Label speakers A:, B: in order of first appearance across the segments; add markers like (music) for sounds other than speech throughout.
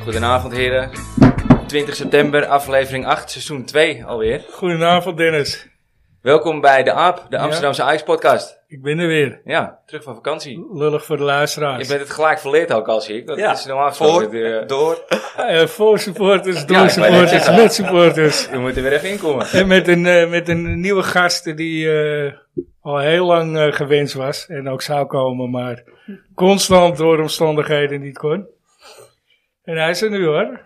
A: Goedenavond heren. 20 september, aflevering 8, seizoen 2 alweer.
B: Goedenavond Dennis,
A: Welkom bij de AAP, de Amsterdamse Ajax podcast.
B: ik ben er weer.
A: Ja, terug van vakantie.
B: Lullig voor de
A: Je
B: luisteraars.
A: bent het gelijk verleerd ook al zie ik. Dat
C: Ja,
A: is normaal gesproken.
C: Voor,
A: De-
C: door.
B: Eh, voor supporters,
A: (laughs)
B: door
A: Ja, ik weet het.
B: supporters, met supporters.
A: We moeten weer even inkomen.
B: En met een, eh, met een nieuwe gast die eh, al heel lang eh, gewenst was en ook zou komen, maar constant door omstandigheden niet kon. En hij is er nu hoor.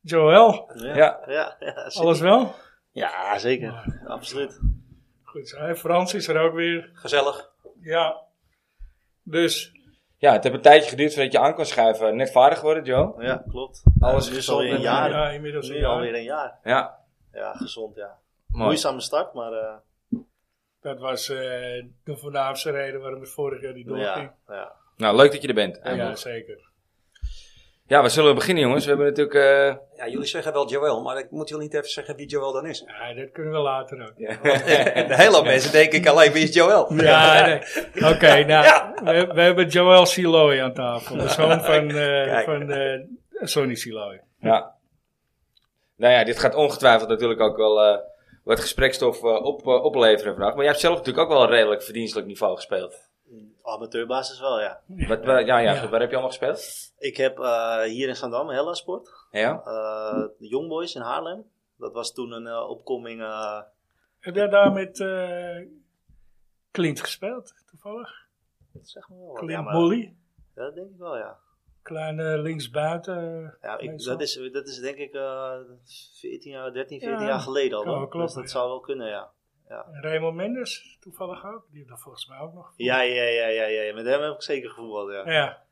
B: Joël,
A: Ja.
C: Ja, ja, zeker.
B: alles wel?
C: Ja, zeker. Absoluut.
B: Goed, zo. En Frans is er ook weer.
C: Gezellig.
B: Ja. Dus,
A: Ja, het heeft een tijdje geduurd voordat je aan kon schuiven. Net vader geworden, Joe.
C: Ja, klopt.
A: Alles
C: Ja, nu is
A: gezond
C: alweer een
A: en-
C: jaar.
B: ja, inmiddels een
C: nu
B: jaar.
C: alweer een jaar.
A: Ja,
C: Ja, gezond, ja.
A: mooi.
C: Moeizame start, maar eh,
B: Dat was eh, de voornaamste reden waarom het vorig jaar niet doorging.
C: ja, ja.
A: Nou, leuk dat je er bent.
B: Ja,
A: Ja,
B: zeker.
A: we zullen beginnen jongens. We hebben natuurlijk... eh,
D: Ja, jullie zeggen wel Joel, maar ik moet jullie niet even zeggen wie Joel dan is.
B: Ja, dat kunnen we later ook.
D: En (laughs) een hele hoop mensen denken ik alleen wie is Joel.
B: Ja, nee. oké. nou, we, we hebben Joël Siloy aan tafel. De zoon van, eh
D: Kijk.
B: van eh, Sonny Siloy.
A: Ja. Nou ja, dit gaat ongetwijfeld natuurlijk ook wel eh, wat gesprekstof eh, op, eh, opleveren vandaag. Maar jij hebt zelf natuurlijk ook wel een redelijk verdienstelijk niveau gespeeld.
C: Amateurbasis wel, ja.
A: Wat, waar- ja, ja,
B: Ja.
A: goed, waar heb je allemaal gespeeld?
C: Ik heb eh, hier in Zandam Hella Sport.
A: Ja?
C: eh, de Youngboys in Haarlem. Dat was toen een eh, opkoming. eh,
B: Heb jij daar met eh Clint gespeeld, toevallig?
C: dat zeg maar wel. wat.
B: Clint
C: Ja, maar-
B: Molly.
C: ja, dat denk ik wel, ja.
B: Kleine linksbuiten. eh,
C: ja ik,
B: Meestal.
C: dat, is, dat is denk ik eh 14 jaar, 13, 14
B: Ja,
C: jaar geleden al.
B: kan wel
C: hoor.
B: kloppen,
C: dus dat
B: ja.
C: zou wel kunnen, ja.
B: Raymond Mendes, toevallig ook. Die heeft dat volgens mij ook nog.
C: Ja, ja, ja, ja, ja. Met hem heb ik zeker gevoetbald, ja.
B: Ja.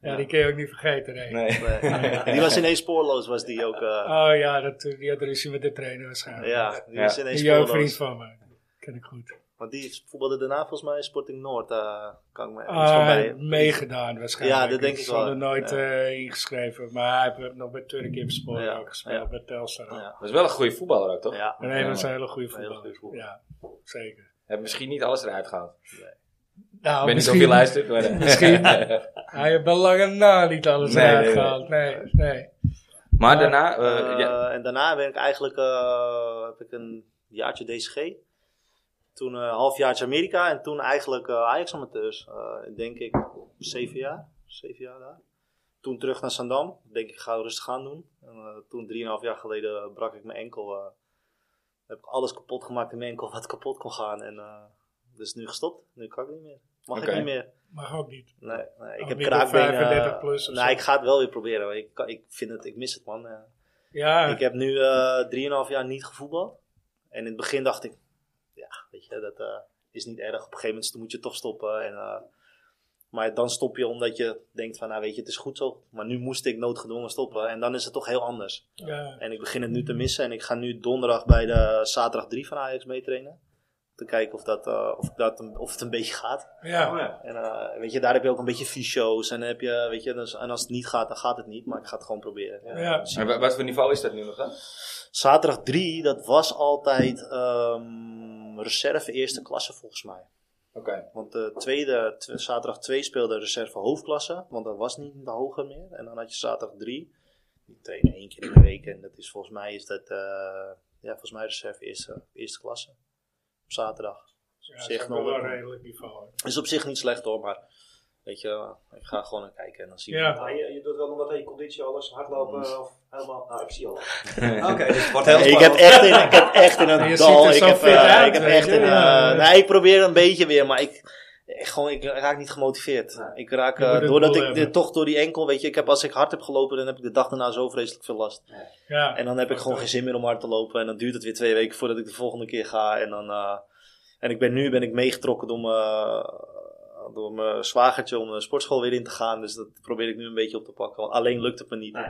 B: Ja, die kun je ook niet vergeten, nee.
C: (laughs)
A: Nee.
C: Nee. Die was ineens spoorloos, was die ook. eh,
B: Oh ja, dat, eh, die had ruzie met de trainer waarschijnlijk.
C: ja, die
A: Ja.
C: was ineens
B: Die jeugdvriend
C: spoorloos.
B: van me. Ken ik goed.
C: Want die voetbalde daarna volgens mij in Sporting Noord. eh kan ik me iets van
B: Ah, hij
C: bij.
B: heeft meegedaan waarschijnlijk.
C: Ja, dat denk ik
B: Ze hadden
C: wel,
B: nooit
C: ja.
B: eh, ingeschreven, maar hij heeft nog bij Turk in Sport
C: Ja,
B: ook gespeeld,
C: ja.
B: bij Telstar. ook.
C: Ja,
A: Dat is wel een goede voetballer ook, toch?
C: ja.
B: En hij
A: Ja.
B: was een hele goede
C: Een hele goede
B: voetballer.
C: voetballer.
B: Ja, zeker.
A: Heb misschien niet alles eruit gehaald.
B: Nou,
A: ik weet niet of
B: Oh, misschien,
A: je luistert. Maar, eh.
B: (laughs) misschien. hij heeft bij lange na niet alles
A: Nee,
B: eruit
A: nee, nee.
B: gehaald. Nee, nee.
A: (laughs) maar daarna... eh,
C: Eh,
A: ja,
C: En daarna ben ik eigenlijk eh, heb ik een jaartje DCG. Toen een halfjaartje Amerika en toen eigenlijk eh, Ajax amateurs. Eh, denk ik zeven jaar. Zeven jaar daar. Toen terug naar Zandam. Denk ik ga rustig aan doen. En, eh, toen drieënhalf jaar geleden brak ik mijn enkel. eh, heb ik alles kapot gemaakt in mijn enkel wat kapot kon gaan. En eh, dus nu gestopt. Nu kan ik niet meer. Mag
A: Oké.
C: ik niet meer.
B: Mag ook niet.
C: Nee, nee, ik
B: Ook
C: heb
B: niet op
C: kraakbeen.
B: 35
C: eh,
B: plus of
C: nee,
B: zo.
C: ik ga het wel weer proberen. want Ik, kan- ik vind het, ik mis het man. eh.
B: Ja,
C: Ik heb nu eh 3,5 jaar niet gevoetbald. En in het begin dacht ik, ja, weet je, dat eh, is niet erg. Op een gegeven moment moet je toch stoppen. En, eh, maar dan stop je omdat je denkt van, nou weet je, het is goed zo. Maar nu moest ik noodgedwongen stoppen. En dan is het toch heel anders.
B: ja.
C: En ik begin het nu te missen. En ik ga nu donderdag bij de zaterdag 3 van Ajax meetrainen. Om Te kijken of, dat, eh, of, dat, een- of het een beetje gaat.
B: oh ja.
C: En eh, weet je, daar heb je ook een beetje fysio's. En, dan heb je, weet je, dus, en als het niet gaat, dan gaat het niet. Maar ik ga het gewoon proberen.
B: Ja.
C: Dus
A: en wa- wat voor niveau is dat nu nog dan?
C: Zaterdag 3, dat was altijd ehm, reserve eerste klasse volgens mij.
A: Oké.
C: Want de tweede, tw- zaterdag 2 speelde reserve hoofdklasse, want dat was niet de hoger meer. En dan had je zaterdag 3, die trainen één keer in de week. En dat is volgens mij, is dat, eh, ja, volgens mij reserve eerste, eerste klasse. Op zaterdag.
B: Ja,
C: Op
B: dat
C: zich
B: is ook
C: nog
B: wel een
C: wel.
B: redelijk niveau.
C: Is op zich niet slecht hoor, maar weet je, ik ga gewoon naar kijken en dan zie ik.
B: Ja.
E: Ja, je, je doet wel omdat je conditie alles hardlopen eh, of helemaal. Nou, ik zie al.
D: Oké, dus het wordt heel
C: Nee, ik, heb
D: spannend.
C: echt in, ik heb echt in
B: (laughs) Je
C: een
B: ziet
C: dal.
B: er
C: Ik
B: zo
C: heb,
B: fit
C: eh,
B: uit,
C: ik heb
B: weet
C: echt
B: je,
C: in. eh,
B: ja.
C: nee, ik probeer een beetje weer, maar ik, ik, gewoon, ik raak niet gemotiveerd. Ik raak,
B: Je moet
C: eh,
B: het
C: doordat
B: doel
C: ik
B: hebben.
C: dit, toch door die enkel, weet je, ik heb, als ik hard heb gelopen, dan heb ik de dag daarna zo vreselijk veel last.
B: Ja.
C: En dan heb ik gewoon geen zin meer om hard te lopen. En dan duurt het weer twee weken voordat ik de volgende keer ga. En, dan, eh, en ik ben nu ben ik meegetrokken door mijn, eh, door mijn zwagertje om de sportschool weer in te gaan. Dus dat probeer ik nu een beetje op te pakken. Want alleen lukt het me niet.
E: Nee.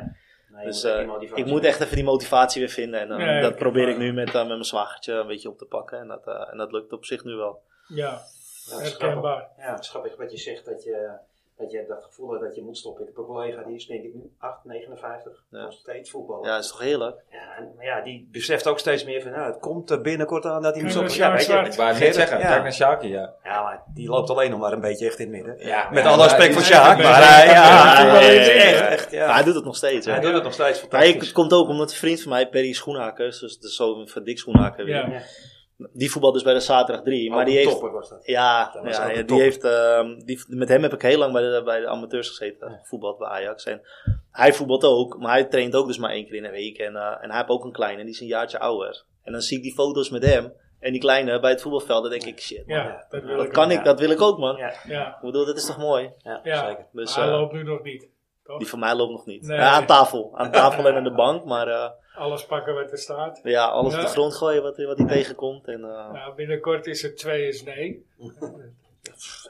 E: Nee, je
C: Dus,
E: moet
C: eh,
E: eenmaal die
C: Ik
E: vakantie-
C: moet echt even die motivatie weer vinden. En eh,
B: Ja, ja,
C: dat
B: ik-
C: probeer ik nu met, eh, met mijn zwagertje een beetje op te pakken. En dat, eh, en dat lukt op zich nu wel.
B: Ja,
E: Ja, het is grappig.
B: herkenbaar.
E: Ja, het is grappig wat je zegt dat je Dat je hebt dat gevoel hebt dat je moet stoppen. Ik heb een collega die is denk ik nu 8, 59,
C: Ja.
E: nog steeds voetballen.
C: Ja, dat is toch heerlijk?
E: Ja, en- maar ja, die beseft ook steeds meer van, nou, het komt.
D: Komt er binnenkort aan dat hij hem
B: Ja,
D: stopt.
B: dat is
D: Ja,
B: waar.
D: weet je,
A: Ik wou het net
D: Gerrit,
A: zeggen,
D: ja.
A: kijk naar Sjaki, ja.
E: Ja, maar
D: die loopt alleen nog maar een beetje echt in het midden.
A: ja
D: Met
A: ja,
D: alle
A: ja,
D: respect
A: die-
D: voor Sjaak,
B: ja,
D: maar
B: ja,
D: hij,
B: ja,
D: ja,
B: ja,
D: hij is
B: ja,
D: echt,
B: ja.
D: echt,
C: Maar
D: ja.
C: hij doet het nog steeds. hè.
D: Hij doet het nog steeds
C: Maar ik- het
D: fantastisch.
C: komt ook omdat een vriend van mij, Perry Schoenhakers, dus de zoon van Dick Schoenhaker,
B: Ja.
C: die voetbal dus bij de zaterdag
D: Oh,
C: 3. Maar
E: ook
C: die
E: een
C: heeft,
E: topper was dat.
C: Ja,
D: Dat was
C: ja,
D: ook een
C: ja, die
D: topper.
C: heeft, ehm, die, met hem heb ik heel lang bij de, bij de amateurs gezeten, gevoetbald bij Ajax. En hij voetbalt ook, maar hij traint ook dus maar één keer in de week. En, eh, en hij heeft ook een kleine, die is een jaartje ouder. En dan zie ik die foto's met hem en die kleine bij het voetbalveld. Dan denk ik, shit, man,
B: Ja, dat wil
C: dat
B: ik.
C: kan
E: ja.
C: ik, dat wil ik ook, man.
E: Ja.
B: Ja,
C: Ik bedoel, dat is toch mooi?
E: Ja,
B: Ja.
E: zeker.
C: Dus,
B: hij
C: eh,
B: loopt nu nog niet.
C: die van mij loopt nog niet.
B: Nee.
C: Ja, aan tafel. Aan tafel en aan de bank. Maar eh,
B: Alles pakken wat er staat.
C: ja, alles
B: Ja.
C: op de grond gooien wat, wat hij tegenkomt. En eh,
B: Nou, binnenkort is het twee is nee.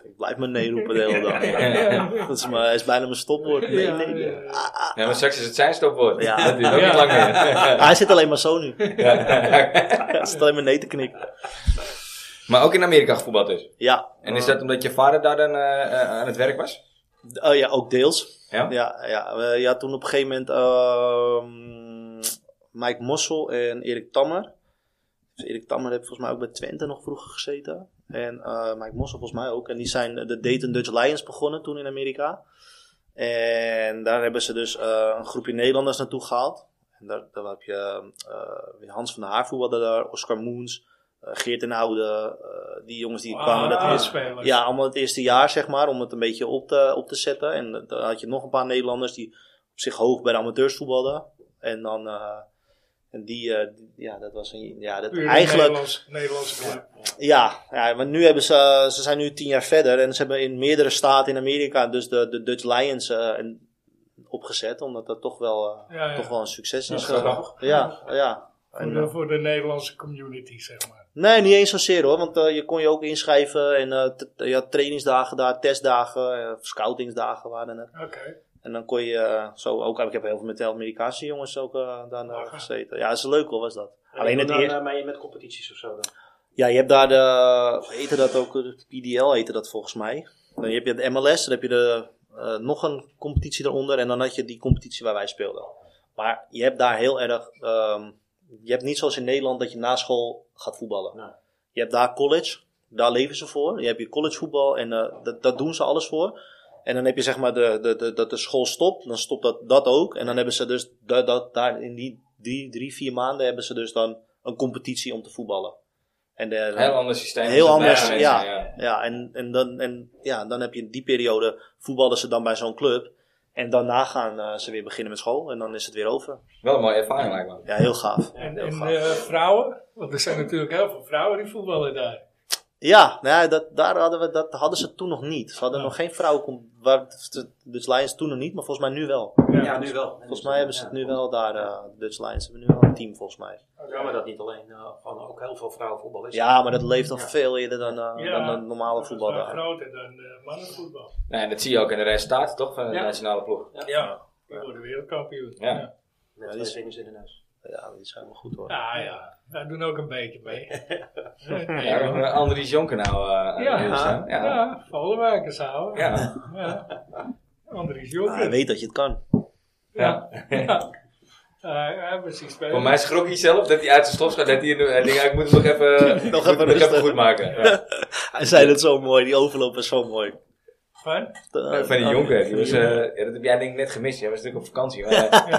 C: ik blijf me nee roepen de hele dag.
B: Eh,
C: Dat is, mijn- is bijna mijn stopwoord. Nee,
B: Ja,
C: nee, nee.
B: ja.
A: Ja, maar straks is het zijn stopwoord.
C: Ja.
A: Dat duurt ook
B: Ja.
A: niet lang meer.
B: (laughs)
C: Ah, hij zit alleen maar zo nu.
A: Ja.
C: Hij zit alleen maar nee te knikken.
A: Maar ook in Amerika gevoetbald dus.
C: Ja.
A: En is dat omdat je vader daar dan eh, eh, aan het werk was?
C: Oh ja, ook deels.
A: Ja?
C: Ja, ja. Eh, ja toen op een gegeven moment ehm, Mike Mossel en Erik Tammer. Dus Erik Tammer heeft volgens mij ook bij Twente nog vroeger gezeten. En eh, Mike Mossel volgens mij ook. En die zijn de Dayton Dutch Lions begonnen toen in Amerika. En daar hebben ze dus eh, een groepje Nederlanders naartoe gehaald. En daar, daar heb je eh, Hans van der Haar voetbalde daar, Oscar Moens, eh, Geert en Oude. eh, die jongens die kwamen dat
B: Ah, spelers.
C: Ja, allemaal het eerste jaar, zeg maar, om het een beetje op te, op te zetten. En eh, dan had je nog een paar Nederlanders die op zich hoog bij de amateurs voetbalden. En dan, eh, en die, eh, die- ja, dat was een, ja, dat
B: Puur
C: eigenlijk,
B: Nederlands, Nederlandse club.
C: ja, ja, maar nu hebben ze, ze zijn nu tien jaar verder en ze hebben in meerdere staten in Amerika dus de, de Dutch Lions eh, en- opgezet, omdat dat toch wel, eh,
B: Ja, ja.
C: toch wel een succes is.
A: grappig.
C: geworden. ja, ja.
B: Voor
C: En, eh,
B: de, voor de Nederlandse community, zeg maar.
C: Nee, niet eens zozeer hoor. Want eh, je kon je ook inschrijven. En eh, t- je had trainingsdagen daar, testdagen, eh, scoutingsdagen waren het.
B: Oké.
C: En dan kon je eh, zo ook... Ik heb heel veel met de Amerikaanse jongens ook eh daar eh,
B: Lachen.
C: gezeten. Ja, dat is leuk hoor, was dat.
E: Oh, En
C: Alleen
E: je
C: het
E: doet dan,
C: eerst...
E: eh, mee met competities of zo dan.
C: Ja, je hebt daar de... Hoe heette dat ook? De PDL heette dat volgens mij. Dan heb je de MLS, dan heb je de, eh, nog een competitie daaronder. En dan had je die competitie waar wij speelden. Maar je hebt daar heel erg... ehm, je hebt niet zoals in Nederland dat je na school gaat voetballen.
E: Nee.
C: Je hebt daar college, daar leven ze voor. Je hebt je collegevoetbal en eh, dat, dat doen ze alles voor. En dan heb je zeg maar de, de, de, dat de school stopt, dan stopt dat, dat ook. En dan hebben ze dus dat, dat, daar in die drie, drie, vier maanden hebben ze dus dan een competitie om te voetballen. En de,
A: Heel ander systeem.
C: Heel
A: dan
C: anders,
A: bij de
C: ja.
A: mensen,
C: ja, en, en, dan, en ja, dan heb je in die periode voetballen ze dan bij zo'n club. En daarna gaan eh, ze weer beginnen met school en dan is het weer over.
A: Wel een mooie ervaring lijkt me.
C: Ja, heel gaaf.
B: En,
C: heel
B: en
C: gaaf.
B: eh, vrouwen? Want er zijn natuurlijk heel veel vrouwen die voetballen daar.
C: Ja, nou ja, dat, daar hadden we, dat hadden ze toen nog niet. Ze hadden
B: Ja.
C: nog geen vrouwen. Dutch Lions toen nog niet, maar volgens mij nu wel.
B: Ja.
E: Ja, nu wel.
C: Volgens mij hebben ze het
E: Ja.
C: nu wel daar. eh Dutch Lions hebben nu wel een team, volgens mij.
E: Jammer dat niet alleen, eh, gewoon ook heel veel vrouwenvoetbal is.
C: Ja, maar dat leeft nog
E: Ja.
C: veel eerder dan, eh,
B: Ja.
C: dan een normale
B: Dat is wel
C: voetbal daar.
B: groter dan eh, mannenvoetbal.
A: Nee, en dat zie je ook in de resultaten toch van de
E: Ja.
A: nationale ploeg.
B: Ja. Die worden wereldkampioen.
A: Ja.
E: Met twee vingers in de neus.
C: Ja, die zijn wel goed hoor.
B: Nou ja, wij doen ook een beetje
C: (laughs)
B: mee.
A: Ja, we hebben Andries Jonker nou eh, aan
B: Ja.
A: de wiel staan.
B: Ja,
A: Ja.
B: Vollewijkers houden. Ja.
A: Ja.
B: Andries
C: Ah, hij
B: Jonker.
C: weet dat je het kan.
A: Ja.
B: Ja. Eh, Ja, ja, precies.
A: Voor mij schrok hij zelf dat hij uit zijn stof gaat. Dat hij in de- hij denkt, ja, ik moet hem nog even,
C: (laughs) Nog
A: moet-
C: even
A: moet ik
C: rustig.
A: goed maken. Ja.
C: (laughs) Hij zei dat zo mooi, die overloop was zo mooi.
B: Van?
C: Eh,
A: Van die
C: eh,
A: jonker. Die was, eh, ja, dat heb jij denk ik net gemist. Jij was natuurlijk op vakantie. Maar, eh,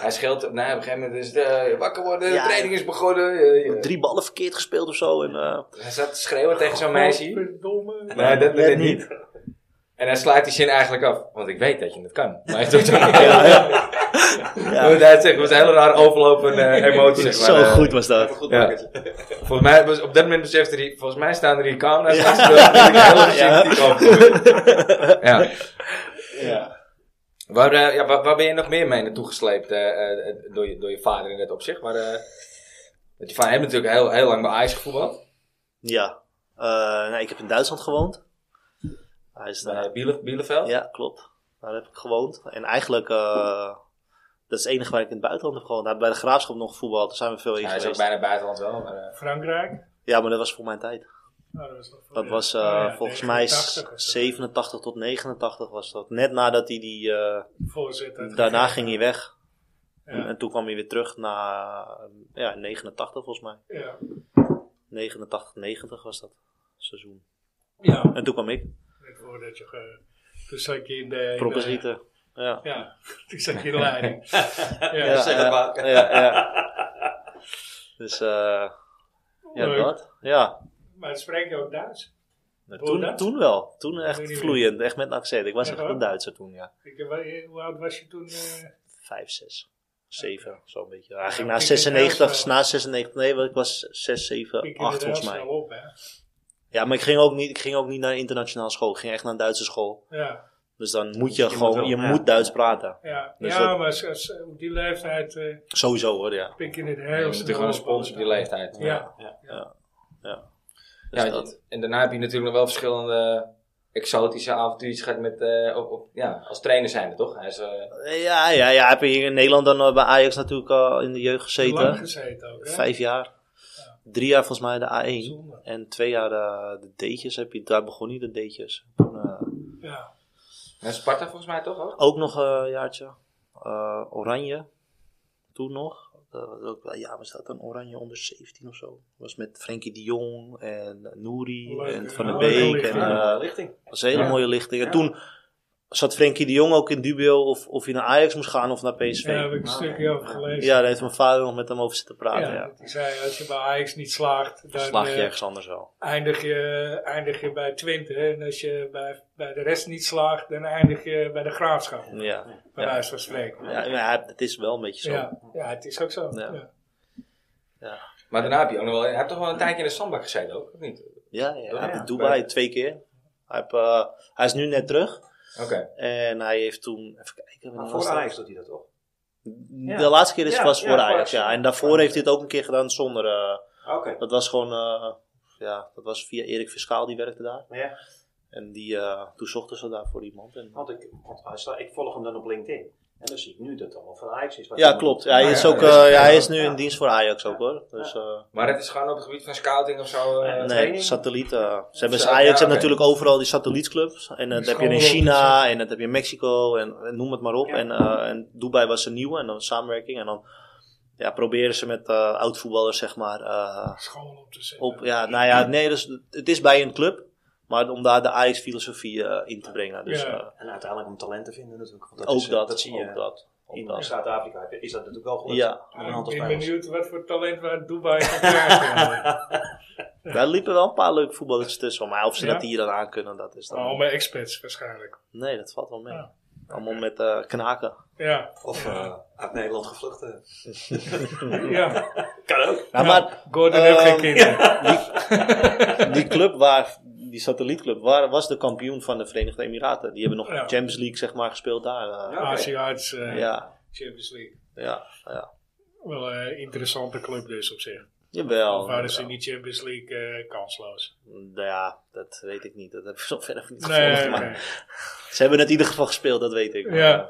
A: Hij scheelt, nou, op een gegeven moment is het eh, wakker worden, de
C: Ja.
A: training is begonnen. eh, je-
C: Drie ballen verkeerd gespeeld of zo. En,
A: (laughs)
C: eh,
A: Hij zat te schreeuwen tegen zo'n meisje.
B: Verdomme.
A: Nee, dat
C: Net
A: net niet. En hij sluit die zin eigenlijk af. Want ik weet dat je het kan. Maar hij
C: (laughs)
A: doet het niet.
C: ja, ja.
A: Ja. Hoe hij zegt, was een hele raar overloop van
C: (laughs)
A: eh, emotie. Zeg maar.
C: zo
A: Eh,
C: goed was dat.
E: Goed
A: Ja.
E: maken.
A: Volgens mij, was- op dat moment besefte hij, volgens mij staan er hier camera's naast hem. Dat ik heel erg
C: Ja.
A: sympathiek overkom. ja.
C: Ja.
A: Waar, eh, ja, waar, waar ben je nog meer mee naartoe gesleept eh, eh, eh, door, je, door je vader in dat opzicht? Maar, eh want je vader heeft natuurlijk heel, heel lang bij Ajax gevoetbald.
C: ja. Eh, nee, ik heb in Duitsland gewoond. Hij is daar.
A: Bij Biele- Bielefeld.
C: Ja, klopt. Daar heb ik gewoond. En eigenlijk, eh, dat is het enige waar ik in het buitenland heb gewoond. Hij had bij de Graafschap nog voetbal, daar zijn we veel in
A: hij is ook
C: geweest.
A: bijna buitenland wel. Maar, eh,
B: Frankrijk.
C: Ja, maar dat was voor mijn tijd.
B: Nou, dat was, nog voor
C: Dat
B: de-
C: was eh,
B: oh ja,
C: volgens mij
B: 89 of zo.
C: 87 tot 89 was dat. Net nadat hij die... eh,
B: Voorzet had
C: daarna
B: gegeven.
C: ging hij weg.
B: Ja.
C: En toen kwam hij weer terug naar... Ja, 89 volgens mij.
B: Ja.
C: 89, 90 was dat seizoen.
B: ja,
C: En toen kwam ik.
B: net voordat je... ge- Toen zat je in de... in de-
C: Proppenschieten. Ja.
B: Ja, (laughs) toen zat je in de leiding.
D: Ja,
B: ja.
D: zeg het
C: ja,
D: maar.
C: Ja, ja.
B: (laughs)
C: Dus, eh ja,
B: Leuk.
C: dat. Ja.
B: Maar dan spreek je ook Duits?
C: Nou,
B: Hoe
C: Toen,
B: dat?
C: toen wel. Toen
B: weet
C: echt
B: niet
C: vloeiend. Echt met een accent. Ik was
B: Ja,
C: echt
B: hoor.
C: een Duitser toen, ja.
B: Ik, eh, hoe oud was je toen? eh?
C: Vijf, zes. Zeven, zo'n beetje. Hij ging
B: Ja,
C: na
B: ik denk
C: 96,
B: juist wel.
C: na 96, nee, want ik was 6, 7,
B: ik
C: 8 volgens mij.
B: Snel op, hè?
C: Ja, maar ik ging, ook niet, ik ging ook niet naar internationale school. Ik ging echt naar een Duitse school.
B: Ja,
C: Dus dan moet je,
D: je moet
C: gewoon,
D: wel,
C: je
D: ja.
C: moet Duits praten.
B: ja.
C: Dus
B: ja
C: dat-
B: maar als- als- op die leeftijd eh
C: Sowieso hoor, ja.
B: pik je het heel
A: Je
B: snel
A: moet natuurlijk gewoon een
B: op.
A: spons op die leeftijd.
B: Ja,
C: Dus
A: Ja,
C: dat.
A: en daarna heb je natuurlijk nog wel verschillende exotische avontuurtjes gehad met, eh, op, op- ja, als trainer zijn toch? Hij is, eh,
C: Ja, ja, ja. Heb je hier in Nederland dan eh, bij Ajax natuurlijk al in de jeugd
B: lang
C: gezeten.
B: gezeten ook, hè?
C: Vijf jaar. Drie jaar volgens mij de A1.
B: Zonde.
C: En twee jaar eh, de, de D'tjes heb je. Daar begon niet de D'tjes. Toen, eh,
B: Ja.
A: naar Sparta volgens mij toch ook?
C: Ook nog eh, een jaartje. eh, oranje. Toen nog. Eh, wat ook, wel- ja, was dat dan Oranje onder 17 of zo? Was met Frenkie de Jong en Nouri
B: Oh, Leuk,
C: en
B: ja.
C: Van der
B: Leuke
C: Beek.
B: lichting.
C: En,
D: Ja,
C: eh,
D: lichting.
C: was een hele
A: Ja.
C: mooie lichting. En
D: Ja.
C: toen zat Frenkie de Jong ook in dubio of, of hij naar Ajax moest gaan of naar PSV.
B: Daar heb ik een stukje over gelezen.
C: Ja, daar heeft mijn vader nog met hem over zitten praten.
B: Ja,
C: Ja.
B: Die zei, als je bij Ajax niet slaagt, dan
C: Slag je
B: eh,
C: ergens anders wel.
B: eindig, je, eindig je bij Twente. hè. En als je bij, bij de rest niet slaagt, dan eindig je bij de graafschap. Bij
C: Ja.
B: ja.
C: Ja.
B: wijze van spreken.
C: Ja, ja, het is wel een beetje zo.
B: Ja, ja, het is ook zo.
C: Ja.
B: Ja.
A: Maar daarna heb je ook nog wel, je hebt toch wel een tijdje in de zandbak gezeten ook, of niet?
C: Ja, ja, hij
A: Ja,
C: heeft Dubai
A: leuk.
C: twee keer. Hij, heeft, eh, hij is nu net terug.
A: Oké.
C: En hij heeft toen, even kijken,
D: Maar
C: wanneer was
D: Ah, voor
C: dat?
D: Ajax doet hij dat toch?
C: De laatste keer is
D: Ja,
C: was
D: ja,
C: voor
D: voor
C: Ajax,
D: Ajax.
C: ja. En daarvoor heeft hij het ook een keer gedaan zonder, eh,
D: Oké.
C: dat was gewoon, eh, ja, dat was via Erik Fiscaal, die werkte daar.
D: Ja.
C: En die, eh, toen zochten ze daar voor iemand. En,
D: Want, ik, want hij sta- ik volg hem dan op LinkedIn. En dan zie ik nu dat het allemaal van Ajax is. wat
C: ja,
D: hij
C: klopt.
D: doet.
C: Hij
A: Nou
C: is,
A: ja,
C: ook,
A: dat is
C: eh,
D: oké.
C: hij is nu
D: Ja.
C: in dienst voor Ajax ook, hoor. Dus,
D: Ja.
C: eh,
A: Maar het is gewoon op het gebied van scouting of zo. eh,
D: Ja,
C: nee,
D: training?
C: satellieten. eh, Ze hebben
A: Zo,
C: Ajax
A: ja,
C: heeft
A: oké.
C: natuurlijk overal die satellietclubs. En dat heb je in
B: scholen en
C: China en dat heb je in Mexico en, en noem het maar op.
D: Ja.
C: En, eh, en Dubai was een nieuwe en dan samenwerking. En dan ja, proberen ze met eh oud-voetballers, zeg maar, eh,
B: Schoon op te zetten.
C: op. Ja, nou ja, nee, dus, het is bij een club. Maar om daar de Ajax-filosofie eh, in te brengen. Dus
B: Ja.
C: eh,
D: En uiteindelijk om talent te vinden natuurlijk. Want
C: ook
D: is, eh,
C: dat,
D: dat zie je.
C: ook dat. Ook
D: In
C: dat.
D: Zuid-Afrika heb je- is dat natuurlijk wel gelukt.
C: Ja,
D: Met een
B: ik
D: aantal
B: ben
D: spelers.
B: benieuwd wat voor talent we uit Dubai gaan
C: (laughs)
B: krijgen.
C: daar liepen wel een paar leuke voetballers tussen. Maar of ze
B: Ja. Oh,
C: dat hier dan aan kunnen, dat is dan...
B: Allemaal expats waarschijnlijk.
C: Nee, dat valt wel mee.
B: Ja.
C: Allemaal met eh, knaken.
B: Ja,
D: Of eh, uit Nederland gevlucht. eh.
B: ja.
D: Kan ook.
C: Ja,
B: Ja,
C: maar
B: Gordon heeft
C: Ehm,
B: geen kinderen.
C: (laughs) die club waar, die satellietclub, waar was de kampioen van de Verenigde Emiraten. Die hebben nog
B: Ja.
C: Champions League, zeg maar, gespeeld daar. eh.
D: Ja. oké.
B: Aziats
C: ja.
B: eh,
C: ja,
B: Champions League.
C: ja,
B: Wel een interessante club dus op zich.
C: Jawel.
B: Of waren ze
C: jawel.
B: in die Champions League eh,
C: (laughs)
B: kansloos?
C: Nou ja, dat weet ik niet. Dat heb ik zo verder niet gevolgd.
B: Nee,
C: maar
B: nee.
C: Ze hebben het in ieder geval gespeeld, dat weet ik. Maar,
B: Ja.
C: eh,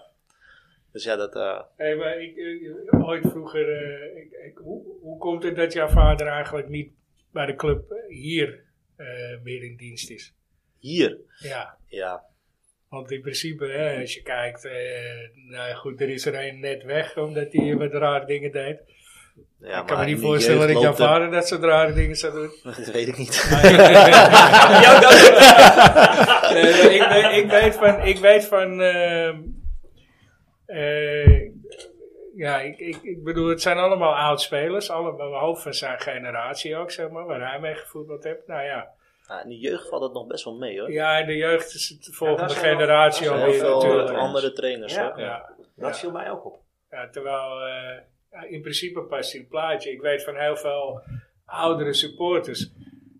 C: Dus ja, dat... eh,
B: Hey, maar ik, eh, ooit vroeger, eh, ik, ik- hoe, hoe komt het dat jouw vader eigenlijk niet bij de club hier eh, meer in dienst is?
C: hier.
B: Ja,
C: Ja.
B: want in principe, hè, als je kijkt, eh, nou ja, goed, er is er een net weg omdat hij wat rare dingen deed.
C: ja
B: ik kan me
C: maar in
B: niet
C: de
B: voorstellen
C: jeugd
B: dat jouw
C: loopt er-
B: vader dat soort rare dingen zou doen.
C: (laughs) Dat weet ik niet.
A: Ja, dat is
B: Nee, nee, ik, weet, ik weet van. Ik weet van ehm, eh, ja, ik, ik, ik bedoel, het zijn allemaal oud-spelers. Allemaal hoofd van zijn generatie ook, zeg maar. Waar hij mee gevoetbald heeft. Nou ja.
C: Nou, in de jeugd valt dat nog best wel mee, hoor.
B: Ja, in de jeugd is het de
D: Ja,
B: volgende
D: daar zijn wel-
B: generatie
D: daar zijn
C: Heel
B: alweer
D: Ja,
C: veel
B: natuurlijk.
D: trainers.
C: andere trainers,
D: Ja.
C: hoor.
B: Ja,
D: Dat viel mij ook op.
B: ja, terwijl eh, ja, in principe past hij een plaatje. Ik weet van heel veel oudere supporters.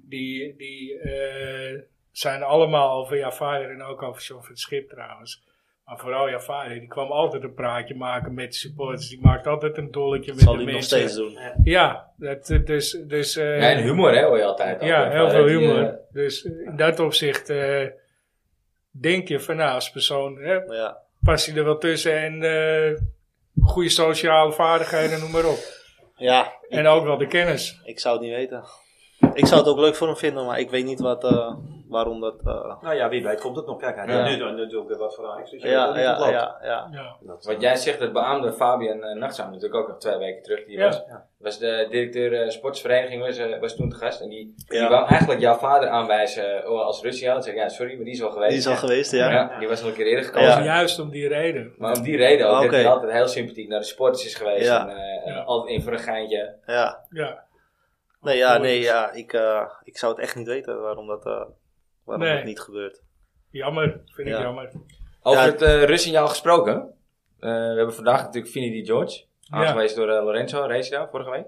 B: Die, die eh, zijn allemaal over jouw vader en ook over John van het Schip trouwens. Maar vooral jouw vader, die kwam altijd een praatje maken met de supporters. Die maakt altijd een dolletje
C: Dat
B: met
C: zal
B: de
C: hij nog
B: mensen.
C: steeds doen.
B: Ja, dat, dus... dus eh,
A: Ja, en humor hè, hoor je altijd. al.
B: ja,
A: Dat,
B: heel
A: eh,
B: veel
A: die,
B: humor.
A: eh,
B: dus in dat opzicht eh, denk je van nou, als persoon hè,
C: Ja.
B: past hij er wel tussen en eh, goede sociale vaardigheden, noem maar op.
C: Ja,
B: En ook wel de kennis.
C: ik zou het niet weten. Ik zou het ook leuk voor hem vinden, maar ik weet niet wat, eh, waarom dat... eh,
E: Nou ja, wie weet komt het nog. Kijk, hij
A: Ja.
E: heeft nu dan natuurlijk weer wat voor Ajax. Dus je weet
C: ja,
E: niet hoe het
C: ja,
E: loopt.
C: ja, ja.
B: Ja.
E: Dat, eh,
A: Wat jij zegt, dat beaamde Fabian eh, Nachtzaam natuurlijk ook nog twee weken terug. Die
B: Ja.
A: was, was de directeur eh, sportsvereniging, was, eh, was toen te gast. En die, die
C: Ja.
A: wou eigenlijk jouw vader aanwijzen eh, als Russiaal. Ik zeg, ja, sorry, maar die is al geweest.
C: Die is al
A: Ja.
C: geweest, ja.
A: Ja, die was al een keer eerder gekomen.
B: Ja.
C: Ja.
B: Juist om die reden.
A: Maar om die reden ook,
C: Ah,
A: dat hij
C: oké.
A: altijd heel sympathiek naar de sporters is geweest.
C: Ja.
A: En, eh, en
B: Ja.
A: altijd in voor een geintje.
C: Ja.
B: Ja.
C: Nee, ja,
B: Mooi.
C: nee, ja. Ik, eh, ik zou het echt niet weten waarom dat, eh, waarom
B: Nee.
C: dat niet gebeurt.
B: Jammer, vind ik
C: Ja.
B: jammer.
A: Over
C: Ja.
A: het eh Russiaal gesproken. eh, we hebben vandaag natuurlijk Vinnie Di George. Aangewezen door eh, Lorenzo Recia vorige week.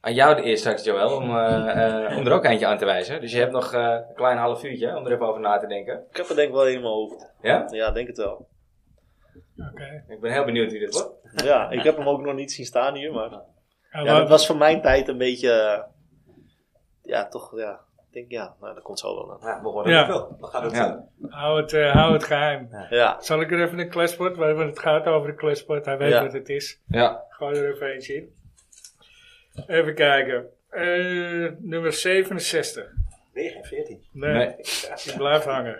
A: Aan jou de eer straks, Joël, om, eh, eh, om er ook eentje aan te wijzen. Dus je hebt nog eh, een klein half uurtje hè, om er even over na te denken.
C: Ik heb het denk ik wel in mijn hoofd.
A: Ja?
C: Ja, denk het wel.
B: Oké.
A: Ik ben heel benieuwd wie dit wordt.
C: Ja, ik heb hem ook nog niet zien staan hier, maar...
B: Ja,
C: Ja,
B: waar-
C: dat was voor mijn tijd een beetje. eh, ja, toch, ja. Ik denk, ja, nou, dat komt zo wel aan.
E: Ja, we horen
B: Ja.
E: het wel. We gaan het
A: Ja.
E: zien.
B: hou, het, eh, hou het geheim.
C: Ja,
B: Zal ik er even een klespot? Want het gaat over de klespot. Hij weet
C: Ja.
B: wat het is.
A: Ja.
B: Gooi er even eentje in. Even kijken. Eh, nummer 67.
E: Weer geen 14.
B: Nee,
A: Nee.
B: die blijft hangen.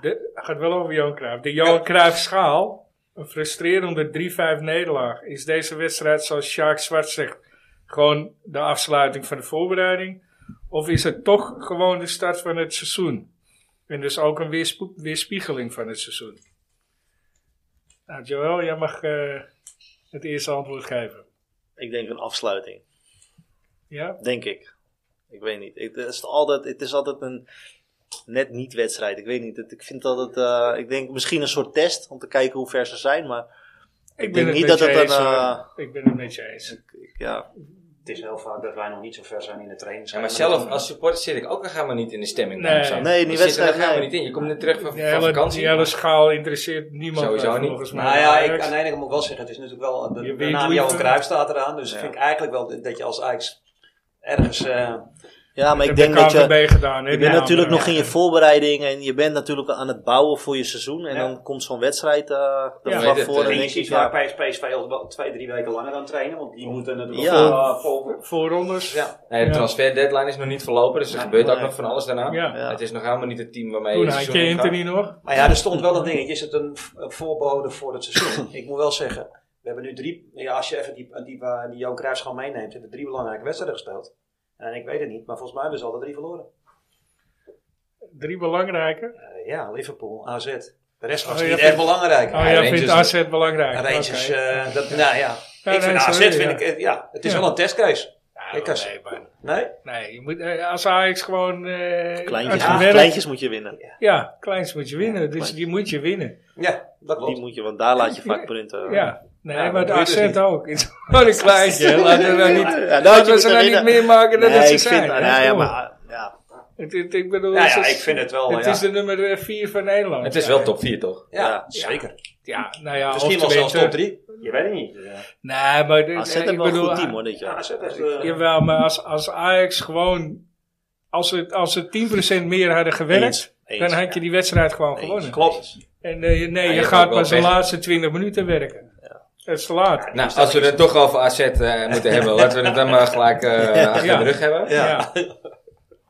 B: De, het gaat wel over Johan Cruijff. De Johan Cruijff schaal, een frustrerende 3-5 nederlaag, is deze wedstrijd, zoals Sjaak Zwart zegt, gewoon de afsluiting van de voorbereiding? Of is het toch gewoon de start van het seizoen? En dus ook een weerspo- weerspiegeling van het seizoen. Nou, Joël, jij mag eh, het eerste antwoord geven.
C: ik denk een afsluiting.
B: Ja?
C: Denk ik. Ik weet niet. Ik, het, is altijd, het is altijd een net niet wedstrijd. Ik weet niet. Het- ik vind dat het. eh, ik denk misschien een soort test om te kijken hoe ver ze zijn. Maar
B: Ik
C: denk niet dat
B: je
C: het
B: eens,
C: een,
B: hoor.
C: eh,
B: Ik ben het met je eens.
C: ik- ik- ja,
E: Het is heel vaak dat wij nog niet zo ver zijn in de training.
A: Ja, maar zelf als supporter zit ik ook helemaal niet in de stemming.
B: Nee.
A: daarom zo.
C: Nee,
A: Je
C: die
A: zit er
C: wedstrijd,
A: ook helemaal
C: nee.
A: niet in. Je komt net terug van,
B: Die
A: van
B: hele,
A: vakantie.
B: die hele schaal interesseert niemand
A: Sowieso
B: eh,
A: niet.
B: volgens mij.
E: Nou ja, ik,
B: Ajax.
E: aan de ene kant moet ik wel zeggen, het is natuurlijk wel, de,
B: Je
E: de
B: weet
E: naam
B: hoe je
E: Johan
B: het-
E: Cruijff staat eraan. Dus
C: Ja.
E: vind ik eigenlijk wel dat- dat je als Ajax ergens... eh,
C: ja maar ik
B: Heb de
C: denk dat je.
B: KNVB gedaan, hè,
C: Je
B: die
C: bent
B: naam,
C: natuurlijk
B: eh.
C: nog in je voorbereiding en je bent natuurlijk aan het bouwen voor je seizoen. En
E: Ja.
C: dan komt zo'n wedstrijd eh
B: Ja.
C: er
A: Weet
C: vlak
A: het,
C: voor.
A: eh,
C: En
E: ik
C: denk ik,
E: zie
C: ja,
E: vaak bij PSV al wel twee, drie weken langer aan trainen. Want die moeten natuurlijk
C: Ja.
E: wel eh, volgen.
B: Voorrondes.
E: Ja.
A: Nee, de
B: Ja.
A: transfer deadline is nog niet verlopen, dus er
E: Nee,
A: gebeurt ook
C: nee.
A: nog van alles daarna.
B: Ja.
C: Ja.
A: Het is nog helemaal niet het team waarmee
B: Toen
A: het
B: had je
A: seizoen gaat.
B: Anthony nog.
E: Maar ja, er stond wel een dingetje. Is het een v- een voorbode voor het (clears throat) seizoen? ik moet wel zeggen, we hebben nu drie... Ja, als je even die, die, eh, die Johan Cruijffschaal meeneemt, hebben we drie belangrijke wedstrijden gespeeld. En ik weet het niet, maar volgens mij hebben ze alle drie verloren.
B: Drie belangrijke.
E: Eh, ja, Liverpool, AZ. De rest was
B: Oh, jij
E: niet
B: vindt-
E: echt belangrijk.
B: Oh,
A: Ja,
B: jij
A: Rangers
B: vindt
A: nog.
B: AZ belangrijk.
E: Rangers,
B: Oké.
E: eh, dat, nou ja.
B: Ja,
E: ik vind
B: nee,
E: AZ,
B: sorry,
E: vind
B: ja.
E: ik, eh, ja, het is
B: Ja.
E: wel een testcase.
B: Ja,
E: ik
B: wel,
E: als-
B: Nou, nee, man.
E: Nee?
B: Nee, je moet, eh, als Ajax gewoon... eh
C: kleintjes,
B: als je
C: moet-
B: werkt-
C: kleintjes moet je winnen.
B: Ja, kleins moet je winnen. dus
C: kleintjes.
B: die moet je winnen.
E: Ja, dat
C: Die
E: klopt.
C: moet je, want daar laat je vaak punten.
B: Ja. Nee,
E: Ja,
B: maar
E: dat
B: de
E: doe je dus
B: AZ
E: niet.
B: ook. (laughs) Het is gewoon een kleintje. hè. Laten we nou niet,
C: Ja, nou,
B: laten
C: je
B: we
C: moet
B: ze
C: er
B: nou niet
C: winnen.
B: meer maken dan
C: Nee,
B: dat ze
C: ik
B: zijn.
C: vind,
B: hè.
C: ja, ja, maar, ja,
B: Het- het- ik bedoel,
E: Ja,
B: het
E: ja,
B: is-
E: ik vind het wel.
B: Het
E: ja.
B: is de nummer 4 van Nederland.
A: Het is
B: Ja.
A: wel top 4, toch?
E: ja,
C: Ja.
E: zeker.
B: Ja, nou ja,
E: Misschien
B: of
E: wel zelfs top
B: tenminste-
E: 3. Je weet het niet.
B: Nee, maar dit-
C: AZ
B: eh,
C: hebben
B: ik
C: wel een
B: bedoel, ah,
C: goed team hoor dit
E: Ja,
C: jaar.
E: AZ heeft, eh,
B: Jawel, maar als, als Ajax gewoon. Als ze, als ze 10% meer hadden gewerkt,
C: Eens,
B: dan
C: eens.
B: had je die wedstrijd gewoon
C: Eens.
B: gewonnen.
E: klopt.
B: En eh, nee,
A: je
B: je
A: hebt
B: gaat
A: ook wel
B: pas de
A: pech.
B: laatste 20 minuten werken. Dat is te laat.
A: Nou, als we het toch over AZ eh, moeten hebben, laten we het dan maar gelijk (laughs) eh, achter
B: Ja.
A: de rug hebben.
B: Ja.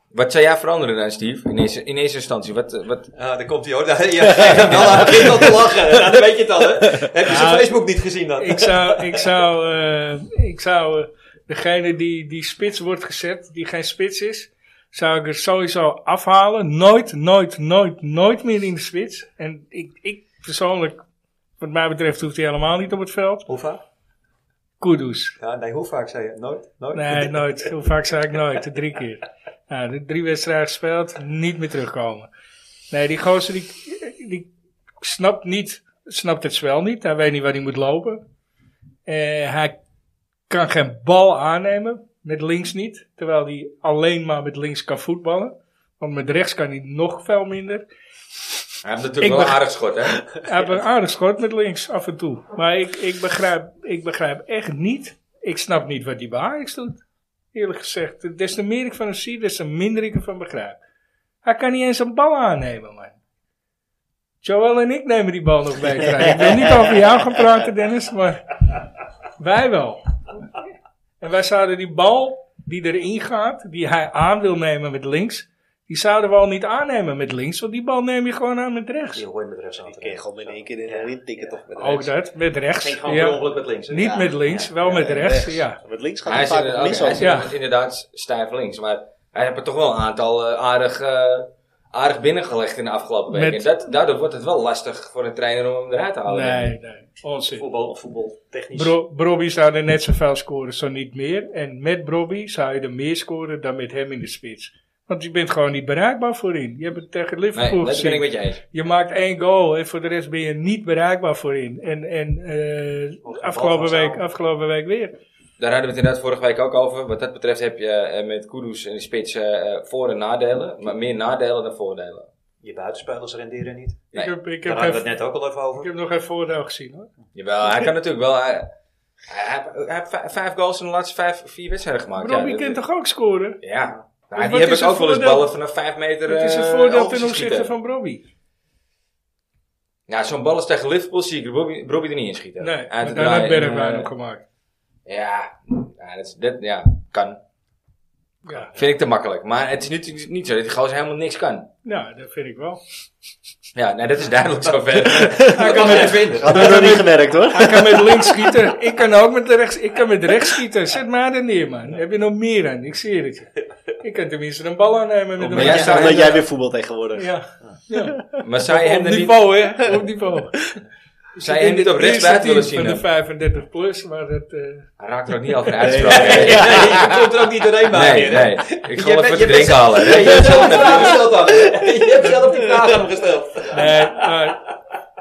A: Wat zou jij veranderen dan, Steve? In eerste, in eerste instantie, wat, eh, wat...
E: Ah, daar komt hij hoor. (laughs) Ja,
B: (laughs)
E: ja, dan begint al te lachen. Nou, dan weet je het al. Hè. Heb je zijn
B: Ja.
E: Facebook niet gezien dan?
B: Ik zou, ik zou, eh, ik zou eh, degene die, die spits wordt gezet, die geen spits is, zou ik er sowieso afhalen. Nooit, nooit, nooit, nooit meer in de spits. En ik, ik persoonlijk, wat mij betreft, hoeft hij helemaal niet op het veld.
E: Hoe vaak?
B: Kudus.
E: Ja, nee, hoe vaak zei je? Nooit? Nooit?
B: Nee, nooit. Hoe vaak zei ik nooit? Drie keer. Nou, de drie wedstrijden gespeeld, niet meer terugkomen. Nee, die gozer die, die snapt niet, snapt het spel niet. Hij weet niet waar hij moet lopen. Eh, hij kan geen bal aannemen, met links niet. Terwijl hij alleen maar met links kan voetballen. Want met rechts kan hij nog veel minder.
A: Hij heeft natuurlijk wel
B: beg-
A: aardig schot, (laughs) hè?
B: (laughs) Hij heeft een aardig schot met links af en toe. Maar ik, ik, begrijp, ik begrijp echt niet. Ik snap niet wat die bij Ajax doet. Eerlijk gezegd. Des te meer ik van hem zie, des te minder ik ervan begrijp. Hij kan niet eens een bal aannemen, man. Joel en ik nemen die bal nog beter aan. Ik wil niet over jou gaan praten, Dennis, maar wij wel. En wij zouden die bal die erin gaat, die hij aan wil nemen met links, die zouden we al niet aannemen met links, want die bal neem je gewoon aan met rechts.
E: Die hoor je met rechts aan
C: Ik
E: te
C: kan je
E: rijden.
C: gewoon in één keer in- erin tikken toch met
B: Ook
C: rechts.
B: dat, met rechts.
E: Ging gewoon
B: ja.
E: per ongeluk met links. hè?
B: Niet
E: Ja.
B: met links, wel met
C: en
B: rechts, ja.
C: Met links gaat
A: Hij
C: hij
A: is
C: vaak met
A: inderdaad,
C: links
A: hij is
C: over.
B: Ja.
A: inderdaad- inderdaad stijf links. Maar hij heeft er toch wel een aantal eh, aardig, eh, aardig binnengelegd in de afgelopen weken.
B: Met-
A: En dat, daardoor wordt het wel lastig voor een trainer om hem eruit te houden.
B: Nee, nee, onzin.
E: Voetbal, voetbal, technisch.
B: Bro, Brobby zou er net zoveel scoren, zo niet meer. En met Brobby zou je er meer scoren dan met hem in de spits. Want je bent gewoon niet bereikbaar voorin. Je hebt het tegen
A: Nee,
B: Liverpool
A: dat
B: gezien.
A: ben ik met je eens.
B: Je maakt één goal en voor de rest ben je niet bereikbaar voorin. En, en eh,
E: bal
B: afgelopen,
E: vasthouden.
B: week, afgelopen week weer.
A: Daar hadden we het inderdaad vorige week ook over. Wat dat betreft heb je eh, met Kudus en de spits eh, eh, voor- en nadelen. Maar meer nadelen dan voordelen.
E: Je buitenspelers renderen niet.
A: Nee,
B: ik heb, ik
E: Daar
B: heb,
E: hadden we
B: even,
E: het net ook al even
B: ik
E: over.
B: heb nog geen voordeel gezien hoor.
A: Jawel, hij kan natuurlijk wel... Hij, hij, hij- hij heeft vij- vijf goals in de laatste vijf, vier wedstrijden gemaakt.
B: Brobby
A: ja, dat-
B: kan toch ook scoren?
A: Ja. Nou,
B: wat
A: die hebben
B: is het
A: ook wel eens
B: voordeel?
A: ballen vanaf vijf meter
B: Het is een
A: eh,
B: voordeel
A: over te
B: ten opzichte
A: schieten.
B: van Brobby.
A: Ja, zo'n bal is tegen Liverpool zie ik Robbie, Robbie er niet in schieten.
B: Nee,
A: Uit te
B: maar daar
A: draaien
B: heeft
A: en,
B: Bergwijn
A: eh,
B: op gemaakt.
A: Ja, ja, dat, is- dat ja, kan.
B: Ja,
A: Vind ik te makkelijk. Maar het is niet, niet zo dat die gozer helemaal niks kan.
B: nou, dat vind ik wel.
A: Ja, nou, dat is duidelijk zo ver.
B: (laughs) Hij
A: dat
B: kan
A: kan
B: met-
A: het vinden.
C: Hadden we nog niet gemerkt hoor.
B: Hij kan met links schieten. Ik kan ook met rechts. Ik kan met rechts schieten. Zet maar er neer, man. Heb je nog meer aan? Ik zie het. je. Ik kan tenminste een bal aannemen met
A: Maar jij
B: een
A: staat-
C: Omdat
A: hem,
C: jij
A: eh,
C: weer voetbal tegenwoordig.
B: Ja,
A: Maar zou je hem
B: op
A: er niet,
B: niveau, hè?
A: (laughs)
B: Op niveau.
A: zou je hem niet op
B: Het eerste
A: rechtsbuiten willen
B: team
A: zien?
B: Van de
A: dan?
B: 35 plus, maar dat. eh,
A: Hij raakt er ook niet over uitgesproken.
B: (laughs)
A: Nee, nee,
E: je komt er ook niet doorheen bij.
A: nee, Ik ga
E: Je
A: wat voor
E: bent- je
A: te
E: bent-
A: drinken
B: (laughs)
A: halen.
E: Je hebt zelf die (laughs) vraag gesteld dan. Je hebt zelf die vraag aan hem gesteld.
B: nee, maar.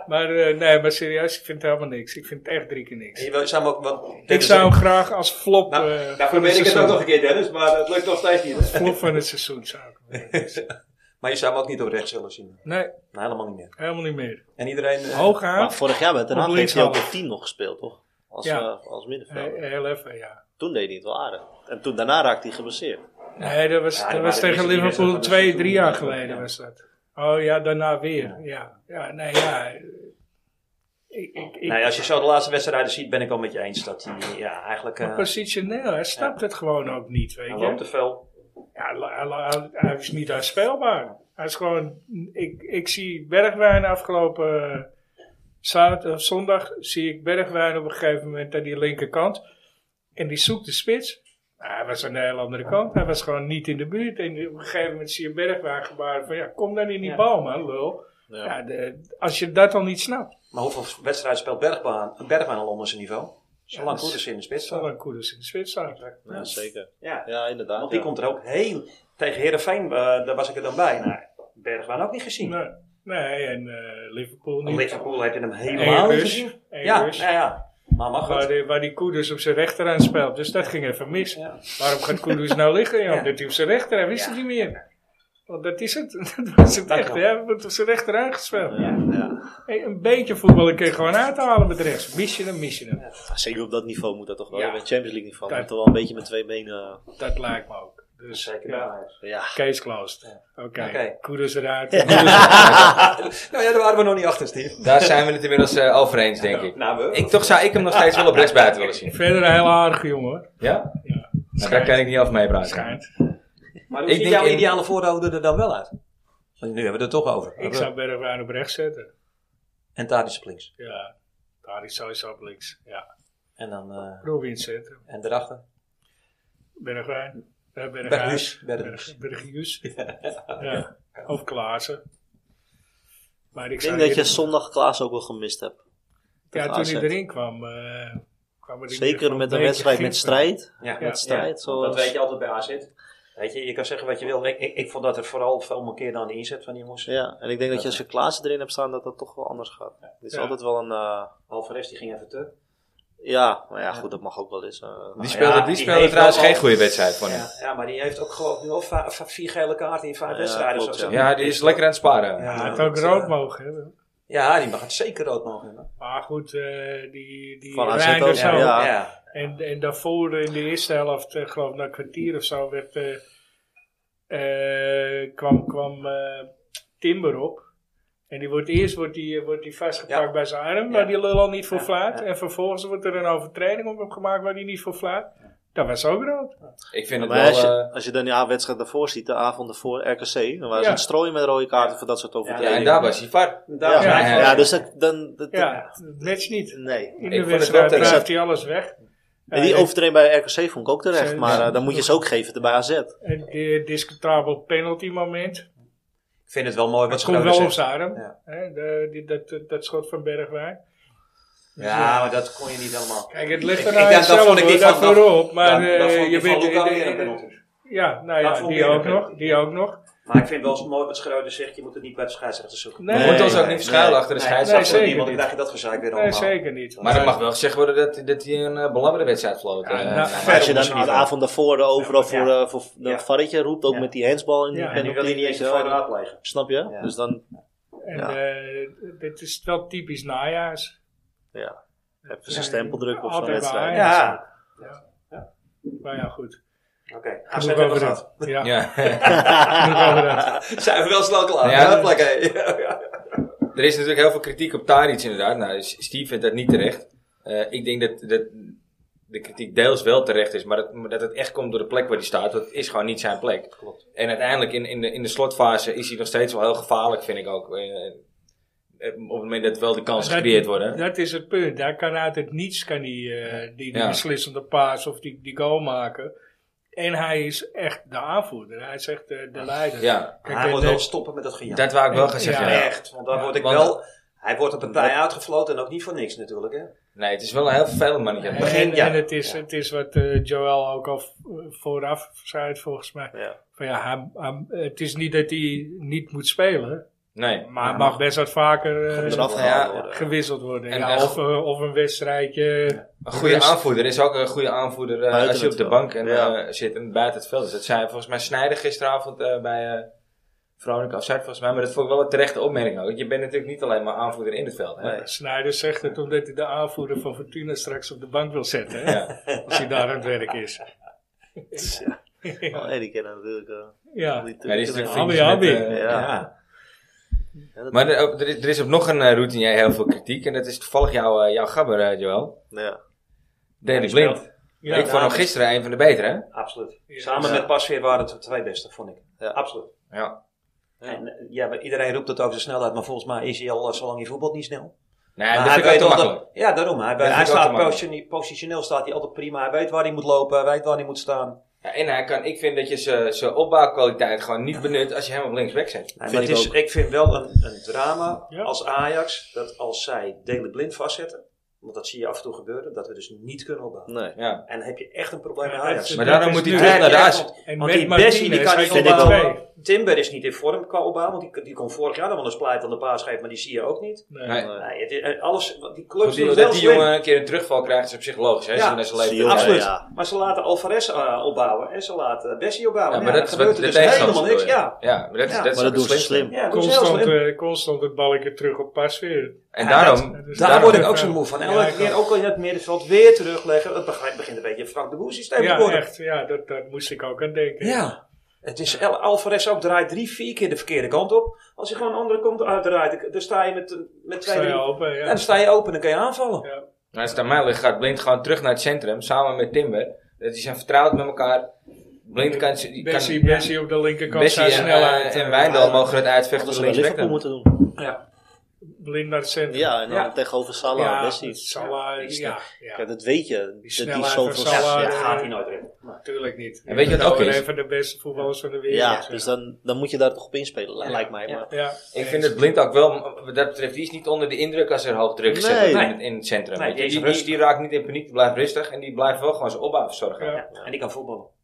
B: Maar, eh, nee, maar serieus, ik vind het helemaal niks. Ik vind het echt drie keer niks.
E: Je wil- zou hem ook, want,
B: Ik zou hem graag als flop,
E: Nou,
B: eh,
E: nou
B: van, het
E: probeer ik het ook
B: seizoen,
E: nog een keer Dennis, maar het lukt nog steeds niet.
B: flop van het seizoen zou ik hem
A: (laughs)
B: willen.
E: Maar je zou hem ook niet op rechts willen zien.
B: Nee,
E: Nee, helemaal niet meer.
B: helemaal niet meer.
E: En iedereen... eh,
B: Hooghaar,
C: Maar vorig jaar met Den Haag
B: Op
C: heeft hij ook
B: linkshalf.
C: op 10 nog gespeeld toch? Als,
B: Ja.
C: eh, als middenvelder.
B: eh, heel even, ja.
C: Toen deed hij het wel aardig. En toen daarna raakte hij geblesseerd.
B: Nee, dat was,
E: Ja,
B: dat
E: die
B: was tegen
E: waren eerst- die wedstrijd
B: Liverpool
E: van de
B: twee,
E: seizoen,
B: drie jaar
E: ja.
B: geleden was dat. Oh ja, daarna weer. Ja, ja nee, ja. Ik, ik, ik,
E: Nee, als je zo de laatste wedstrijden ziet, ben ik wel met je eens dat hij ja, eigenlijk... eh,
B: maar positioneel, hij snapt het gewoon ook niet, weet
E: hij
B: je.
E: loopt te veel.
B: Ja, la- la- la- hij is niet aanspelbaar. Hij is gewoon... Ik, ik zie Bergwijn afgelopen eh, zaterdag, of zondag... zie ik Bergwijn op een gegeven moment aan die linkerkant. En die zoekt de spits. Nou, hij was aan de hele andere kant. Hij was gewoon niet in de buurt. En op een gegeven moment zie je Bergwijn gebaren van... Ja, kom dan in die
E: Ja.
B: bal, man, lul.
C: Ja.
B: Ja. de- als je dat al niet snapt,
E: Maar hoeveel wedstrijden speelt Bergwijn, Bergwijn al onder zijn niveau? Zolang goed is in de spits.
B: zal
E: staat.
B: dan Koeders in de spits staan.
C: Ja, zeker.
E: Ja,
C: Ja, inderdaad.
E: Want die
C: ja.
E: komt er ook heel... Tegen Heerenveen, eh, daar was ik er dan bij. Nou, Bergwijn ook niet gezien.
B: Nee, nee en eh, Liverpool
E: Want
B: niet.
E: Liverpool heeft hem helemaal
B: En
E: niet
B: Rus.
E: gezien.
B: En
E: Ja, nou
B: Rus.
E: ja. Maar mag
B: Waar
E: het.
B: die, waar die Koeders op zijn rechter aan speelt. Dus dat ging even mis.
E: Ja.
B: Waarom gaat Koeders nou liggen? Ja,
E: Ja.
B: omdat hij op zijn rechter, hij wist
E: Ja.
B: het niet meer. Want dat is het. (laughs) Dat was het
E: Dat
B: echt.
E: wel.
B: hè. Hij wordt op zijn rechter aangespeeld.
C: Ja.
B: Hey, een beetje voetballen kun je gewoon uithalen met rechts. Mis je hem, mis je hem.
C: Zeker op dat niveau moet dat toch wel.
B: Ja.
C: Op het Champions League niveau
B: Kijk.
C: moet er wel een beetje met twee benen... eh,
B: Dat lijkt me ook. Dus,
E: Zeker
B: ja.
E: wel.
C: Ja,
B: Case closed. Oké.
E: Oké.
B: Koeders eruit.
E: (laughs) Nou ja, daar waren we nog niet achter, (laughs) Steve.
A: Daar zijn we het inmiddels eh, over eens, denk ik.
E: Nou, we.
A: Ik, toch zou ik hem nog steeds wel op rechtsbuiten willen zien.
B: (laughs) Verder een heel aardige jongen hoor.
A: Ja?
B: Ja.
A: Nou, daar kan ik niet over meepraten.
B: Schijnt.
E: Maar hoe
A: Ik
E: ziet
A: denk
E: jouw
A: in-
E: ideale voorhouden er dan wel uit? Want nu hebben we het er toch over.
B: Ik zou Bergwijn op rechts zetten.
E: En Tadis op links.
B: Ja. Daar is sowieso op links. Ja.
E: En dan... eh
B: Robin zetten.
E: en daarachter.
B: Bergwijn. Eh,
E: Berghuis.
B: Berghuis.
E: Berghuis.
C: (laughs)
B: Berghuis. Ja. Of Klaassen. Maar
C: Ik
B: ik
C: denk
B: zou
C: dat je
B: eerder-
C: zondag Klaas ook wel gemist hebt.
B: Ja, toen
C: AZ.
B: hij erin kwam. eh, kwam er in ieder
C: Zeker
B: geval
C: met een
B: beetje
C: wedstrijd
B: (laughs) gimp
C: met strijd.
E: Ja,
C: Met strijd.
E: want
C: Zoals...
E: Dat weet je altijd bij AZ. Weet je, je kan zeggen wat je wil. Ik, ik, ik vond dat er vooral veel meer keer dan de inzet van die jongens.
C: Ja, en ik denk dat je als je Klaassen erin hebt staan, dat dat toch wel anders gaat. Het is
B: Ja.
C: altijd wel een... eh,
E: Alvarez, die ging even te.
C: ja, maar ja, goed, dat mag ook wel eens. eh,
A: Die
E: ja,
A: speelde, die
E: die
A: speelde
E: heeft
A: trouwens
E: wel al-
A: geen goede wedstrijd van hem.
E: Ja, ja, maar die heeft ook geloof ik nu al va- va- vier gele kaarten in vijf
C: Ja,
E: wedstrijden.
C: klopt,
E: zo- zo.
C: ja.
A: Ja, die is lekker aan het sparen.
E: Ja,
B: Hij had
E: dat,
B: ook
E: eh,
B: rood mogen hebben.
E: Ja, die mag het zeker rood mogen hebben.
B: Maar goed, eh, die, die
C: Van AZ
B: Reinders
C: ook,
B: zo.
C: ja.
B: En, en daarvoor in de eerste helft, eh, geloof ik na een kwartier of zo, werd, eh, eh, kwam, kwam eh, Timber op. En die wordt eerst wordt die, eh, wordt die vastgepakt
E: Ja.
B: bij zijn arm,
E: Ja.
B: waar die lul al niet voor
E: Ja,
B: fluit.
E: ja.
B: En vervolgens wordt er een overtreding op hem gemaakt waar die niet voor fluit. Dat was ook rood.
A: Ik vind het
C: Maar als,
A: wel...
C: je,
A: eh,
C: als je dan die wedstrijd daarvoor ziet, de avond daarvoor RKC, dan waren ze
B: Ja.
C: aan het strooien met rode kaarten voor dat soort
A: ja, en
C: overtredingen.
A: daar was hij var.
E: Daar
C: Ja.
E: is hij
A: Ja, ja.
E: van.
C: Ja, dus dat, dan, dat,
B: Ja, het matcht niet.
C: nee.
B: In
A: vond
B: de
A: het
B: wedstrijd
A: wel
B: draait
A: terecht.
B: hij alles weg.
C: En die
B: Hij-
C: overtreding bij RKC vond ik ook terecht,
B: Ja.
C: maar eh, dan moet je ze ook geven bij AZ.
B: Een di- discutabel penalty moment.
E: Ik vind het wel mooi wat
B: Het
E: ze
B: komt
E: nou
B: wel op
E: zeggen.
B: zijn arm.
E: Ja.
B: Hè, de- die- dat, dat, dat schot van Bergwijn.
E: Ja, maar dat kon je niet helemaal.
B: Kijk, het ligt
E: Ik-
B: er
E: ik
B: nou
E: dacht, dat
B: zelf
E: vond ik
B: hoor,
E: die
B: dat
E: van-
B: voorop. Maar
E: Dan- dan
B: eh,
E: vond ik
B: je
E: van
B: weet...
E: Luca
B: de-
E: weer
B: de-
E: een penalty.
B: Ja, nou
E: Dat
B: ja,
E: vond
B: die
E: ik weer
B: ook
E: een
B: nog.
E: penalty.
B: Die ook nog.
E: Maar ik vind wel eens mooi wat Schreuder zegt, je moet het niet bij de scheidsrechter zoeken.
B: Nee.
A: We moeten ons ook niet verschuilen achter de
E: Nee,
B: nee,
E: dat
A: scheidsrechter.
B: zeker
E: wordt niet, want dan
B: niet.
E: krijg je dat gezeik weer
B: Nee,
E: allemaal.
B: zeker niet.
A: Maar er mag wel gezegd worden dat, dat hij een eh, belangrijke wedstrijd floot.
B: Ja,
A: eh,
B: nou,
A: nou,
B: verder
C: Als
A: dat
C: je dan
A: is
C: de
A: niet waar.
C: avond daarvoor overal voor,
E: Ja.
C: eh, voor de
E: Ja.
C: varretje roept, ook
E: Ja.
C: met die handsbal in de
B: Ja.
E: En nu wil hij niet eens de
C: penalty,
E: foto raadplegen.
C: Snap je?
E: Ja.
C: Dus dan
B: En
C: Ja.
B: eh, dit is wel typisch najaars.
C: even zijn stempel drukken op zo'n
B: Altijd bij
C: wedstrijd.
B: Ajax.
E: Ja,
B: Maar ja, goed.
E: oké. AZ
B: Genoeg
E: hebben
B: over
E: we
B: dat.
E: gehad. (laughs)
B: Ja,
A: Ja.
B: genoeg over dat.
E: Zijn we wel snel klaar?
A: Ja.
E: Ja, plek hè? (laughs) Ja, ja.
A: Er is natuurlijk heel veel kritiek op Taric inderdaad. Nou, S- Steve vindt dat niet terecht. Eh, ik denk dat, dat de kritiek deels wel terecht is, maar dat, maar dat het echt komt door de plek waar hij staat. Dat is gewoon niet zijn plek.
E: Klopt.
A: En uiteindelijk in, in, de, in de slotfase is hij nog steeds wel heel gevaarlijk, vind ik ook. Eh, eh, op het moment dat wel de kansen
B: Dat-
A: gecreëerd worden.
B: Dat is het punt. Daar kan uit het niets kan die, eh, die, die
A: Ja.
B: beslissende paas of die, die goal maken. En hij is echt de aanvoerder. Hij is echt eh, de, de leider.
A: Ja,
B: Kijk, eh,
E: hij
B: de-
E: moet
B: de-
E: wel stoppen met dat gejaagd.
A: dat wou ik wel gaan zeggen.
B: Ja.
A: ja.
E: Echt, want daar
B: Ja,
E: word ik
A: want-
E: wel... Hij wordt op een partij uitgefloten en ook niet voor niks natuurlijk, hè?
A: Nee, het is wel een heel vervelend mannetje.
B: en,
E: begin, ja.
B: en het, is,
E: Ja.
B: het is wat eh, Joel ook al v- vooraf zei, volgens mij.
C: Ja.
B: Van ja, hij- hij- het is niet dat hij niet moet spelen,
A: Nee.
B: maar hij mag best wat vaker eh,
C: Goed eraf
A: Ja.
C: gehaald worden.
B: gewisseld worden.
A: En
B: Ja,
A: echt-
B: of, eh, of een wedstrijdje.
A: Een goede aanvoerder is ook een goede aanvoerder eh,
C: Buiten
A: als je op
C: het
A: de
C: veld.
A: bank en,
C: Ja.
A: eh, zit en buiten het veld is. Dat zei volgens mij Snijder gisteravond eh, bij eh Veronica of Zuid volgens mij. Maar dat vond ik wel een terechte opmerking ook. Je bent natuurlijk niet alleen maar aanvoerder in het veld. Hè?
E: Nee.
B: Snyder zegt het omdat hij de aanvoerder van Fortuna straks op de bank wil zetten.
E: (laughs)
B: Hè?
A: Ja.
B: Als hij daar aan het werk is.
C: Ja. Oh, en die kennen natuurlijk. eh,
B: Ja,
C: die-
A: Ja, die is natuurlijk
B: Abby,
A: vriendjes met,
B: Abby.
A: eh,
C: Ja. Ja, dat-
A: Maar er, er is, er is op nog een routine heel veel kritiek. En dat is toevallig jouw, eh, jouw gabber, eh, Joel.
C: ja.
A: Deli
E: die
A: Blind.
E: speelt.
B: ja.
A: ik vond hem gisteren een van de betere. hè?
E: Absoluut.
B: Ja.
E: Samen
C: Ja.
E: met Pasveer waren het de twee beste, vond ik.
C: Ja.
E: Absoluut.
A: Ja.
E: En eh, ja, maar iedereen roept het over zijn snelheid, maar volgens mij is hij al eh, zo lang in voetbal niet snel.
A: Nee, dat
E: Maar
A: vind ik ook te
E: wel
A: makkelijk.
E: dat- ja, daarom. Hij,
A: Dat
E: hij
A: vind ik ook
E: staat
A: te makkelijk.
E: positione- positioneel staat hij altijd prima. Hij weet waar hij moet lopen, hij weet waar hij moet staan.
A: Ja, en hij kan, ik vind dat je zijn- zijn opbouwkwaliteit gewoon niet benut als je hem op linksback zet.
E: Nee,
C: Vind
E: maar het
C: ik
E: is,
C: ook.
E: ik vind wel een, een drama
B: Ja.
E: als Ajax dat als zij Dele Blind vastzetten, want dat zie je af en toe gebeuren, dat we dus niet kunnen opbouwen.
C: Nee.
A: Ja.
E: En dan heb je echt een probleem met
B: Ja,
E: Ajax.
A: Maar
B: Dat
A: daarom
B: is
A: moet hij
B: nu-
A: terug naar de
E: Ja,
A: as.
E: want-
B: En
E: want
B: met
E: die Bessie die
B: Martinez
E: kan niet
B: vind ik
E: opbouwen.
B: wel.
E: Timber is niet in vorm qua opbouwen, want die, die kon vorig jaar nog wel eens pleit aan de paas geven, maar die zie je ook niet.
A: Nee.
C: Nee.
E: Nee, het is, eh, alles, want die
A: Goed,
E: clubs
A: die-
E: doen
A: dat
E: wel
A: die
E: slim.
A: jongen een keer een terugval krijgt is op zich logisch. Hè?
E: Ja,
A: Ja, zijn
C: zie je
A: leeftijd.
C: ook.
E: Absoluut.
C: Ja.
E: Maar ze laten Alvarez eh, opbouwen en ze laten Bessie
A: Ja,
E: opbouwen.
A: maar
E: Ja,
A: dat is
E: dan
A: wat
E: gebeurt
A: de
E: er dus helemaal
A: tegenstander
E: niks.
A: wil. Ja,
E: Ja,
A: ja maar dat, is-
E: Ja,
A: dat is
C: Maar dat
A: ook
C: doen
A: het
C: ze
A: slimste.
C: slim.
E: ja dat is heel
B: Constant,
E: slim.
B: eh, constant het balkje terug op pas weer.
A: En
E: Ja,
A: daarom,
B: dat- dat is-
E: Daar
A: daarom
E: word
B: Ja,
E: ik ook
B: ja.
E: zo moe van.
B: Ja,
E: Elke
B: ik
E: keer,
B: ook.
E: ook al in het middenveld, weer terugleggen. Het begint begint een beetje een Frank de Boer systeem te
B: Ja,
E: worden.
B: echt. Ja, dat, dat moest ik ook aan denken.
E: Ja. Het is El Alvarez ook draait drie, vier keer de verkeerde kant op. Als je gewoon een andere kant uitdraait, dan sta je met, met twee,
B: Sta je
E: drie.
B: open, ja.
E: Ja, dan sta je open en dan kan je aanvallen.
B: Ja.
A: nou, als het aan mij ligt, gaat Blind gewoon terug naar het centrum, samen met Timber. Dat die zijn vertrouwd met elkaar. Blind kan... die kan
B: Bessie, Bessie op de linkerkant
A: Bessie
B: zijn
A: en,
B: snelheid.
A: eh, en Wijndal mogen het uitvechten
C: Hadden
A: voor
C: ze bij Liverpool
A: linksback.
C: moeten doen.
B: Blind naar het centrum.
C: Ja, en dan
E: Ja.
C: tegenover Salah.
B: ja,
C: Bessie.
B: Salah,
C: Die
B: nou, ja,
C: Kijk,
B: ja.
C: dat weet je. dat Die
B: snelheid
C: zoveel
B: van
C: ja,
B: Salah,
C: ja.
E: Dat
B: eh,
E: gaat hij nooit redden.
B: Natuurlijk niet.
A: En weet je wat ook
B: Gewoon
A: is?
B: Een van de beste voetballers van de wereld.
C: Ja, dus dan, dan moet je daar toch op inspelen, li- lijkt mij. Maar,
B: Ja.
A: Ik vind het Blind ook wel, wat dat betreft, die is niet onder de indruk als er hoog druk gezet
C: Nee.
A: wordt in, het- in het centrum.
E: Nee,
A: Weet je,
E: die is
A: die, die,
E: rustig.
A: die raakt niet in paniek, die blijft rustig en die blijft wel gewoon zijn opbouw verzorgen.
B: Ja.
E: Ja. En die kan voetballen.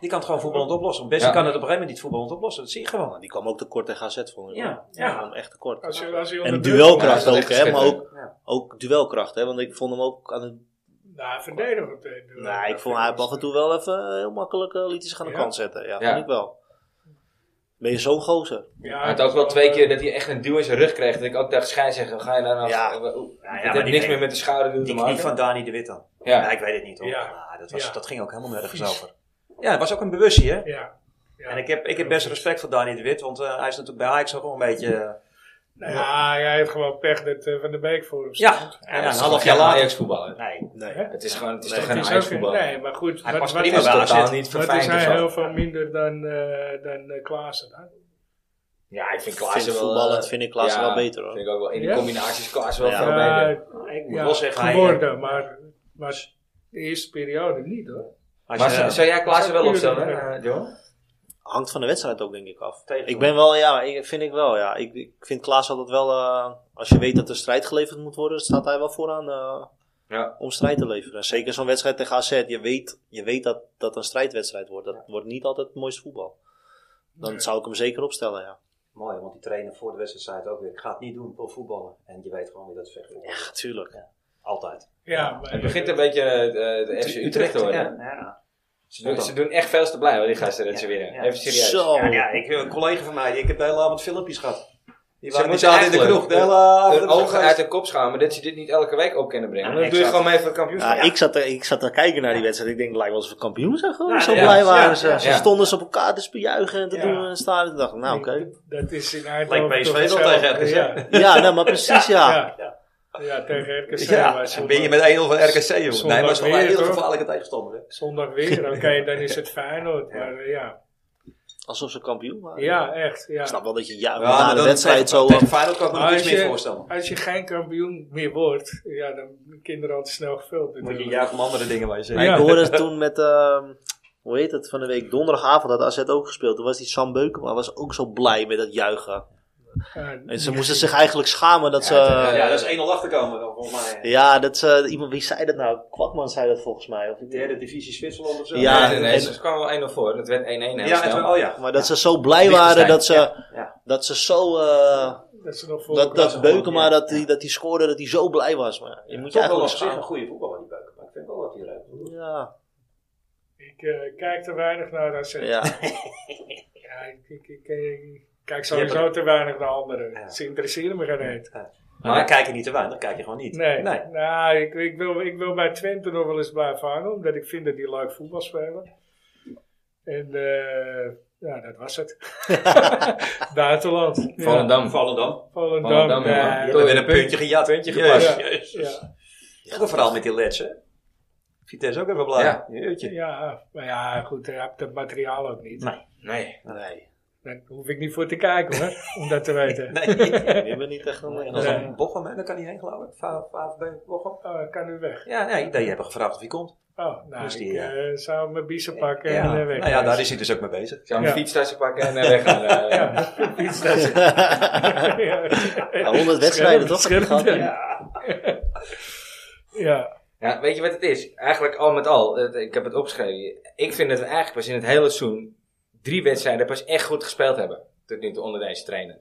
E: Die kan het gewoon voetballend oplossen. Bessie
A: Ja.
E: kan het op een gegeven moment niet voetballend oplossen. Dat zie je gewoon.
C: Oh, die kwam ook tekort tegen AZ, vond ik.
E: Ja,
C: Die
E: ja.
C: kwam echt tekort.
B: Als je, als je
C: En
B: onder druk-
A: Ja,
C: duelkracht
A: dat is
C: ook,
A: echt
C: hè? Maar ook,
E: Ja.
C: ook duelkracht, hè? Want ik vond hem ook aan het.
B: Nou, verdedigend. eh, duel.
C: Nou, ik vond hij heeft af en toe wel even heel makkelijk eh, liet hij zich aan de
B: Ja.
C: kant zetten. Ja,
A: Ja.
C: vond ik wel. Ben je zo'n gozer?
B: Ja,
A: Hij had ook wel
B: het is
A: twee keer dat hij echt een duw in zijn rug kreeg. Dat ik ook tegen Schijn zeg, ga je daar nou...
C: Ja.
E: Nou ja,
A: het
E: maar
A: heeft
E: die
A: niks
E: knie-
A: meer met de schouder te
E: Die
A: maken.
E: knie van Dani de Wit dan. Ja.
A: ja.
E: ik weet het niet hoor.
B: Ja.
E: Maar dat, was,
B: Ja.
E: dat ging ook helemaal nergens
B: Vies.
E: over. Ja, het was ook een bewustzijn hè.
B: Ja. ja.
E: En ik heb, ik heb best respect voor Dani de Wit, want eh, hij is natuurlijk bij Ajax ook wel een beetje... eh,
B: Nou ja, hij heeft gewoon pech dat eh, Van der Beek voor hem staat.
E: Ja, en een half jaar later.
A: Ajax voetballer.
E: Nee,
C: Nee.
A: Het is gewoon, het is
E: Nee,
A: toch
B: Het
A: geen
B: is
A: Ajax
B: ook-
A: voetballer.
B: Nee, maar goed.
E: Hij
B: wat-
E: past
B: wat
E: prima
A: Het
B: is-
A: is
E: bij AZ.
A: totaal niet
B: Wat is
A: verfijnd of
B: hij heel
A: zo.
B: veel minder dan, eh dan eh, Klaassen dan?
A: Ja, ik vind
C: Vind
A: Klaassen wel...
C: voetballend
A: eh,
C: vind ik Klaassen
A: ja,
C: wel beter hoor.
A: Vind ik ook wel. In de
B: Ja?
A: combinaties Klaassen wel
C: Ja.
A: veel beter.
E: Nou, ik moet
B: ja,
E: wel zeggen, hij-
B: geworden, maar, maar de eerste periode niet hoor.
E: Als
A: Maar
E: je-
A: zou- zou jij Klaassen wel opstellen,
B: Ja.
A: eh, John?
C: Hangt van de wedstrijd ook, denk ik, af.
E: Tegen-
C: Ik ben wel, ja, ik, vind ik wel, ja. Ik, ik vind Klaas altijd wel, eh, als je weet dat er strijd geleverd moet worden, staat hij wel vooraan eh,
A: Ja.
C: om strijd te leveren. En zeker zo'n wedstrijd tegen AZ, je weet, je weet dat dat een strijdwedstrijd wordt. Dat wordt niet altijd het mooiste voetbal. Dan zou ik hem zeker opstellen, ja.
E: Mooi, want die trainer voor de wedstrijd zei het ook weer. Ik ga het niet doen, ik wil voetballen. En je weet gewoon weer dat het vecht wordt.
C: Ja, tuurlijk.
E: Altijd.
B: Ja, maar,
A: Het begint een beetje eh, de, de FC Utrecht te worden.
E: Ja, ja.
A: Ze, doen, ze doen echt veel te blij, hoor, die gasten, dat ze winnen.
E: Ja.
A: Even serieus.
C: Zo.
E: Ja, ja, ik, een collega van mij, ik heb de hele avond filmpjes gehad. Die
A: Ze
E: waren die
A: moeten
E: zaten in de
A: eigenlijk
E: kroeg. De hele avond.
A: Hun ogen uit de kop schamen dat ze dit niet elke week op kunnen brengen.
E: Ja,
A: Dan doe je
E: exact.
A: gewoon mee voor het kampioenschap.
C: Ja, Ik, zat er, ik zat te kijken naar die wedstrijd. Ik denk, het lijkt wel alsof we kampioen zijn gewoon.
E: Ja,
C: zo
E: ja,
C: blij
E: ja,
C: waren
E: ja,
C: ze.
E: ja.
C: ze stonden ze op elkaar te spuigen en te
B: Ja.
C: doen en staan. Ik dacht, nou oké.
B: Dat is in Eindhoven
E: Lijkt PSV
B: toch
E: wel
B: hetzelfde,
E: tegen RKC.
B: Ja,
C: Ja, nou, maar precies ja.
B: ja. ja. tegen RKC.
E: Ja,
B: maar
E: dan ben je met 1-0 van RKC, joh. nee,
B: zondag
E: maar het is wel een
B: weer,
E: heel
B: hoor.
E: gevaarlijke tegenstander. Hè?
B: Zondag weer, oké,
E: (laughs)
B: dan is het Feyenoord. Maar eh, ja,
C: Alsof ze kampioen waren.
B: ja echt. Ja.
C: Ik snap wel dat je ja,
E: maar
C: na de
E: dan
C: wedstrijd
E: tegen-
C: zo...
E: Tegen Feyenoord kan ik me nog
B: Maar
E: niks
B: als je-
E: meer voorstellen.
B: Als je geen kampioen meer wordt, ja, dan zijn kinderen altijd snel gevuld.
E: Moet je
B: natuurlijk.
E: juist om andere dingen waar je zegt.
B: Ja.
C: Ik hoorde het toen met, ehm, hoe heet het, van de week donderdagavond had AZ ook gespeeld. Toen was die Sam Beukema was ook zo blij met dat juichen.
B: Ja,
C: En ze moesten zich eigenlijk schamen dat ze...
A: Ja,
E: Ja, dat is 1-0 achterkomen, dan, volgens mij.
C: Ja, dat ze, iemand, wie zei dat nou? Kwakman zei dat volgens mij. Of,
E: De derde divisie Zwitserland of zo.
C: Ja,
A: nee, nee, nee,
C: en-
A: ze kwamen wel 1-0 voor. Dat werd 1-1 heel
E: ja, en
A: snel.
E: toen- oh ja.
C: maar dat ze zo blij
A: Liechtenstein,
C: waren dat ze,
E: ja.
C: Dat ze zo... eh,
B: dat ze nog voor
C: dat,
B: elkaar-
C: dat Beukema, dat die, dat die scoorde, dat hij zo blij was. Maar je moet je
E: Toch wel op
C: eigenlijk
E: zich een
C: schamen.
E: goede voetballer, die Beuken. Maar ik vind wel dat hij eruit moet.
C: Ja,
B: Ik eh, kijk te weinig naar AZ. Ja.
E: (laughs)
C: ja.
B: ik, ik, ik, ik kijk sowieso te weinig naar anderen.
E: Ja.
B: Ze interesseren me geen reet.
E: Maar dan kijk je niet te weinig, dan kijk je gewoon niet.
B: Nee,
E: nee.
B: Nou, ik, ik, wil, ik wil bij Twente nog wel eens blijven hangen, omdat ik vind dat die leuk voetbal spelen. En eh, ja, dat was
E: (laughs)
B: het. (laughs) Buitenland.
A: Volendam.
E: Volendam.
B: Ja, Volendam.
A: Volendam,
B: ja.
A: ja.
E: Je hebt weer een puntje gejat. Puntje gepast.
B: Ja.
E: Jezus.
B: Ja,
E: Ja, maar vooral met die leds, hè? Vitesse ook even blij.
A: Ja.
E: Jeetje.
B: eh, ja, maar ja, goed, hij hebt dat materiaal ook niet.
E: Nee.
A: Nee.
C: Nee,
B: Daar hoef ik niet voor te kijken hoor,
E: (laughs)
B: om dat te weten.
E: Nee.
C: je bent niet echt
E: (laughs) En
C: een...
E: dan
B: Nee.
E: zo'n Bochum, hè? Daar kan hij heen, geloof ik. Va- VfB Bochum.
B: Oh, ik kan nu weg.
E: Ja, nee, die hebben gevraagd of hij komt.
B: Oh, nou,
E: Dus die,
B: ik eh, zou mijn biezen pakken
E: ja.
B: en eh, weg.
E: Nou ja,
B: (laughs)
E: daar is (laughs) hij dus ook mee bezig.
A: Ik zou mijn
B: Ja.
A: fietstassen pakken en eh, weggaan. eh.
B: Ja, iets dat
C: Ja, 100 wedstrijden toch?
B: Scherp,
C: Ja.
B: ja. ja.
A: Ja, weet je wat het is? Eigenlijk al met al, het- ik heb het opgeschreven. Ik vind dat we eigenlijk pas in het hele seizoen drie wedstrijden pas echt goed gespeeld hebben. Tot nu toe onder deze trainer.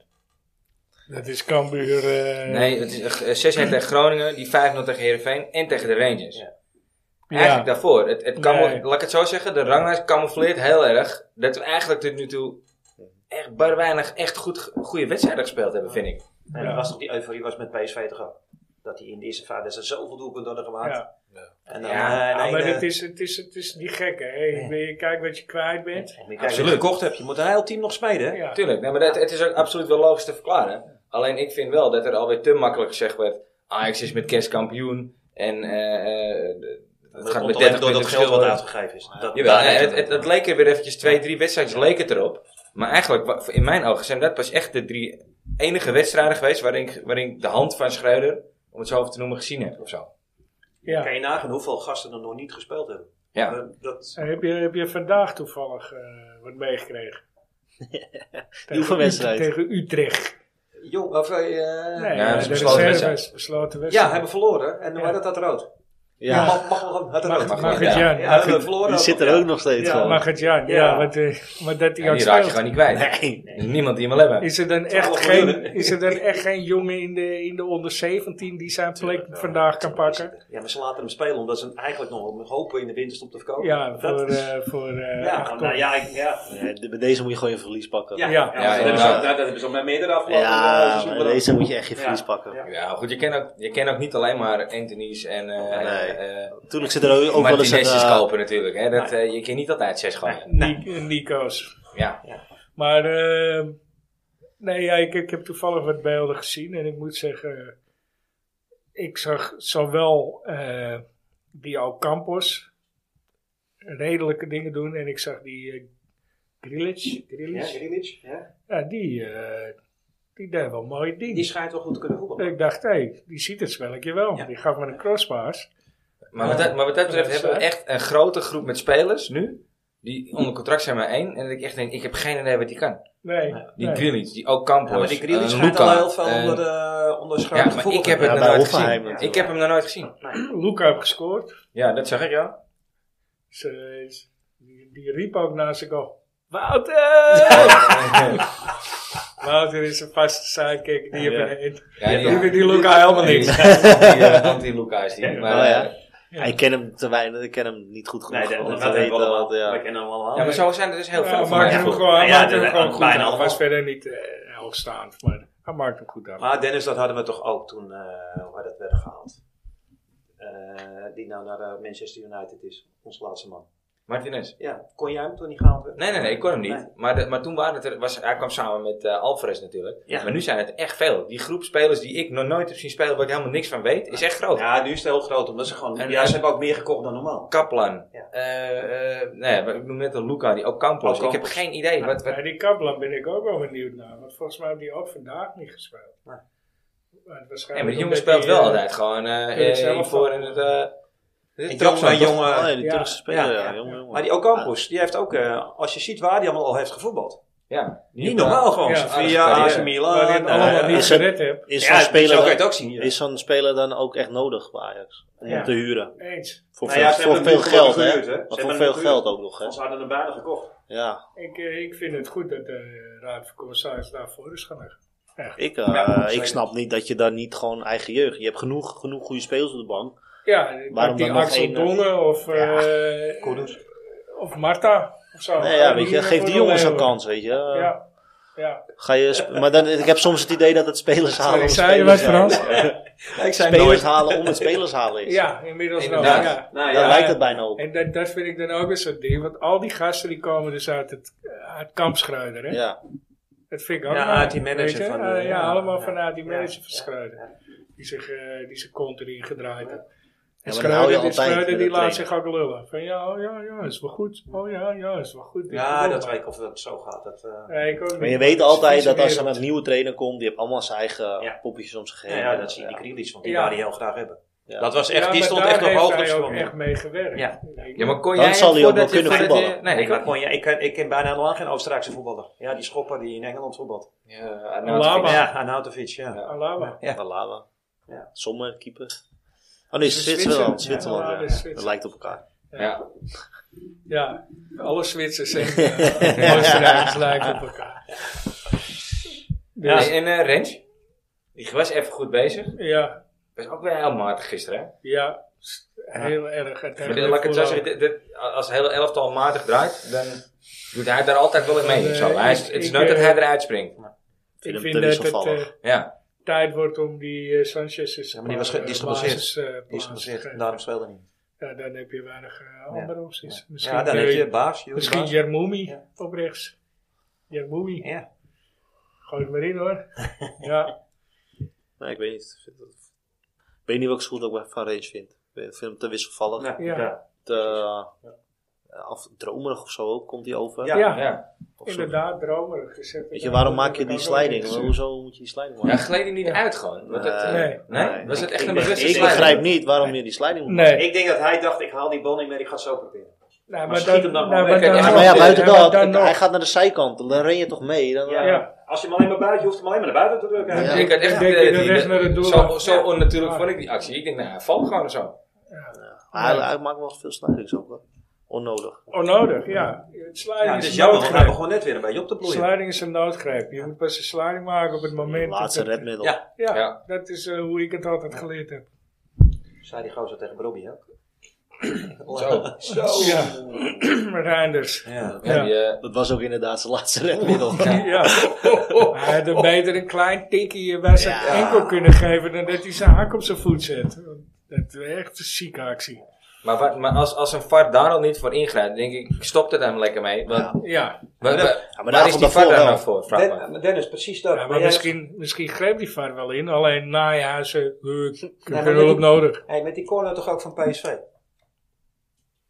B: Dat is Cambuur. eh,
A: Nee, het is eh, 6 tegen Groningen, die 5-0 tegen Heerenveen en tegen de Rangers.
E: Ja.
A: Eigenlijk daarvoor. Het, het kan
B: Nee.
A: Laat ik het zo zeggen, de ranglijst camoufleert heel erg dat we eigenlijk tot nu toe echt bar weinig echt goed, goede wedstrijden gespeeld hebben, vind ik.
E: En
B: Ja.
E: dat was toch die euforie was met PSV toch ook? Dat hij in de eerste fase zoveel doelpunten hadden gemaakt.
B: Ja.
E: En dan,
A: Ja,
E: eh,
B: Ah,
E: nee,
B: maar
E: eh,
B: het is, het, is, het is niet gek, hè? Je, je kijkt wat je kwijt bent.
E: en die kijk,
A: Absoluut.
E: je gekocht hebt. Je moet een heel team nog smeden. hè?
B: Ja.
A: Tuurlijk, nee, maar dat, het is ook absoluut wel logisch te verklaren. Alleen ik vind wel dat er alweer te makkelijk gezegd werd: Ajax is met kerstkampioen en eh, eh, de- het
E: Dat
A: gaat
E: komt
A: met
E: alleen
A: 30
E: door dat
A: punten
E: geld
A: verschil
E: wat
A: worden.
E: uitgegeven is. Dat,
A: Jawel,
E: daar
A: nee,
E: heeft
A: het, het,
E: het-
A: het leek er weer eventjes twee, drie wedstrijdjes leek het erop. Maar eigenlijk, wa- in mijn ogen zijn dat pas echt de drie enige wedstrijden geweest waarin ik, waarin ik de hand van Schreuder, om het zo over te noemen, gezien heb of
B: Nou,
A: zo.
B: Ja.
E: Kan je nagaan hoeveel gasten er nog niet gespeeld hebben?
A: Ja,
E: Dat- dat,
B: Eh, Heb je, heb je vandaag toevallig eh, wat meegekregen? Tegen
C: oefenwedstrijd.
B: Ut- Tegen Utrecht.
E: jong, of, eh, eh,
B: Nee,
A: ja, dat
B: ja,
A: is
B: de
A: besloten
B: reserves.
A: wedstrijd.
B: Besloten
E: ja,
B: wedstrijd.
E: hebben verloren. En, Maar dat had rood.
B: Ja.
E: Mag, mag wel had rood.
A: mag-
B: Mag
A: Ja.
B: het Jan.
E: Ja, hebben we verloren.
C: Die zit er ook nog steeds
B: Ja,
C: gewoon.
B: mag het Jan. Ja,
E: Ja.
B: want, eh, maar dat hij
A: Ja,
B: ook
A: die raak je
B: speelt.
A: gewoon niet kwijt.
C: Nee.
A: Er is Niemand die hem wil hebben.
B: Is er dan echt
E: Twaalf
B: geen,
E: miljoen.
B: is er dan echt geen jongen in de, in de onder 17 die zijn plek
E: Tuurlijk wel.
B: vandaag kan pakken?
E: Ja, maar ze laten hem spelen omdat ze hem eigenlijk nog wel hopen in de winterstop te verkopen.
B: Ja,
E: Dat-
B: voor, eh voor eh,
E: ja,
B: acht
E: nou, ja, ik- ja,
C: Nee, de- Bij deze moet je gewoon je verlies pakken.
E: Ja,
C: Ja,
B: Ja,
E: ja,
A: ja,
E: dat, hebben ze, nou,
A: inderdaad.
E: dat hebben ze al met meerdere afgelopen eh,
C: ja bij
E: seizoenen.
C: deze moet je echt je verlies
E: Ja.
C: pakken.
E: Ja.
A: Ja, maar goed, je kent ook, je kent ook niet alleen maar Anthony's en eh eh,
C: Natuurlijk zit er ook, ook wel eens een...
A: Martinez's
C: eh,
A: kopen natuurlijk. Hè? Dat, eh, je kan niet altijd zes gooien.
B: Ni- Nico's.
A: Ja.
B: Maar eh, Nee, ja, ik, ik heb toevallig wat beelden gezien en ik moet zeggen, ik zag zowel eh die Alcampos redelijke dingen doen en ik zag die eh Grilic,
E: Ja,
B: Grilic, ja,
E: Grilic, ja.
B: die, eh, die deed wel mooi
E: Die
B: ding.
E: schijnt wel goed te kunnen voetballen.
B: Ik dacht, hé, die ziet het spelletje wel.
E: Ja.
B: Die gaf me een crosspaas.
A: Maar, wat dat, maar wat dat betreft
B: Ja, dat is
A: hebben we echt een grote groep met spelers nu. Die onder contract zijn maar één. En dat ik echt denk, ik heb geen idee wat die kan.
B: Nee,
A: Die
B: nee.
A: Grealish, die ook Campos.
E: Ja, maar die Grilic
A: eh,
E: schijnt
A: Luca,
E: al heel veel
A: eh,
E: onder de onder
A: Ja,
E: schermen te
A: maar
E: voetballen.
A: ik heb het
C: Ja,
A: nog
C: bij
A: nooit
C: Hoffenheim
A: gezien.
C: natuurlijk.
A: Ik heb hem nog nooit gezien.
B: Luca heeft gescoord.
A: Ja, dat zag ik ja.
B: Ze- ze- die, die riep ook naast ik al. Wouter!
E: Oh. (laughs)
A: eh,
B: Wouter is een vaste sidekick. Die,
A: Ja.
B: heb je-
A: Ja, die,
B: die, die, Luca helemaal niks.
A: eh, (laughs) die, eh, anti-Luca is die. Maar,
C: Oh, ja.
A: eh,
B: Ja.
C: Ik ken hem te weinig, ik ken hem niet goed genoeg.
D: Nee, dat,
C: om
D: dat,
C: te
D: weten
C: weten
D: we allemaal.
C: wat, ja.
D: We kennen hem allemaal.
A: ja, maar zo zijn er dus heel
B: Ja,
A: veel
B: hij
A: van.
B: maakte
A: ja.
B: hem gewoon, hij
D: Ja, ja,
B: maakte hem
D: dat-
B: gewoon
D: dat-
B: goed
D: bijna
B: af. Hij was
D: allemaal.
B: verder niet eh, hoogstaand, maar hij maakte hem goed af.
E: Maar Dennis, dat hadden we toch ook toen eh waar dat werd gehaald. Eh, die nou naar eh, Manchester United is, ons laatste man.
A: Martinez.
E: Ja, kon jij hem toen niet gehaald werden?
A: Nee, nee, nee, ik kon hem niet.
E: Nee.
A: Maar, de- maar toen waren het er, was, hij kwam samen met eh, Alvarez natuurlijk.
E: Ja.
A: Maar nu zijn het echt veel. Die groep spelers die ik nog nooit heb zien spelen, waar ik helemaal niks van weet, is echt groot.
E: Ja, nu is het heel groot, omdat ze gewoon...
A: En- eh,
E: ja, ze hebben ook meer gekocht dan normaal.
A: Kaplan.
E: Ja.
A: eh, eh, nee, maar ik noem net een Luca, die ook Campos.
E: Ook
A: Ik heb
E: Campos.
A: geen idee. Wat, wat,
B: Bij die Kaplan ben ik ook wel benieuwd naar, want volgens mij heeft hij ook vandaag niet gespeeld.
E: Nee.
B: Maar het
A: nee,
B: waarschijnlijk
A: maar die jongen
B: omdat
A: speelt
B: hij,
A: wel
B: eh,
A: altijd gewoon
B: vind ik
A: eh eh,
B: zelf
A: voor
B: wel.
A: in het... eh dit
E: Een
A: is toch
E: jongen, een
A: zo'n-
E: jongen.
C: Oh, ja, die
B: Ja.
C: Turkse speler,
E: Ja,
C: ja,
E: ja.
C: jongen, jongen.
E: Maar die Ocampos, die heeft ook, eh, als je ziet waar die allemaal al heeft gevoetbald.
A: Ja, die-
E: Niet normaal gewoon.
B: Ja.
E: Sevilla,
A: Ja.
E: AC Milan.
B: waar hij het
E: eh,
B: allemaal
C: ja.
B: niet
C: Is het-
B: gered hebt.
C: Is zo'n
E: Ja, zo kan
C: speler,
E: je het
C: dan-
E: ook zien. Ja.
C: is zo'n speler dan ook echt nodig bij Ajax? Om
B: Ja.
C: te huren.
B: Eens.
C: Voor
E: Nou
C: veel,
E: ja, ze
C: voor
E: hebben hem
C: veel
E: nu
C: geld, hè?
E: gehuurd, hè?
C: Maar
E: Ze hebben
C: voor
E: hem
C: veel
E: gehuurd.
C: geld ook nog, hè?
D: Ze hadden hem bijna gekocht.
C: Ja.
B: Ik, eh, ik vind het goed dat de Raad van Commissaris daarvoor is gaan leggen.
C: Ik, eh,
E: Ja, goed,
C: ik
E: zeker.
C: snap niet dat je daar niet gewoon eigen jeugd... Je hebt genoeg, genoeg goede spelers op de bank.
B: Ja, maakt die
C: dan nog
B: Axel
C: één, eh,
B: Dongen of,
C: ja,
B: eh,
E: Kudus.
B: of Marta of zo.
C: Nee, ja,
B: Eh,
C: weet je, geef die
B: voor
C: jongens een
B: Leeuwen.
C: kans, weet je.
B: Ja, ja.
C: Ga je sp- maar dan, ik heb soms het idee dat het spelers halen om
B: Sorry, zei je
C: spelers
B: wat
C: halen.
B: Frans?
C: (laughs)
E: Ik zei
C: Spelers
E: nooit.
C: halen om het spelers halen is.
B: Ja, inmiddels wel.
A: Inderdaad.
B: Ja.
E: Nou
C: Daar
E: ja,
C: lijkt het bijna op.
B: En dat, dat vind ik dan ook een soort ding. Want al die gasten die komen dus uit het, uit Kampschreuder. Hè?
C: Ja.
B: Dat vind ik ook.
E: Ja,
B: raar,
E: uit die manager
B: weet je?
E: van,
B: Ah,
E: eh,
B: ja,
E: ja,
B: allemaal
E: ja.
B: vanuit die manager van
E: Ja,
B: Schreuder. Die zich, eh, die zijn kont erin gedraaid heeft. En
C: dan hou je
B: Schreuder, die,
C: altijd
B: Schreuder
C: met
B: die
C: de
B: laat
C: trainer.
B: zich ook lullen. Van ja, oh, ja, ja, is wel goed. Oh ja, ja, is wel goed.
E: ja,
B: Is
E: dat
B: wel
E: weet ik of dat zo gaat. Dat, eh,
B: goed. Nee, ik ook niet.
C: Maar je
B: Het
C: weet
B: is
C: altijd
B: vieze
C: dat als er
B: wereld.
C: een nieuwe trainer komt, die heeft allemaal zijn eigen
E: Ja.
C: poppetjes om zich heen.
E: ja, ja, dat zie je die Grealish, want die
B: Ja.
E: wou die heel graag hebben.
C: Ja.
E: Dat was echt,
B: Ja,
E: die
B: maar
E: stond
B: daar
E: echt op
B: heeft
E: hoogte
B: hij ook
E: van.
B: echt mee gewerkt.
E: Ja.
B: Ik-
A: Ja, maar kon
C: Dan
A: jij
C: zal hij ook
A: voordat
C: nog
A: je-
C: kunnen
A: voordat je-
C: voetballen.
A: Nee,
E: Ik,
A: ik
E: maar
A: ook
E: kon, ja, ik, ken- ik ken bijna helemaal geen Oostenrijkse voetballer. Ja, die schopper die in Engeland voetbalt.
A: niet. Ja, Arnautovic.
B: Lama.
E: Ja, Arnautovic, ja.
B: Alaba.
E: Ja.
C: Alaba.
E: Ja.
C: Sommer, keeper. Oh nee,
B: Is het
C: Zwitserland.
B: Zwitser?
C: Zwitserland,
B: Ja,
C: ja.
B: dat is
C: Dat
B: Zwitser.
C: lijkt op elkaar.
A: Ja.
B: Ja, alle Zwitsers en eh, Oostenrijkers lijken op elkaar.
A: Ja,
B: Dus,
A: En eh, Rens? Die was even goed bezig.
B: ja,
A: Was ook weer heel matig gisteren, hè?
B: ja, s- heel erg. Het
A: Maar
B: heeft
A: dit- laat ik het zo
B: vooral-
A: zeggen, dit- dit- als het hele elftal matig draait, dan doet hij daar altijd wel in mee.
B: Nee,
A: zo. Hij is,
B: ik-
A: het is
B: ik,
A: nooit dat
B: eh,
A: hij eruit springt.
C: vind
B: Ik
C: hem
B: vind
C: te
B: dat het
C: wisselvallig.
B: eh,
A: Ja,
B: tijd wordt om die eh, Sanchez eh, eens
E: Ja, maar die was ge- die is geblesseerd. Die is geblesseerd en daarom speelde hij niet.
B: Ja, dan heb je weinig eh, andere opties. Misschien,
E: Ja, dan heb
B: eh,
E: je Baas. Juri
B: misschien
E: Baas.
B: Jarmoumi
E: Ja.
B: op rechts. Jarmoumi.
E: Ja.
B: Gooi het maar in
E: (laughs)
B: hoor. ja.
C: Nee, ik weet niet. Ik vind dat- Ik weet niet wat ik zo goed ook van Range vind. Ik vind hem te wisselvallig.
E: Ja.
B: Ja.
C: Te, eh, af, dromerig of zo ook komt hij over.
E: Ja.
B: Ja.
A: ja.
C: Of zo.
B: Inderdaad, dromerig. Dus
C: Weet je, waarom maak je
B: dat
C: die
B: heb ik ook
C: sliding?
B: niet gezien.
C: Hoezo moet je die sliding
A: Ja,
C: maken?
A: gleed hij niet uit gewoon. Want het, eh,
B: Nee.
A: nee? Was het echt
C: Ik-
A: een
C: ik-
A: bewuste
C: Ik
A: sliding?
C: begrijp niet waarom je die sliding moet maken.
B: Nee.
D: Ik denk dat hij dacht, ik haal die bal niet meer, ik ga het zo proberen.
B: Nee, Nou, maar,
D: schiet hem dan gewoon weg.
B: dan-
A: Ja,
C: Ja, maar ja, buiten
B: maar
C: dat,
B: dan
C: het-
B: nog.
C: hij gaat naar de zijkant, dan ren je toch mee. Dan, eh,
D: Ja.
B: Ja.
D: Als je hem alleen maar buiten, je hoeft hem alleen maar naar buiten te drukken.
C: Ja.
A: Ik had echt
B: Ik
A: de
B: denk
A: idee
B: dat
A: dat
B: de
A: hij-
B: weg naar het doel
A: Zo,
B: was.
A: zo onnatuurlijk
B: Ja.
A: vond ik die actie. Ik denk, nou, hij valt gewoon zo.
C: Maar hij, hij maakt wel veel slidings ook. hoor. Onnodig.
B: Onnodig, ja. Sliding
E: Ja, het
D: dus
B: is
E: is
B: een
E: jammer, want hij
B: noodgreep.
E: begon net weer een beetje op te bloeien.
B: Sliding is een noodgreep. Je moet pas een sliding maken op het moment.
C: Laatste
B: dat het-
C: redmiddel.
E: Ja.
B: Ja,
A: Ja.
B: dat is eh, hoe ik het altijd geleerd heb. (clears throat)
E: Zei die gozer tegen Bobby ook. (laughs)
A: Zo.
E: Zo.
B: Ja. Reinders.
E: Ja.
A: Ja, die, eh,
C: Dat was ook inderdaad zijn laatste redmiddel.
B: (laughs) Ja. Hij had hem beter een klein tikkie bij zijn
C: Ja.
B: enkel kunnen geven dan dat hij zijn haak op zijn voet zet. Dat is echt een zieke actie.
A: Maar, wat- maar als, als een VAR daar al niet voor ingrijpt, denk ik, stopt het hem lekker mee. Want,
C: Ja.
B: Ja,
A: wa- wa-
C: maar de
A: waar is
C: avond
A: die VAR
C: daarvoor
A: daar
C: wel.
A: nou voor? Vraag maar.
E: Den- Dennis, precies dat.
B: ja,
E: Maar
B: maar
E: jij-
B: misschien, misschien greep die VAR wel in. Alleen najazen, uh, ik heb
E: maar
B: geen
E: met
B: hulp
E: die-
B: nodig.
E: Hey, met die corner toch ook van PSV?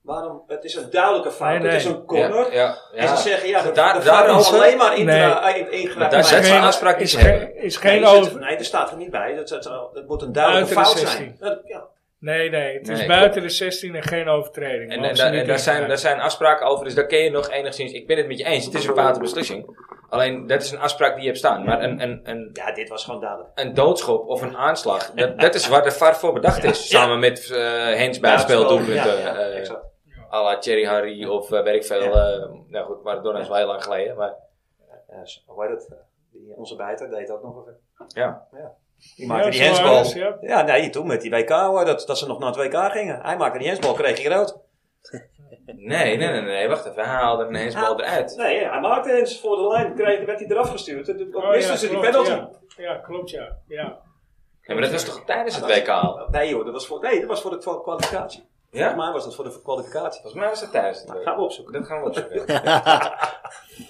E: Waarom? Het is een duidelijke fout.
B: Nee, nee.
E: Het is een
A: Ja, ja,
E: corner.
A: ja.
E: En ze zeggen, ja, de,
A: Daar-
E: de
A: daar
E: VAR is
A: over-
E: alleen maar
B: Nee.
E: intra- in- ingrijpen.
A: daar
E: Maar-
A: zet
B: Is
A: ze
B: geen-
A: afspraak die
B: is
A: ze
B: geen-
A: hebben.
B: Is
E: Nee,
B: geen
E: er zit-
B: over...
E: nee, daar staat er niet bij. Dat, dat, dat moet een duidelijke
B: Buiten de
E: fout
B: 16.
E: zijn. Dat, ja.
B: Nee, nee, het is
A: Nee,
B: buiten de 16 en geen overtreding.
A: En,
B: Mogen
A: en,
B: ze
A: daar-
B: niet
A: en daar, zijn, daar
B: ingrijpen.
A: zijn afspraken over, dus daar kun je nog enigszins... Ik ben het met je eens, het is een foute beslissing. Alleen, dat is een afspraak die je hebt staan. Maar een, een, een,
E: ja, dit was gewoon duidelijk.
A: een doodschop of een aanslag, dat, dat is waar de VAR voor bedacht is. Samen met eh Hens bij het speeldoelpunten.
E: Ja, ja,
A: eh,
E: exact.
A: à la Thierry Henry of eh, weet ik veel. eh, nou goed, Maradona is wel heel lang geleden. Maar
E: Ja, zo- hoe heet dat? Die- Onze bijter deed dat nog even.
A: Ja.
E: Die maakte
B: Ja,
E: die
B: zo
E: hensbal.
B: is, ja.
E: Ja. nee, toen met die WK, hoor, dat, dat ze nog naar het WK gingen. Hij maakte die hensbal, kreeg hij rood.
A: nee, nee, nee, nee, wacht even. Hij haalde een hensbal
E: Ah.
A: eruit.
E: Nee, hij maakte eens voor de lijn, kreeg, werd hij eraf gestuurd. Dan
B: Oh, ja, klopt, Ja, Ja, klopt ja. ja.
A: Ja, maar dat was toch tijdens het WK al?
E: Nee joh, dat was voor, nee, dat was voor de kwa- kwalificatie.
A: Ja?
E: Volgens mij was dat voor de kwalificatie.
A: Volgens mij was het tijdens het WK.
E: Gaan we opzoeken.
A: Dat gaan we opzoeken. (laughs)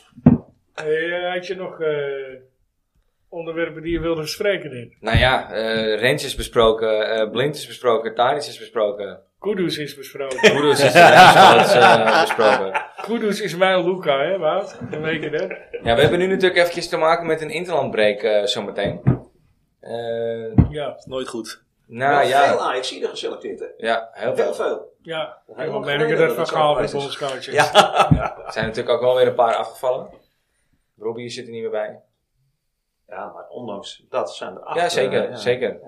B: Eh, had je nog eh, onderwerpen die je wilde bespreken, denk
A: nou ja, eh Rens is besproken, eh Blind is besproken, Tadic is (laughs) besproken.
B: Kudus is besproken.
A: Broeders is eh, is, eh, besproken.
B: Kudus is mijn Luca, hè, Wout? Dan weet je dat.
A: Ja, we hebben nu natuurlijk eventjes te maken met een interlandbreak eh zometeen. Eh,
B: Ja,
C: Nooit goed.
A: nou
E: Veel
A: ja,
E: ajax er geselecteerd hè.
A: ja, heel
E: Heel
A: veel.
E: veel.
B: ja.
E: Heel
B: En
E: lang
B: dan
E: geleden
B: merken dat
E: dat
B: van
E: het zo
B: Gaal met
E: geweest is.
B: ons coaches.
E: Ja.
A: Er zijn natuurlijk ook wel weer een paar afgevallen. Robbie zit er niet meer bij.
E: Ja, maar ondanks dat zijn er acht.
A: Ja, zeker,
E: eh, ja.
A: zeker.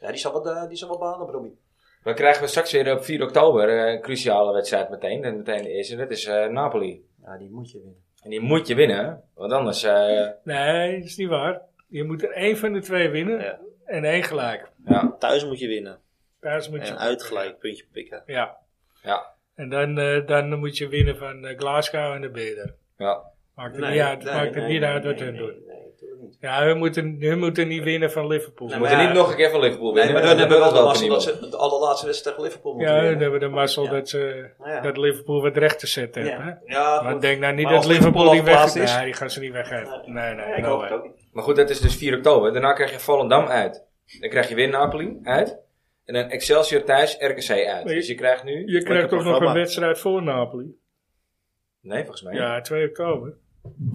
E: Ja, die zal wat, eh, die zal wat behalen, Robbie.
A: Dan krijgen we straks weer op 4 oktober eh, een cruciale wedstrijd meteen. En meteen de eerste, dat is eh, Napoli.
E: Ja, die moet je winnen.
A: En die moet je winnen, hè? want anders... eh,
B: Nee, dat is niet waar. Je moet er één van de twee winnen
C: Ja.
B: en één gelijk.
A: ja,
C: Thuis moet je winnen.
B: Thuis moet je...
C: En uitgelijk puntje pikken.
B: Ja.
A: Ja.
B: En dan, eh, dan moet je winnen van eh, Glasgow en de Beder.
A: ja.
B: Maakt het niet uit, maakt het niet uit wat hun doen.
E: Nee, natuurlijk niet.
B: Ja, hun moeten, hun moeten niet winnen van Liverpool.
A: We
E: Nou, maar
A: moeten
E: ja.
A: niet nog een keer van Liverpool
E: Nee,
A: winnen.
E: maar dan hebben we wel de mazzel
A: niemand.
E: dat ze de allerlaatste wedstrijd tegen Liverpool moeten
B: ja, hun
E: winnen.
B: hebben de mazzel
E: Ja.
B: dat, ze,
E: Nou ja.
B: dat Liverpool wat recht te zetten heeft. hè.
E: Ja, ja
B: Maar
E: goed.
B: denk nou niet
E: Maar
B: dat
E: als
B: Liverpool
E: Liverpool
B: die weg...
E: geplaatst is-
B: Nee, die gaan ze niet weggeven. Nee, nee.
E: Ja, ik
B: no
E: hoop
B: way.
E: het ook niet.
A: Maar goed, dat is dus 4 oktober. Daarna krijg je Volendam uit. Dan krijg je weer Napoli uit. En dan Excelsior thuis, RKC uit.
B: Nee.
A: Dus je krijgt nu...
B: Je krijgt toch nog een
C: programma.
B: wedstrijd voor Napoli.
A: Nee, volgens
E: Hm?
A: mij. Ja?
B: Ja, 2 oktober.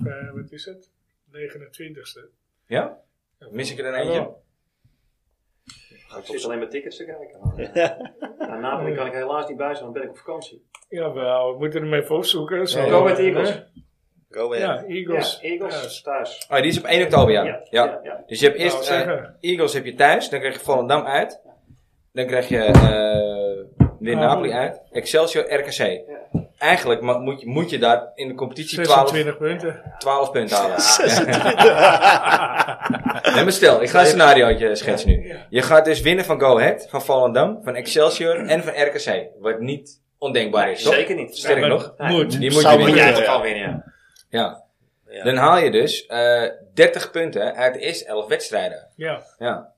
B: Eh, wat is het? 29ste.
A: Mis ik er dan eentje?
D: Ik zit alleen maar tickets te
B: (laughs)
D: kijken.
E: eh,
D: Naar Napoli kan ik helaas niet bij zijn, want ben ik op vakantie.
B: Jawel, we moeten hem even opzoeken. Zo.
A: Ja,
D: Go met Eagles.
C: Go ahead.
B: Ja, Eagles.
D: Ja, Eagles thuis.
A: Ah, die is op 1 oktober, ja. ja. Dus je hebt
B: Nou,
A: eerst
B: zeg
A: eh,
B: maar.
A: Eagles heb je thuis, dan krijg je Volendam uit. Dan krijg je eh weer Napoli uit. Excelsior RKC. Eigenlijk ma- moet je, moet je daar in de competitie 12,
B: 26 punten.
A: 12 punten (laughs) halen. nee, maar stel, ik ga een scenariootje schetsen nu. Je gaat dus winnen van Go Ahead, van Volendam, van Excelsior en van RKC. Wat niet ondenkbaar is, toch?
E: Zeker niet.
A: Sterk
B: Maar
A: nog.
B: Moet.
A: Die moet
C: Zou
A: je
C: maar
A: winnen.
C: jij-
D: toch
C: Ja.
D: al winnen, ja.
A: Ja.
C: Ja.
A: Dan haal je dus eh 30 punten uit de eerste 11 wedstrijden.
B: Ja,
A: Ja.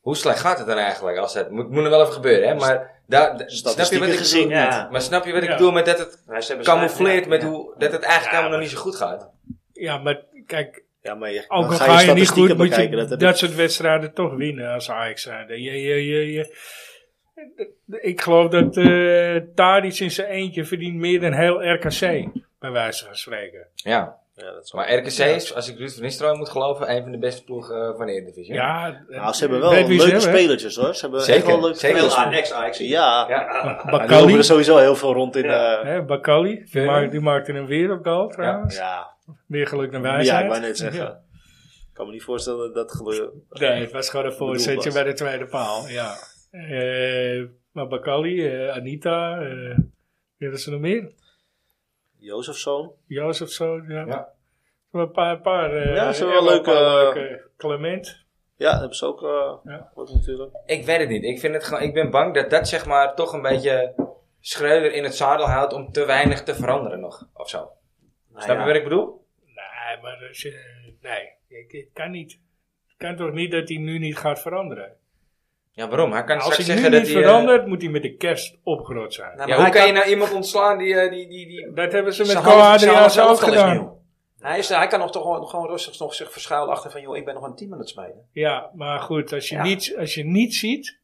A: Hoe slecht gaat het dan eigenlijk? Als het moet, moet er wel even gebeuren, hè? Maar daar, da- snap je wat
C: Statistieken
A: ik
C: gezien.
A: bedoel?
C: Ja.
A: Maar snap je wat ik
B: Ja.
A: bedoel met dat het
E: Maar ze hebben
A: camoufleert
E: Dus ja,
A: met
E: ja.
A: hoe dat het eigenlijk helemaal nog niet zo goed gaat?
B: ja, maar kijk,
C: Ja, maar je,
B: ook
C: dan
B: al Oh, ga je, niet goed, moet je
C: bekijken.
B: dat,
C: dat heb
B: soort wedstrijden toch winnen als Ajax zijnde. Je, je, je, je- Ik geloof dat eh Tadic in zijn eentje verdient meer dan heel RKC, bij wijze van spreken.
A: Ja,
C: ik. Ja, dat is waar.
A: maar RKC is, als ik Ruud van Nistelrooy moet geloven, een van de beste ploegen eh, van de Eredivisie.
B: Ja,
C: Nou,
B: eh,
C: ze hebben
B: weet
C: wel
B: wie ze
C: leuke
B: hebben, hè?
C: spelertjes hoor. Ze hebben
A: Zeker,
C: echt wel leuke
A: zeker.
C: spelers.
E: Veel aan ex-Ajax.
C: Ja, ja.
A: Ja.
C: die lopen er
B: Bakali,
C: sowieso heel veel rond in.
D: Ja.
C: eh,
B: hè, Bakali die,
A: Verder.
B: maak- die maakte een wereldgoal trouwens.
C: ja.
B: Meer geluk dan
C: Ja,
B: wijsheid.
C: ik wou net zeggen.
B: Ja.
C: Ik kan me niet voorstellen dat dat gebeurt.
B: Nee, het was gewoon een voorzetje
C: was.
B: bij de tweede paal, ja. Eh, maar Bakali, eh, Anita, eh wie hadden ze nog meer?
C: Jozefzoon.
B: Jozef zo, ja.
A: Ja,
B: Zo Een paar, een paar eh,
C: Ja, ze
B: eh,
C: hebben wel
B: een paar
C: leuke-
B: leuke Clement.
C: Ja, dat hebben ze ook eh
B: Ja.
C: wat natuurlijk.
A: Ik weet het niet. Ik, vind het gewoon, ik ben bang dat dat zeg maar toch een beetje schreuder in het zadel houdt om te weinig te veranderen nog, of zo.
E: Nou
A: Snap je
E: ja.
A: wat ik bedoel?
B: Nee, maar dat is, eh, nee, ik, ik kan niet. Het kan toch niet dat hij nu niet gaat veranderen?
A: Ja, waarom? Hij kan
B: Als
A: straks
B: hij nu
A: zeggen
B: niet
A: dat hij... eh,
B: verandert, moet hij met de kerst opgerot zijn.
E: Nou,
A: ja,
E: maar
A: hoe
E: hij
A: kan je
E: kan-
A: nou iemand ontslaan die... eh, die, die, die...
B: Dat hebben ze met
E: Zijn
B: Ko
E: halve- zijn halve
B: Adriaanse ook
E: elftal is
B: gedaan.
E: nieuw. Hij, is, eh, hij kan nog toch gewoon, gewoon rustig nog zich verschuilen achter van, joh, ik ben nog een team aan het smeden.
B: Ja, maar goed, als je,
E: Ja.
B: niet, als je niet ziet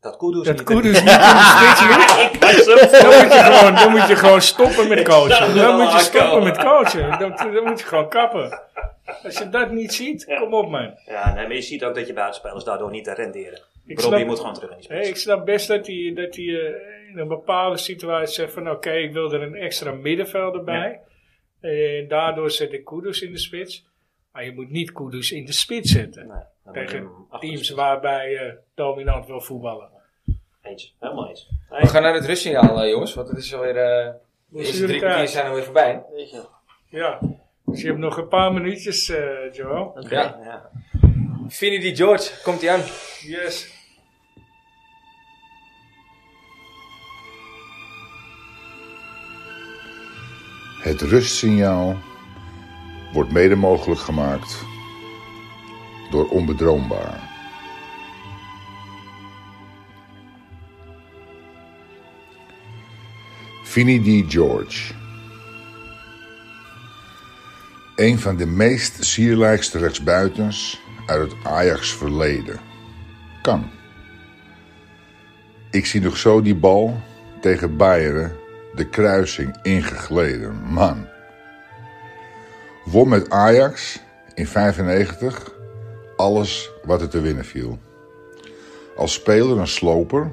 E: Dat Kudus
B: dat
E: niet.
B: Koeders niet in de spits ligt, dan moet, je gewoon, dan moet je gewoon stoppen met coachen. Dan moet je stoppen met coachen. Dan, dan moet je gewoon kappen. Als je dat niet ziet, kom op man.
E: Ja, nee, maar je ziet ook dat je buitenspelers daardoor niet renderen.
B: Ik
E: Robbie
B: snap-
E: moet gewoon terug in die
B: Hey,
E: spits.
B: ik snap best dat hij, dat hij eh, in een bepaalde situatie zegt van oké, ik wil er een extra middenvelder bij. En daardoor zet ik Kudus in de spits. Maar je moet niet Kudus in de spits zetten.
E: Nee, dan moet je
B: tegen
E: hem achter de
B: teams
E: spits.
B: waarbij je dominant wil voetballen.
E: Eens, helemaal eens.
A: We gaan naar het rustsignaal, eh, jongens. Want het is alweer... eh de eerste drie kwartier zijn alweer voorbij.
C: Weet je.
B: Ja, dus je hebt nog een paar minuutjes, eh Joel.
A: Ja.
E: Ja.
A: Vinnie die George, komt hij aan.
B: Yes.
F: Het rustsignaal wordt mede mogelijk gemaakt door onbedroombaar. Vinnie D. George. Een van de meest sierlijkste rechtsbuitens uit het Ajax verleden. Kan. Ik zie nog zo die bal tegen Bayern de kruising ingegleden. Man. Won met Ajax in 95 alles wat er te winnen viel. Als speler een sloper,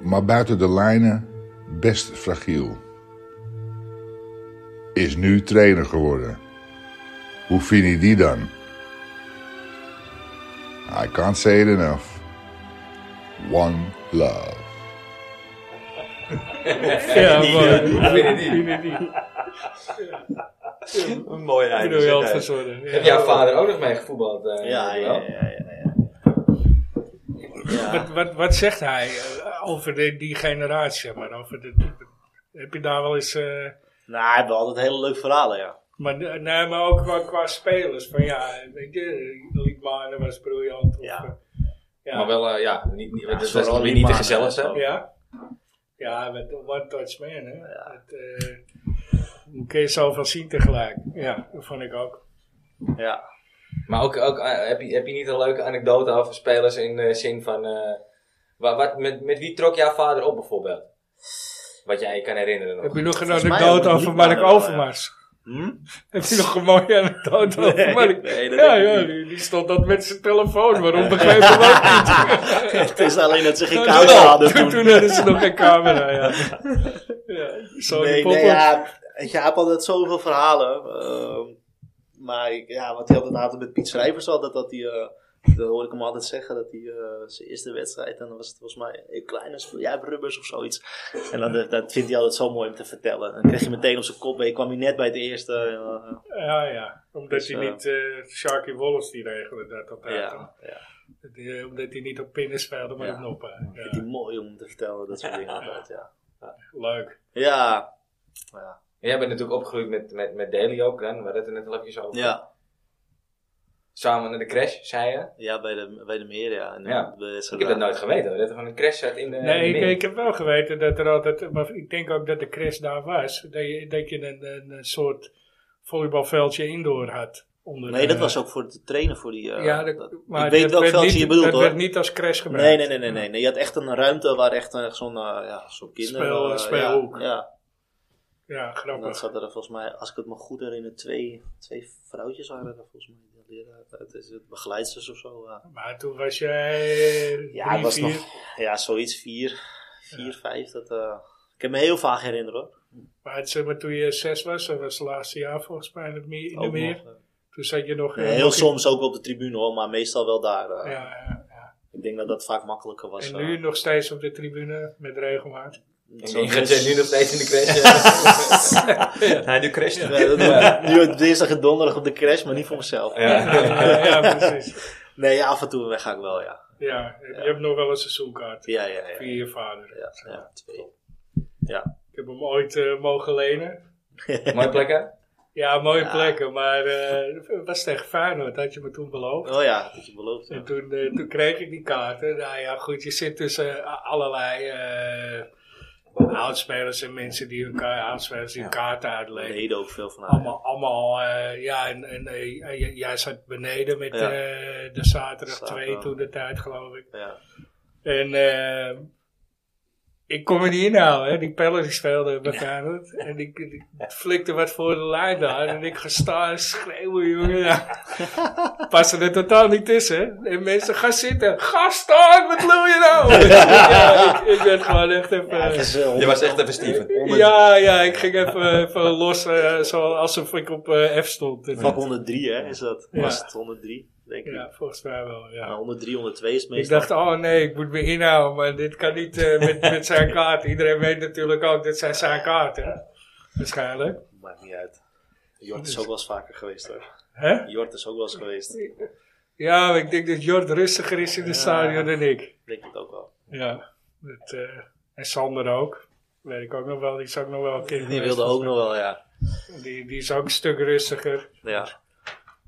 F: maar buiten de lijnen best fragiel. Is nu trainer geworden. Hoe vind je die dan? I can't say it enough. One love.
B: Ja, maar.
A: Vinnie die.
E: (laughs) Een mooie
B: Ik
E: einde.
B: bedoel, je
E: zeg,
B: had
E: hè.
B: verzorgd.
A: Heb jouw vader ook nog mee gevoetbald? eh,
C: Ja, ja,
A: Joël?
C: ja, ja, ja.
B: Wat, wat, wat zegt hij eh, over de, die generatie? zeg Maar over de, heb je daar wel eens. eh,
C: Nou, hij heeft wel altijd hele leuke verhalen, ja.
B: maar, nee, maar ook qua, qua spelers. Van ja, weet je, Liedmanen was briljant. Of,
C: Ja.
B: eh, ja.
A: Maar wel, eh, ja, niet, niet, dat is
C: vooral
A: wel weer
C: die
A: niet de
C: maanden,
A: gezelligste.
C: zo.
B: Ja. Ja, met de One Touch Man, hè. Dat, eh, hoe kun je zoveel zien tegelijk? Ja, dat vond ik ook.
C: Ja,
A: Maar ook, ook eh, heb, je, heb je niet een leuke anekdote over spelers in de zin van... eh, wa- wat, met, met wie trok jouw vader op bijvoorbeeld? Wat jij je kan herinneren nog.
B: Heb je nog een
C: Volgens mij
B: anekdote
C: ook
B: over
C: niet,
B: Mark
C: maar wel,
B: Overmars?
C: Hm?
B: Heb je nog een mooie anekdote over
C: Nee,
B: Mark?
C: nee, dat
B: ja,
C: denk ik
B: ja
C: niet.
B: die, die stond dat met zijn telefoon.
C: (laughs)
B: Waarom begreep ik dat niet?
C: het is alleen dat ze geen
B: Toen-
C: koude hadden
B: toen. eh,
C: toen.
B: Toen hadden ze nog geen camera, ja. ja zo die
C: nee,
B: pop-up.
C: nee, ja, weet je, hij had altijd zoveel verhalen. ehm, maar ik- ja, wat hij altijd had met Piet Schrijvers altijd, dat hij, eh, dat hoor ik hem altijd zeggen, dat hij eh, zijn eerste wedstrijd, en dan was het volgens mij een kleine, sp- ja, rubbers of zoiets. En dat, eh, dat vindt hij altijd zo mooi om te vertellen. En dan kreeg je meteen op zijn kop, en je kwam hij net bij het eerste. eh,
B: Ja, ja. Omdat
C: Dus,
B: hij
C: eh,
B: niet... eh Sharky Wallace die regelde dat altijd.
C: ja, ja.
B: Dat hij- omdat hij niet op pinnen speelde, maar
C: Ja.
B: op noppen. Ja.
C: Vindt hij mooi om te vertellen,
A: (laughs)
C: dat soort dingen altijd, ja.
B: Leuk.
C: Ja, ja,
A: Jij bent natuurlijk opgegroeid met, met, met Daly ook dan. We hadden het er net al even over.
C: ja.
A: Samen naar de crash, zei je.
C: Ja, bij de, bij de meer, ja. En
A: Ja.
C: bij
A: Ik heb dat nooit geweten. hoor, Dat er van een crash zat in
C: Eh,
A: de...
B: Nee,
A: in de
B: ik,
A: meer.
B: ik heb wel geweten dat er altijd, maar ik denk ook dat de crash daar was, dat je, dat je een, een, een soort volleybalveldje indoor had. Onder
C: Nee,
B: de-
C: dat was ook voor te trainen voor die... eh,
B: ja, dat, maar
C: ik weet
B: dat
C: welk
B: werd
C: veldje
B: niet-
C: je bedoelt,
B: dat
C: hoor.
B: werd niet als crash gebruikt.
C: Nee, nee, nee, nee, nee, nee. Je had echt een ruimte waar echt, eh, zo'n eh, ja, zo'n kinder...
B: Speel-
C: eh,
B: speelhoek.
C: Ja, ja.
B: Ja,
C: En dan
B: grappig.
C: zaten er volgens mij, als ik het me goed herinner, twee, twee vrouwtjes waren er volgens mij. Die leraar- Het is het begeleidsters of zo. ja.
B: Maar toen was jij eh,
C: Ja,
B: drie,
C: het was
B: vier.
C: nog... Ja, zoiets vier, vier, vijf. Dat, eh, ik heb me heel vaag herinneren hoor.
B: Maar, het, zeg maar toen je zes was, dat was het laatste jaar volgens mij in, het meer, in de
C: Ook
B: meer.
C: nog, eh,
B: Toen zat je nog... eh,
C: heel
B: nog in-
C: soms ook op de tribune hoor, maar meestal wel daar. eh.
B: Ja, ja.
C: Ik denk dat dat vaak makkelijker was.
B: En
C: eh.
B: nu nog steeds op de tribune, met regelmaat.
A: En je gaat eh, nu nog steeds in de crash.
E: Nee, nu crasht hij.
C: Ja, dat doe ik Nu op dinsdag en donderdag op de crash, maar niet voor mezelf.
A: eh. Ja.
B: ja, ja, precies.
C: Nee, ja, af en toe ga ik wel, ja.
B: Ja, je hebt nog wel een seizoenkaart.
C: Ja, ja, ja.
B: Via je vader.
C: ja, ja, twee.
B: Ik heb hem ooit eh, mogen lenen.
A: Mooie plekken.
B: Ja, mooie plekken, maar eh, het was tegen Feyenoord, had je me toen beloofd.
C: Oh ja, dat had je beloofd. ja.
B: En toen, eh, toen kreeg ik die kaarten. Nou ja, goed, je zit tussen eh, allerlei eh oudspelers en mensen die hun, ka- oudspelers die hun kaarten
C: Daar
B: uitleggen.
C: deden ook veel van aan.
B: Allemaal, allemaal eh, ja, en, en eh, j- j- jij zat beneden met
C: Ja.
B: eh, de zaterdag
C: Zaterdag.
B: 2 toen de tijd, geloof ik.
C: Ja.
B: En eh, ik kon me niet inhouden, hè. die pellen die speelden bij Feyenoord. En ik, ik flikte wat voor de lijn daar. En ik ga staan schreeuwen, jongen. Ja. Passen er totaal niet tussen. hè. En mensen, ga zitten. Ga staan, wat wil je
E: (laughs)
B: nou? ja, ik, ik ben gewoon echt even...
E: Ja, het is, eh,
A: Je was echt even Steven.
F: Onder-
B: Ja, ja, ik ging
C: (laughs)
B: even, even los, eh, zo alsof ik op eh, F stond. En-
C: Vak 103 hè, is dat.
B: Ja.
C: Was het 103, denk ik.
B: Ja, volgens mij wel,
C: Nou,
B: ja.
C: 103, 102 is
B: Ik
C: meestal.
B: dacht, oh nee, ik moet me inhouden, maar dit kan niet eh,
C: (laughs)
B: met, met zijn kaart. Iedereen weet natuurlijk ook, dit zijn zijn kaarten. Waarschijnlijk.
C: Maakt niet uit. Jort
B: Dus-
C: is ook wel eens vaker geweest hoor.
B: Hè?
C: Jort is ook wel eens geweest. Ik
B: Ja, maar ik denk dat Jord rustiger is in het stadion dan ik.
C: Denk het ook wel.
B: Ja. Dat, eh, en Sander ook. Weet ik ook nog wel, die is ook nog wel een keer
C: Die
B: geweest.
C: wilde ook nog wel, ja.
B: Die, die is ook een stuk rustiger.
C: ja.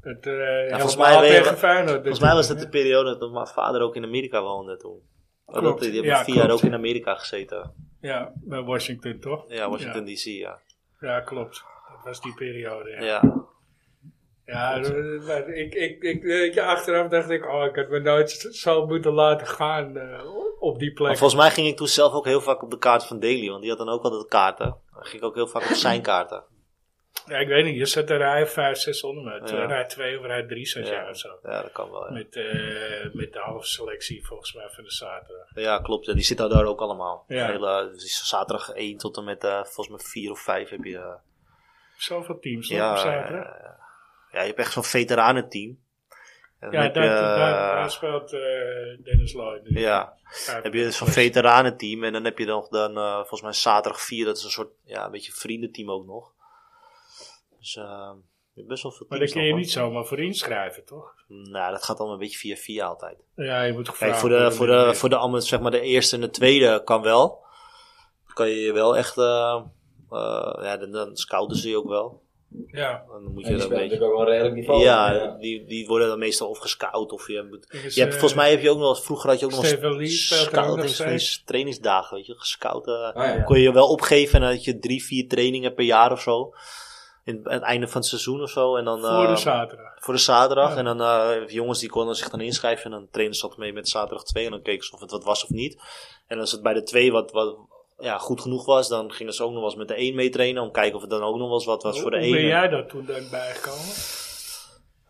B: Het, eh ja,
C: volgens mij ben je-
B: tegen Feyenoord. dus-
C: Volgens mij was dat de periode dat mijn vader ook in Amerika woonde toen. Oh, dat,
B: Klopt.
C: die hebben
B: Ja,
C: vier
B: klopt.
C: jaar ook in Amerika gezeten.
B: Ja, bij Washington toch?
C: Ja, Washington D.C. Ja.
B: Ja, ja, klopt. Dat was die periode, ja.
C: Ja.
B: Ja, eh, maar ik, ik, ik, weet je, achteraf dacht ik, oh, ik had me nooit z- zo moeten laten gaan eh, op die plek.
C: Maar volgens mij ging ik toen zelf ook heel vaak op de kaart van Daly, want die had dan ook altijd kaarten. Dan ging ik ook heel vaak op
B: (laughs)
C: zijn kaarten.
B: Ja, ik weet niet, je zet een rij 5, 600, maar
C: Ja.
B: twee rij 2 of rij 3 zat
C: Ja.
B: je of zo.
C: Ja, dat kan wel. Ja,
B: Met, eh, met de halve selectie volgens mij van de zaterdag.
C: ja klopt. En die zitten daar ook allemaal.
B: Ja.
C: Hele, dus zaterdag 1 tot en met eh, volgens mij 4 of 5 heb je. eh,
B: Zoveel teams toch, op
C: ja,
B: zaterdag.
C: eh, ja, je hebt echt zo'n veteranenteam. En dan
B: ja,
C: heb
B: dat,
C: je,
B: daar, daar speelt eh, Dennis Lloyd nu.
C: ja, heb je dus zo'n veteranenteam en dan heb je nog dan eh, volgens mij zaterdag 4, dat is een soort, ja, een beetje vriendenteam ook nog. Dus eh, je hebt best wel veel
B: Maar daar
C: teams
B: kun je
C: nog,
B: niet zomaar voor inschrijven, toch?
C: hoor. Nou, dat gaat allemaal een beetje via via altijd.
B: Ja, je moet gevraagd
C: Kijk, voor de,
B: worden.
C: voor de, voor de, ander- zeg maar de eerste en de tweede kan wel. Dan kan je je wel echt, eh, eh, ja, dan, dan scouten ze je ook wel.
B: Ja,
C: Dan moet
A: Ja, die speelt
C: je dat een
A: natuurlijk
C: beetje...
A: ook wel een redelijk niveau.
C: Ja, die, die worden dan meestal of gescout of je moet...
B: er is,
C: Je hebt,
B: eh,
C: volgens mij heb je ook nog, wel eens- vroeger had je ook nog
B: Steven Lee speelt er ook nog
C: scoutings-
B: steeds. Ah,
C: trainingsdagen, weet je, gescout. eh,
A: Oh, ja.
C: kon je je wel opgeven en dan had je drie, vier trainingen per jaar of zo. In, aan het einde van het seizoen of zo. En dan,
B: voor
C: eh,
B: de zaterdag.
C: voor de zaterdag.
B: Ja.
C: En dan eh, jongens die konden zich dan inschrijven. En dan trainen ze altijd mee met zaterdag 2. En dan keken ze of het wat was of niet. En als het bij de 2 wat, wat ja, goed genoeg was, dan gingen ze ook nog wel eens met de 1 mee trainen. Om te kijken of het dan ook nog wel eens wat was voor de
B: Hoe ben
C: 1.
B: jij daar toen dan bijgekomen?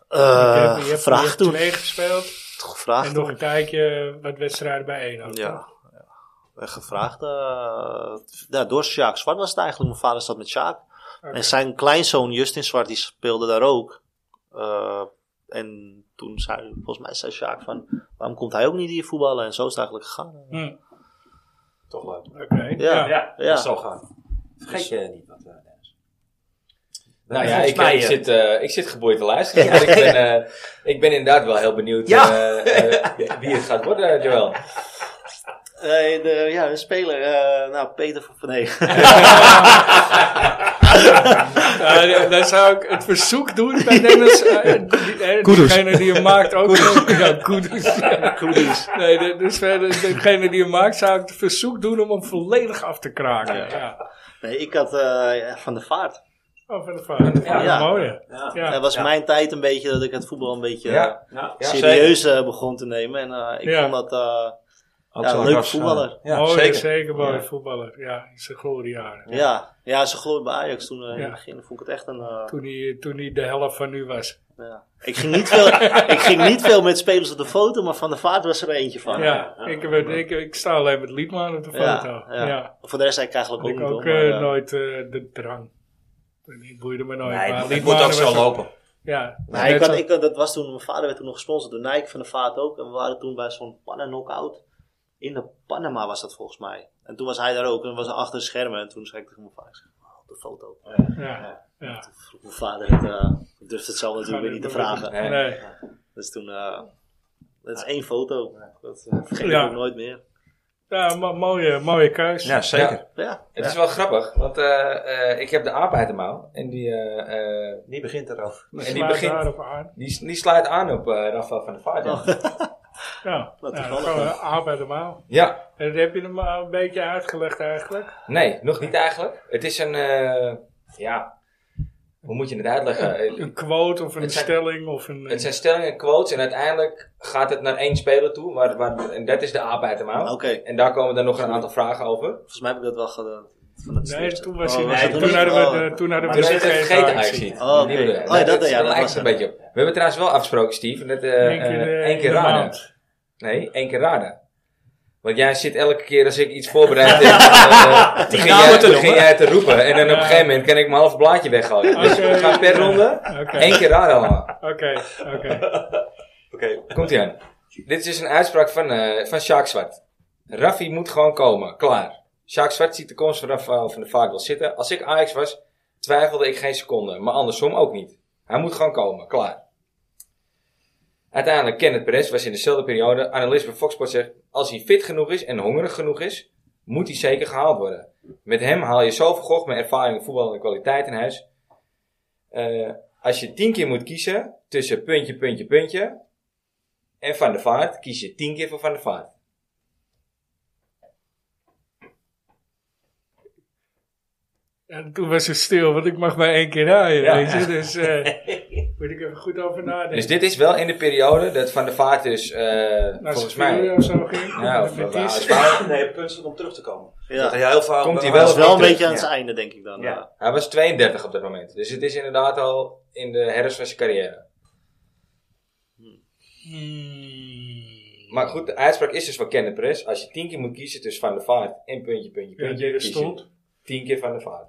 C: Eh
B: je hebt, je
C: gevraagd
B: hebt
C: toen.
B: twee gespeeld
C: Gevraagd
B: en nog
C: toen.
B: een tijdje wat wedstrijden bij één. ook,
C: Ja.
B: toch?
C: ja. Gevraagd. eh, ja, door Sjaak Zwart was het eigenlijk. Mijn vader zat met Sjaak.
B: Oké.
C: En zijn kleinzoon Justin Zwart, die speelde daar ook. Eh, en toen zei, volgens mij zei Sjaak van, waarom komt hij ook niet hier voetballen? En zo is het eigenlijk gegaan.
B: Hm,
E: Toch leuk.
B: Oké.
C: Ja.
D: Ja,
B: Ja.
C: Ja. Dus-
D: dat zal gaan. Vergeet je niet wat
E: eh,
D: we
A: Nou ja,
D: Volgens
A: ik,
D: mij,
A: ik
D: eh,
A: zit, eh, ik zit geboeid te luisteren. want ik, ben, eh, ik ben inderdaad wel heel benieuwd
D: Ja.
A: eh, eh, wie het gaat worden, Joel.
C: Eh, de, ja, een speler, eh, nou Peter van Van Nee. (laughs)
B: Nou, Ja, dan- dan zou ik het verzoek doen bij Dennis. eh, die- eh, Degene die hem maakt ook. (laughs) Ja, Kudus. Nee, de- dus verder, degene die hem maakt zou ik het verzoek doen om hem volledig af te kraken. Ja.
C: nee, ik had eh, Van de Vaart.
B: Oh, van de vader. Ja,
C: Ja.
B: mooi.
E: Ja.
B: Ja.
C: Dat was mijn tijd een beetje dat ik het voetbal een beetje eh,
E: Ja.
A: Ja,
C: serieus eh, begon te nemen. En eh, ik
B: Ja.
C: vond dat eh
D: Ook
C: ja,
D: zo'n
C: een leuke
D: ras,
C: voetballer.
E: eh, Ja,
B: mooi,
E: zeker.
B: zeker, mooi voetballer. Ja, in zijn gloriejaren.
C: Ja, ja. ze glooi bij Ajax toen eh, in
B: Ja.
C: het begin. Vond ik het echt een... eh,
B: Toen hij, toen hij de helft van nu was.
C: Ja. Ik, ging niet veel, (laughs) ik ging niet veel met spelers op de foto, maar Van der Vaart was er eentje van.
B: Ja, ik, heb, het- ik, ik sta alleen met Liedman op de
C: Ah, Ja,
B: foto.
C: ja.
B: Ja.
C: Voor de rest eigenlijk ook
B: Had
C: niet.
B: ik
C: hoor,
B: ook
C: maar,
B: eh,
C: eh,
B: nooit eh, de drang. Die boeide me nooit.
D: Nee,
B: maar
D: het
B: Liedman
D: moet ook zo
B: was-
D: lopen.
B: Ja.
C: maar ik
B: Net
C: had,
B: zo-
C: ik had, dat was toen, mijn vader werd toen nog gesponsord door Nike van de Vaart ook. En we waren toen bij zo'n pannennock-out. In de Panama was dat volgens mij. En toen was hij daar ook en was hij achter de schermen. En toen zei ik tegen mijn vader, ik zeg, "Wauw, op de foto.
B: Ja. ja.
C: Vroeg mijn vader, het, eh, ik durfde het zelf natuurlijk weer niet te vragen.
A: Nee.
B: Nee.
C: Ah. Dus toen, eh, dat is één foto. Dat eh, vergeet
B: Ja.
C: ik ook nooit meer.
B: Ja, mo- mooie, mooie keus.
A: Ja, zeker.
C: Ja,
A: Het is wel grappig, want eh, eh, ik heb de aap uit de mouw. En die, eh, eh,
E: Die begint (laughs) erover.
B: Dat
A: en die,
B: slaat
A: begint,
B: daarop aan.
A: die, die sluit aan op eh Rafael van der Vaart. ja.
B: Ja,
C: Wat
B: nou, dan
C: toevallig.
B: gaan we aan bij de maal.
A: Ja,
B: En dat heb je hem al een beetje uitgelegd eigenlijk.
A: Nee, nog niet eigenlijk. Het is een, eh, ja, hoe moet je het uitleggen?
B: Een quote of een
A: Het zijn-
B: stelling of een...
A: Het zijn stellingen, quotes en uiteindelijk gaat het naar één speler toe. Waar, waar, en dat is de aap uit de
C: oké.
A: mouw. En daar komen dan nog een aantal vragen over.
C: Volgens mij heb ik dat wel gedaan. Van het
B: Nee,
C: eerste.
B: toen was
C: Oh,
B: hij...
C: het
B: toen,
C: niet?
B: hadden we
C: Oh.
B: de, toen hadden we
A: Maar we
B: de
A: hebben Dus het
B: vergeten
A: vergeten
B: actie.
A: actie.
C: Oh, oké.
A: Die bedoel je.
C: Oh, ja, dat-
A: het-
C: ja,
A: het
C: dat
A: lijkt
C: was
A: een
C: hem.
A: beetje op. We hebben trouwens wel afgesproken, Steve, dat eh
B: Eén keer,
A: eh,
B: eh,
A: één keer
B: in de
A: raden.
B: maand.
A: Nee, één keer raden. Want jij zit elke keer als ik iets
B: (laughs)
A: voorbereid heb, eh, begin, jij, begin jij te roepen. En dan op een gegeven moment kan ik mijn half blaadje weggooien. Dus we
B: Oké.
A: gaan per ronde
B: Oké,
A: één keer raden allemaal.
B: oké, oké.
A: Komt ie aan. Dit is dus een uitspraak van, eh van Sjaak Zwart. Raffi moet gewoon komen, klaar. Sjaak Zwart ziet de komst van Rafael van der Vaart wel zitten. Als ik Ajax was, twijfelde ik geen seconde, maar andersom ook niet. Hij moet gewoon komen, klaar. Uiteindelijk, Kenneth Perez was in dezelfde periode analist bij Fox Sports zegt... Als hij fit genoeg is en hongerig genoeg is, moet hij zeker gehaald worden. Met hem haal je zoveel gochme, ervaring, voetbal en kwaliteit in huis. Eh, als je tien keer moet kiezen tussen puntje, puntje, puntje... en Van der Vaart, kies je tien keer voor Van der Vaart.
B: En toen was het stil, want ik mag maar één keer rijden,
A: Ja.
B: weet je. Dus
A: (laughs)
B: eh moet ik even goed over nadenken.
A: Dus dit is wel in de periode dat Van der Vaart dus, eh,
B: Naar
A: volgens
B: Sevilla
A: mij...
B: of zo ging.
A: Ja, of,
B: Nou, met
A: of-
B: die-
A: of- of-
E: Nee, punten om terug te komen.
C: Ja.
E: Dat hij heel vaak
A: Komt hij
C: Maar
A: wel
C: dat is
A: weer
C: wel een
A: terug,
C: beetje aan
A: ja.
C: het einde, denk ik dan. Eh,
E: Ja.
C: Ja.
A: hij was 32 op dat moment. Dus het is inderdaad al in de herfst van zijn carrière.
B: Hmm.
A: Maar goed, de uitspraak is dus van Kenneth Press. Als je tien keer moet kiezen tussen Van der Vaart en puntje, puntje,
B: Ja,
A: puntje,
B: die er
A: kies je
B: stond.
A: tien keer Van der Vaart.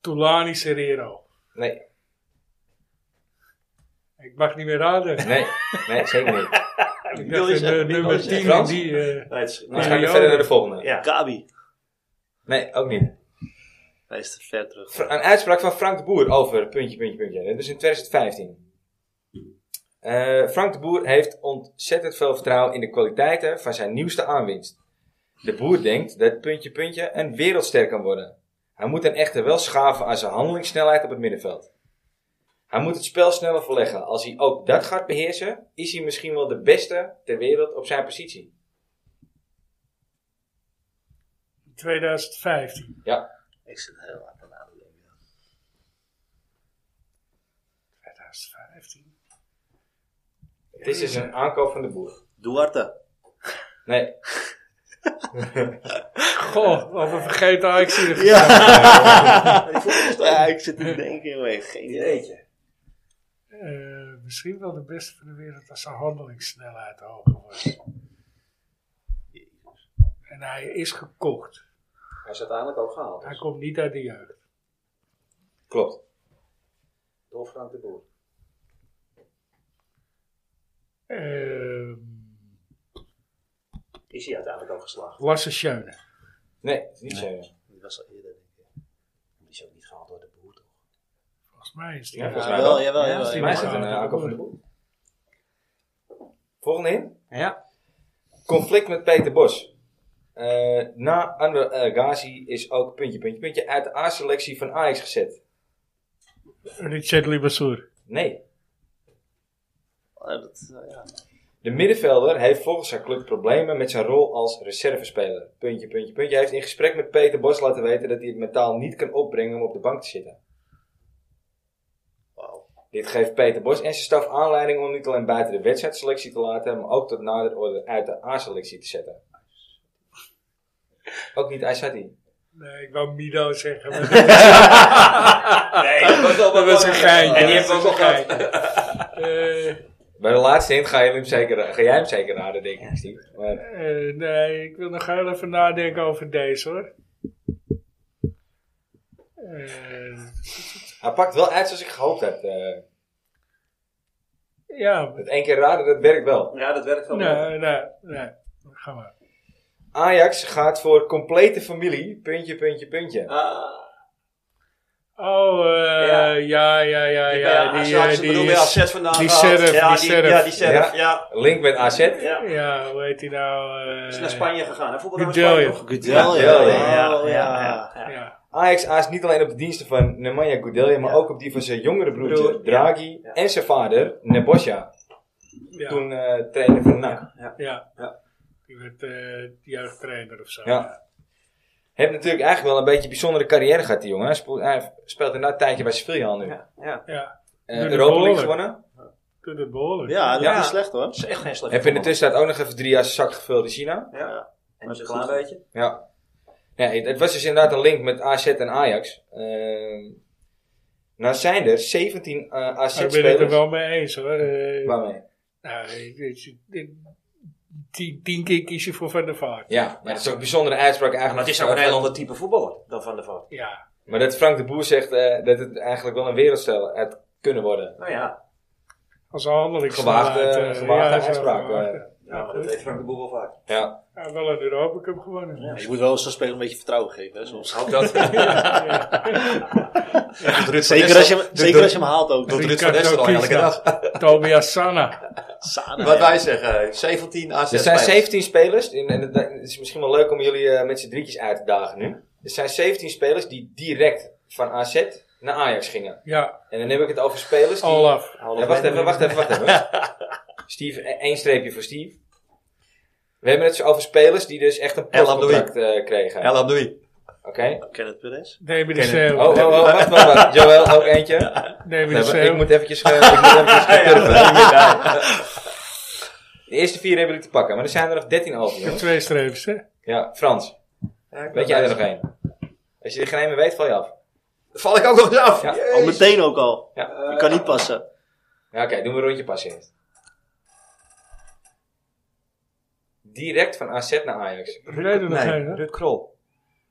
B: Tulani Serrero.
A: Nee,
B: Ik mag niet meer
A: (laughs)
B: raden.
A: nee, nee, zeker
B: (laughs)
A: niet.
B: Ik
E: Wil
B: dacht
E: je
B: een,
E: zeggen,
B: eh, nummer
E: Nicolas?
B: 10 en
A: Frans?
B: die... eh,
E: Nee, het is-
A: Dan gaan we
B: Ja.
A: verder naar de volgende.
E: Ja.
C: Gabi.
A: Nee, ook niet.
C: Hij is te ver terug.
A: Fra- Een uitspraak van Frank de Boer over puntje, puntje, puntje. Dat is in 2015. Eh, Frank de Boer heeft ontzettend veel vertrouwen in de kwaliteiten van zijn nieuwste aanwinst. De Boer denkt dat puntje, puntje een wereldster kan worden. Hij moet dan echter wel schaven aan zijn handelingssnelheid op het middenveld. Hij moet het spel sneller verleggen. Als hij ook dat gaat beheersen, is hij misschien wel de beste ter wereld op zijn positie.
B: 2015.
A: Ja,
C: Ik zit heel hard aan het denken.
B: 2015.
A: het is dus een aankoop van de Boer.
C: Duarte.
A: Nee,
B: Goh, wat een vergeten actie. er
C: Ja. (laughs) ja, ik zit te denken, joh. Geen idee.
E: Jeetje.
B: Eh, misschien wel de beste van de wereld als zijn handelingssnelheid hoger wordt. En hij is gekocht.
E: Hij is uiteindelijk ook gehaald.
B: Hij
E: Dus.
B: komt niet uit de jeugd.
A: klopt.
E: Door Frank de Boer.
B: Ehm
E: Is hij uiteindelijk ook geslaagd.
B: Lasse Schöne.
A: Nee, het is niet zo.
C: Die was al eerder, denk ik.
E: Die is ook niet gehaald door de Boer. toch?
B: Volgens mij is die.
A: Ja, volgens mij
C: Jawel,
A: wel.
C: jawel,
B: Ja,
A: Volgens
C: jawel.
A: mij
B: maar-
A: is het een eh, aankoop van de boel. Volgende in.
E: Ja.
A: Conflict met Peter Bos. Eh, na Ander eh, Ghazi is ook puntje, puntje, puntje uit de A-selectie van Ajax gezet.
B: Richard Libasseur.
A: Nee.
C: Ja, dat, eh, ja.
A: De middenvelder heeft volgens zijn club problemen met zijn rol als reservespeler. Puntje, puntje, puntje. Hij heeft in gesprek met Peter Bos laten weten dat hij het mentaal niet kan opbrengen om op de bank te zitten.
C: Wauw.
A: Dit geeft Peter Bos en zijn staf aanleiding om niet alleen buiten de wedstrijdselectie te laten, maar ook tot nader orde uit de A-selectie te zetten. Ook niet Aysati.
B: Nee, ik wou Mido zeggen. maar-
E: Nee, dat was wel
B: Dat was een geintje.
E: En die
B: dat
E: hebben we
B: was
E: ook
B: een
E: gehad.
B: geintje. Eh,
A: Bij de laatste hint ga, je hem zeker, ga jij hem zeker raden, denk ik, Steve. Maar
B: eh, nee, ik wil nog heel even nadenken over deze hoor. Eh,
A: hij pakt wel uit zoals ik gehoopt had. eh.
B: ja,
A: het één keer raden, dat werkt wel.
E: Ja, dat werkt wel.
B: nee, nee, nee. Ga maar.
A: Ajax gaat voor complete familie, puntje, puntje, puntje.
E: Ah,
B: Oh, eh,
E: Ja.
B: ja, ja, ja,
E: Die,
B: ja. Die,
E: die,
B: eh,
E: die,
B: die
E: bij
B: is-
E: AZ vandaag
B: die
E: gehad.
B: Serf,
E: ja,
B: die Serf.
E: Ja, die Serf,
A: Ja.
E: ja.
A: Link met AZ.
E: ja.
B: Ja, hoe heet die nou? eh,
E: Is naar Spanje gegaan. hè? Voetbal naar Spanje.
B: Gudelje.
E: toch?
C: Gudel,
A: ja,
C: ja.
A: ja,
E: ja,
C: Oh,
E: ja,
C: ja.
B: Ja.
A: Ajax aast niet alleen op de diensten van Nemanja Goudelje, maar
E: Ja.
A: ook op die van zijn jongere broertje
E: Broer, ja.
A: Draghi
E: Ja.
A: en zijn vader Nebosja,
B: Ja.
A: toen eh, trainer van NAC.
B: ja.
E: Ja.
B: Die werd eh jeugdtrainer of zo.
A: Ja. Heeft natuurlijk eigenlijk wel een beetje een bijzondere carrière gehad, die jongen. Hij speelt, hij speelt inderdaad een tijdje bij Sevilla al nu.
E: Ja, ja.
B: ja.
A: Eh,
B: Doet het
A: Europa League
B: behoorlijk.
A: gewonnen.
B: Doet het behoorlijk.
C: Ja, dat
E: Ja.
C: is slecht hoor.
E: Dat is echt geen slecht.
A: Heb in de tussentijd ook nog even drie jaar zijn zak gevuld in China.
E: Ja. En
C: Maar
E: een
C: het
E: klein
C: goed.
E: beetje.
A: Ja. ja het, het was dus inderdaad een link met AZ en Ajax. Ehm nou zijn er 17 eh,
B: Maar ik ben het er
A: AZ-spelers.
B: wel mee eens hoor. Eh,
A: Waarmee?
B: nou, ik- ik- ik- tien, tien keer kies je voor Van der Vaart.
A: Ja, maar dat is ook een bijzondere uitspraak
E: Maar
A: eigenlijk.
E: het is ook een heel ander type voetballer dan Van der Vaart.
B: Ja.
A: Maar dat Frank de Boer zegt eh, dat het eigenlijk wel een wereldstel had kunnen worden.
E: Nou ja.
B: Als handeling.
A: Gewaagde,
B: eh,
A: gewaagde uitspraak. eh.
E: Ja, maar dat deed Frank de Boer wel vaak.
A: ja.
B: Ja, wel een Europa Cup gewonnen.
C: Ja, je moet wel zo'n speler een beetje vertrouwen geven. Hè, soms.
E: Ook (laughs) dat.
C: Zeker, als je, hem- zeker als je hem haalt ook.
E: Doet
B: Die
E: Ruud van
B: kan het
E: Nistelrooy
B: ook
E: elke dag. (laughs)
B: Tobias Sanna.
C: Sana,
G: Wat
C: ja.
G: wij zeggen, 17 A6
A: Er zijn 17 spelers, in- en het het is misschien wel leuk om jullie eh, met z'n drietjes uit te dagen nu. Er zijn 17 spelers die direct van AZ naar Ajax gingen.
B: Ja,
A: En dan heb ik het over spelers die...
B: Olaf.
A: Ja, wacht even, wacht even, wacht
E: (laughs)
A: even. Steve, eh, één streepje voor Steve. We hebben het dus over spelers die dus echt een
G: El
A: postcontract eh, kregen.
G: El Abdoui.
A: Oké.
C: Kenneth Perez.
B: Neem die
A: Oh, oh,
B: zeeuw.
A: oh, wacht, wacht, wacht. Joël, ook eentje.
B: Neem die
A: Nee, maar ik
B: zeeuw.
A: moet eventjes, eh, ik moet
E: (laughs)
A: eventjes gaan turven. De eerste vier hebben jullie te pakken, maar er zijn er nog 13 over,
B: Ik heb
A: jongens.
B: twee streepjes, hè?
A: Ja, Frans. Weet jij er nog één? Als je er geen één meer weet, val je af.
G: Val ik ook nog eens af?
A: Ja,
G: Jezus.
C: Al meteen ook al.
A: Ja.
C: Je kan niet passen.
A: Ja, oké, doen we een rondje passen eerst. Direct van AZ naar Ajax.
B: Ik weet er nog
E: Nee,
B: geen, hè?
E: Ruud Krol.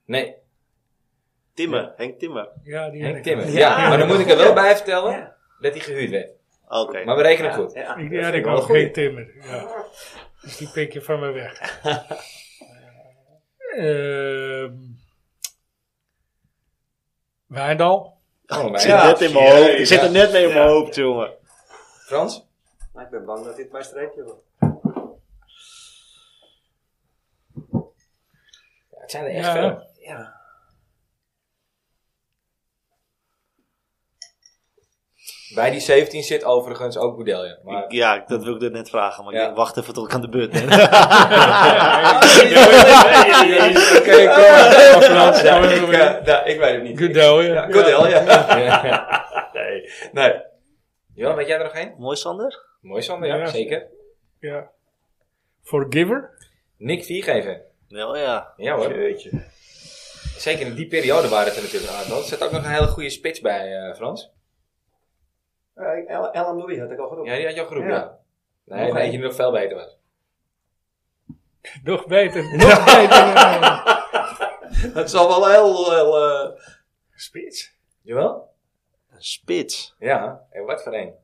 A: Nee,
C: Timmer, Henk Timmer.
B: Ja, die
A: Henk
B: had ik
A: Timmer.
B: al.
A: Ja, maar dan moet ik er wel bij vertellen
E: Ja.
A: dat hij gehuurd werd.
C: Ah, Oké.
A: Maar we rekenen het goed.
E: Ja.
B: Ik- Die had ik
A: wel
B: al,
A: een
B: geen Timmer. Ja. Dus die pik je van
A: (laughs)
B: me weg. Ehm Wijndal.
A: Oh,
C: Ik
A: mijn.
C: zit
E: Ja,
C: net in mijn
E: jee,
C: hoofd. Ik zit er net mee in mijn
E: Ja.
C: hoofd, jongen.
A: Frans?
E: Maar Nou, ik ben bang dat dit mijn streepje wordt.
A: Ja, het zijn er echt
B: Ja.
A: veel.
E: Ja.
A: Bij die 17 zit overigens ook Boudelje. Maar...
C: Ja, dat wil ik er net vragen. Maar
A: Ja.
C: ik denk, wacht even tot ik aan de beurt ben.
A: Ah,
G: (laughs)
A: Oké, kom.
B: Van Frans,
G: Ja,
B: van
G: ik,
B: Ruud.
G: eh, nou, ik weet het niet.
B: Goodell,
G: Ja,
B: ja.
G: Goodell, ja.
A: Ja.
G: (laughs) Nee, nee.
A: Johan, weet jij er nog één?
C: Mooi, Sander.
A: Mooi, Sander, ja,
B: Ja.
A: zeker.
B: ja. Forgiver.
A: Nick Viergever.
C: Nou ja.
A: Ja hoor.
G: Jeetje.
A: Zeker in die periode waren het er natuurlijk een aantal. Er zit ook nog een hele goede spits bij, eh, Frans.
E: Eh, El El Amdoui had ik al genoemd.
A: Ja, die had jouw groep, ja.
E: Ja.
A: Nee,
E: Nog
A: nee,
E: één.
A: die nog veel beter was.
B: Nog beter. Nog beter. eh,
G: Het zal wel heel... heel eh,
B: Spits.
A: Jawel?
C: Een Spits.
A: Ja, en wat voor één.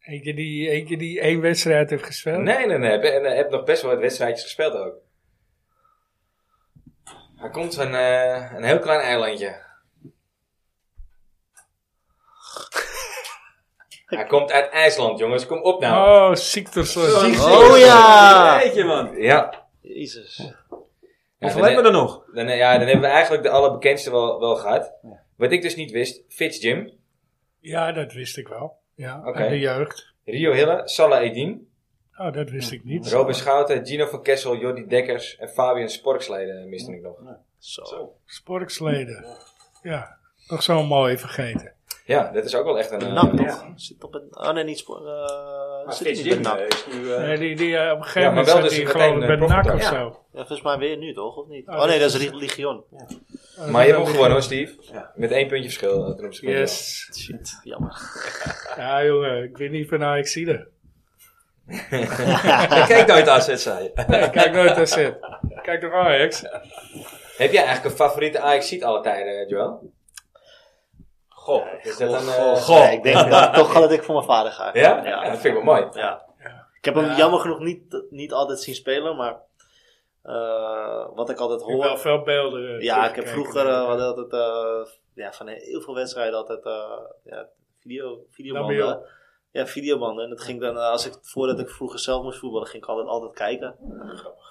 B: Eentje die, eentje die één wedstrijd heeft gespeeld.
A: Nee, nee, nee. Be- En eh, heb nog best wel wat wedstrijdjes gespeeld ook. Hij komt van eh, een heel klein eilandje. Hij komt uit IJsland, jongens. Kom op nou.
B: Oh, Siktersson.
C: Oh ja.
E: Jeetje man.
A: Ja.
C: Jezus.
A: Ja,
E: Hoeveel hebben we er nog?
A: Dan, eh, ja, dan hebben we eigenlijk de allerbekendste wel, wel gehad. Wat ik dus niet wist, Fitz Jim,
B: Ja, dat wist ik wel. Ja,
A: Oké.
B: uit de jeugd.
A: Rio Hille, Salah Edin,
B: Oh, dat wist ik niet.
A: Robin Schouten, Gino van Kessel, Jordi Dekkers en Fabian Sporksleden miste ik nog.
C: Zo.
B: Sporksleden. Ja, nog zo'n mooi vergeten.
A: Ja, dat is ook wel echt een... eh,
C: Nou, toch? Zit op een... Oh nee, niet spoor. eh zit hij niet bij
E: Jim,
C: NAC?
E: eh, is nu... eh,
B: Nee, die, die, eh, op een gegeven
A: Ja, maar
B: moment
A: wel
B: zat
A: dus
B: hij
A: meteen,
B: gewoon
A: eh,
B: bij NAC
A: profcontract. Ja.
B: of zo.
C: Ja, volgens mij weer nu, toch? Of niet?
B: Oh,
C: Oh nee,
B: dat
C: dat is Lig- Legion.
A: Maar je hebt hem gewonnen hoor, Steve.
E: Ja.
A: Met één puntje verschil. eh, ten opzichte van jou.
B: Yes.
C: Shit, jammer.
B: Ja, jongen, ik weet niet van ajax Ik
E: Ik kijk nooit AZ, zei je.
B: kijk nooit naar zit. Kijk naar Ajax.
A: Heb jij eigenlijk een favoriete Ajax-seat alle tijden, eh, Joel?
E: Goh.
A: Is dat dan... eh,
C: Nee, ik denk dat, (laughs) toch dat ik voor mijn vader ga.
A: Ja?
C: Ja.
A: Dat vind ik wel mooi.
C: Ja. Ik heb hem jammer genoeg niet, niet altijd zien spelen, maar eh, eh, wat ik altijd
B: Ik heb
C: hoor.
B: wel veel beelden. eh,
C: Ja, ik heb
B: teruggekeken.
C: vroeger eh, we hadden altijd eh, ja, van heel veel wedstrijden altijd eh, ja, video,
B: Labiel.
C: videobanden. Ja, videobanden. En dat ging dan, eh, als ik, voordat ik vroeger zelf moest voetballen, ging ik altijd, altijd kijken.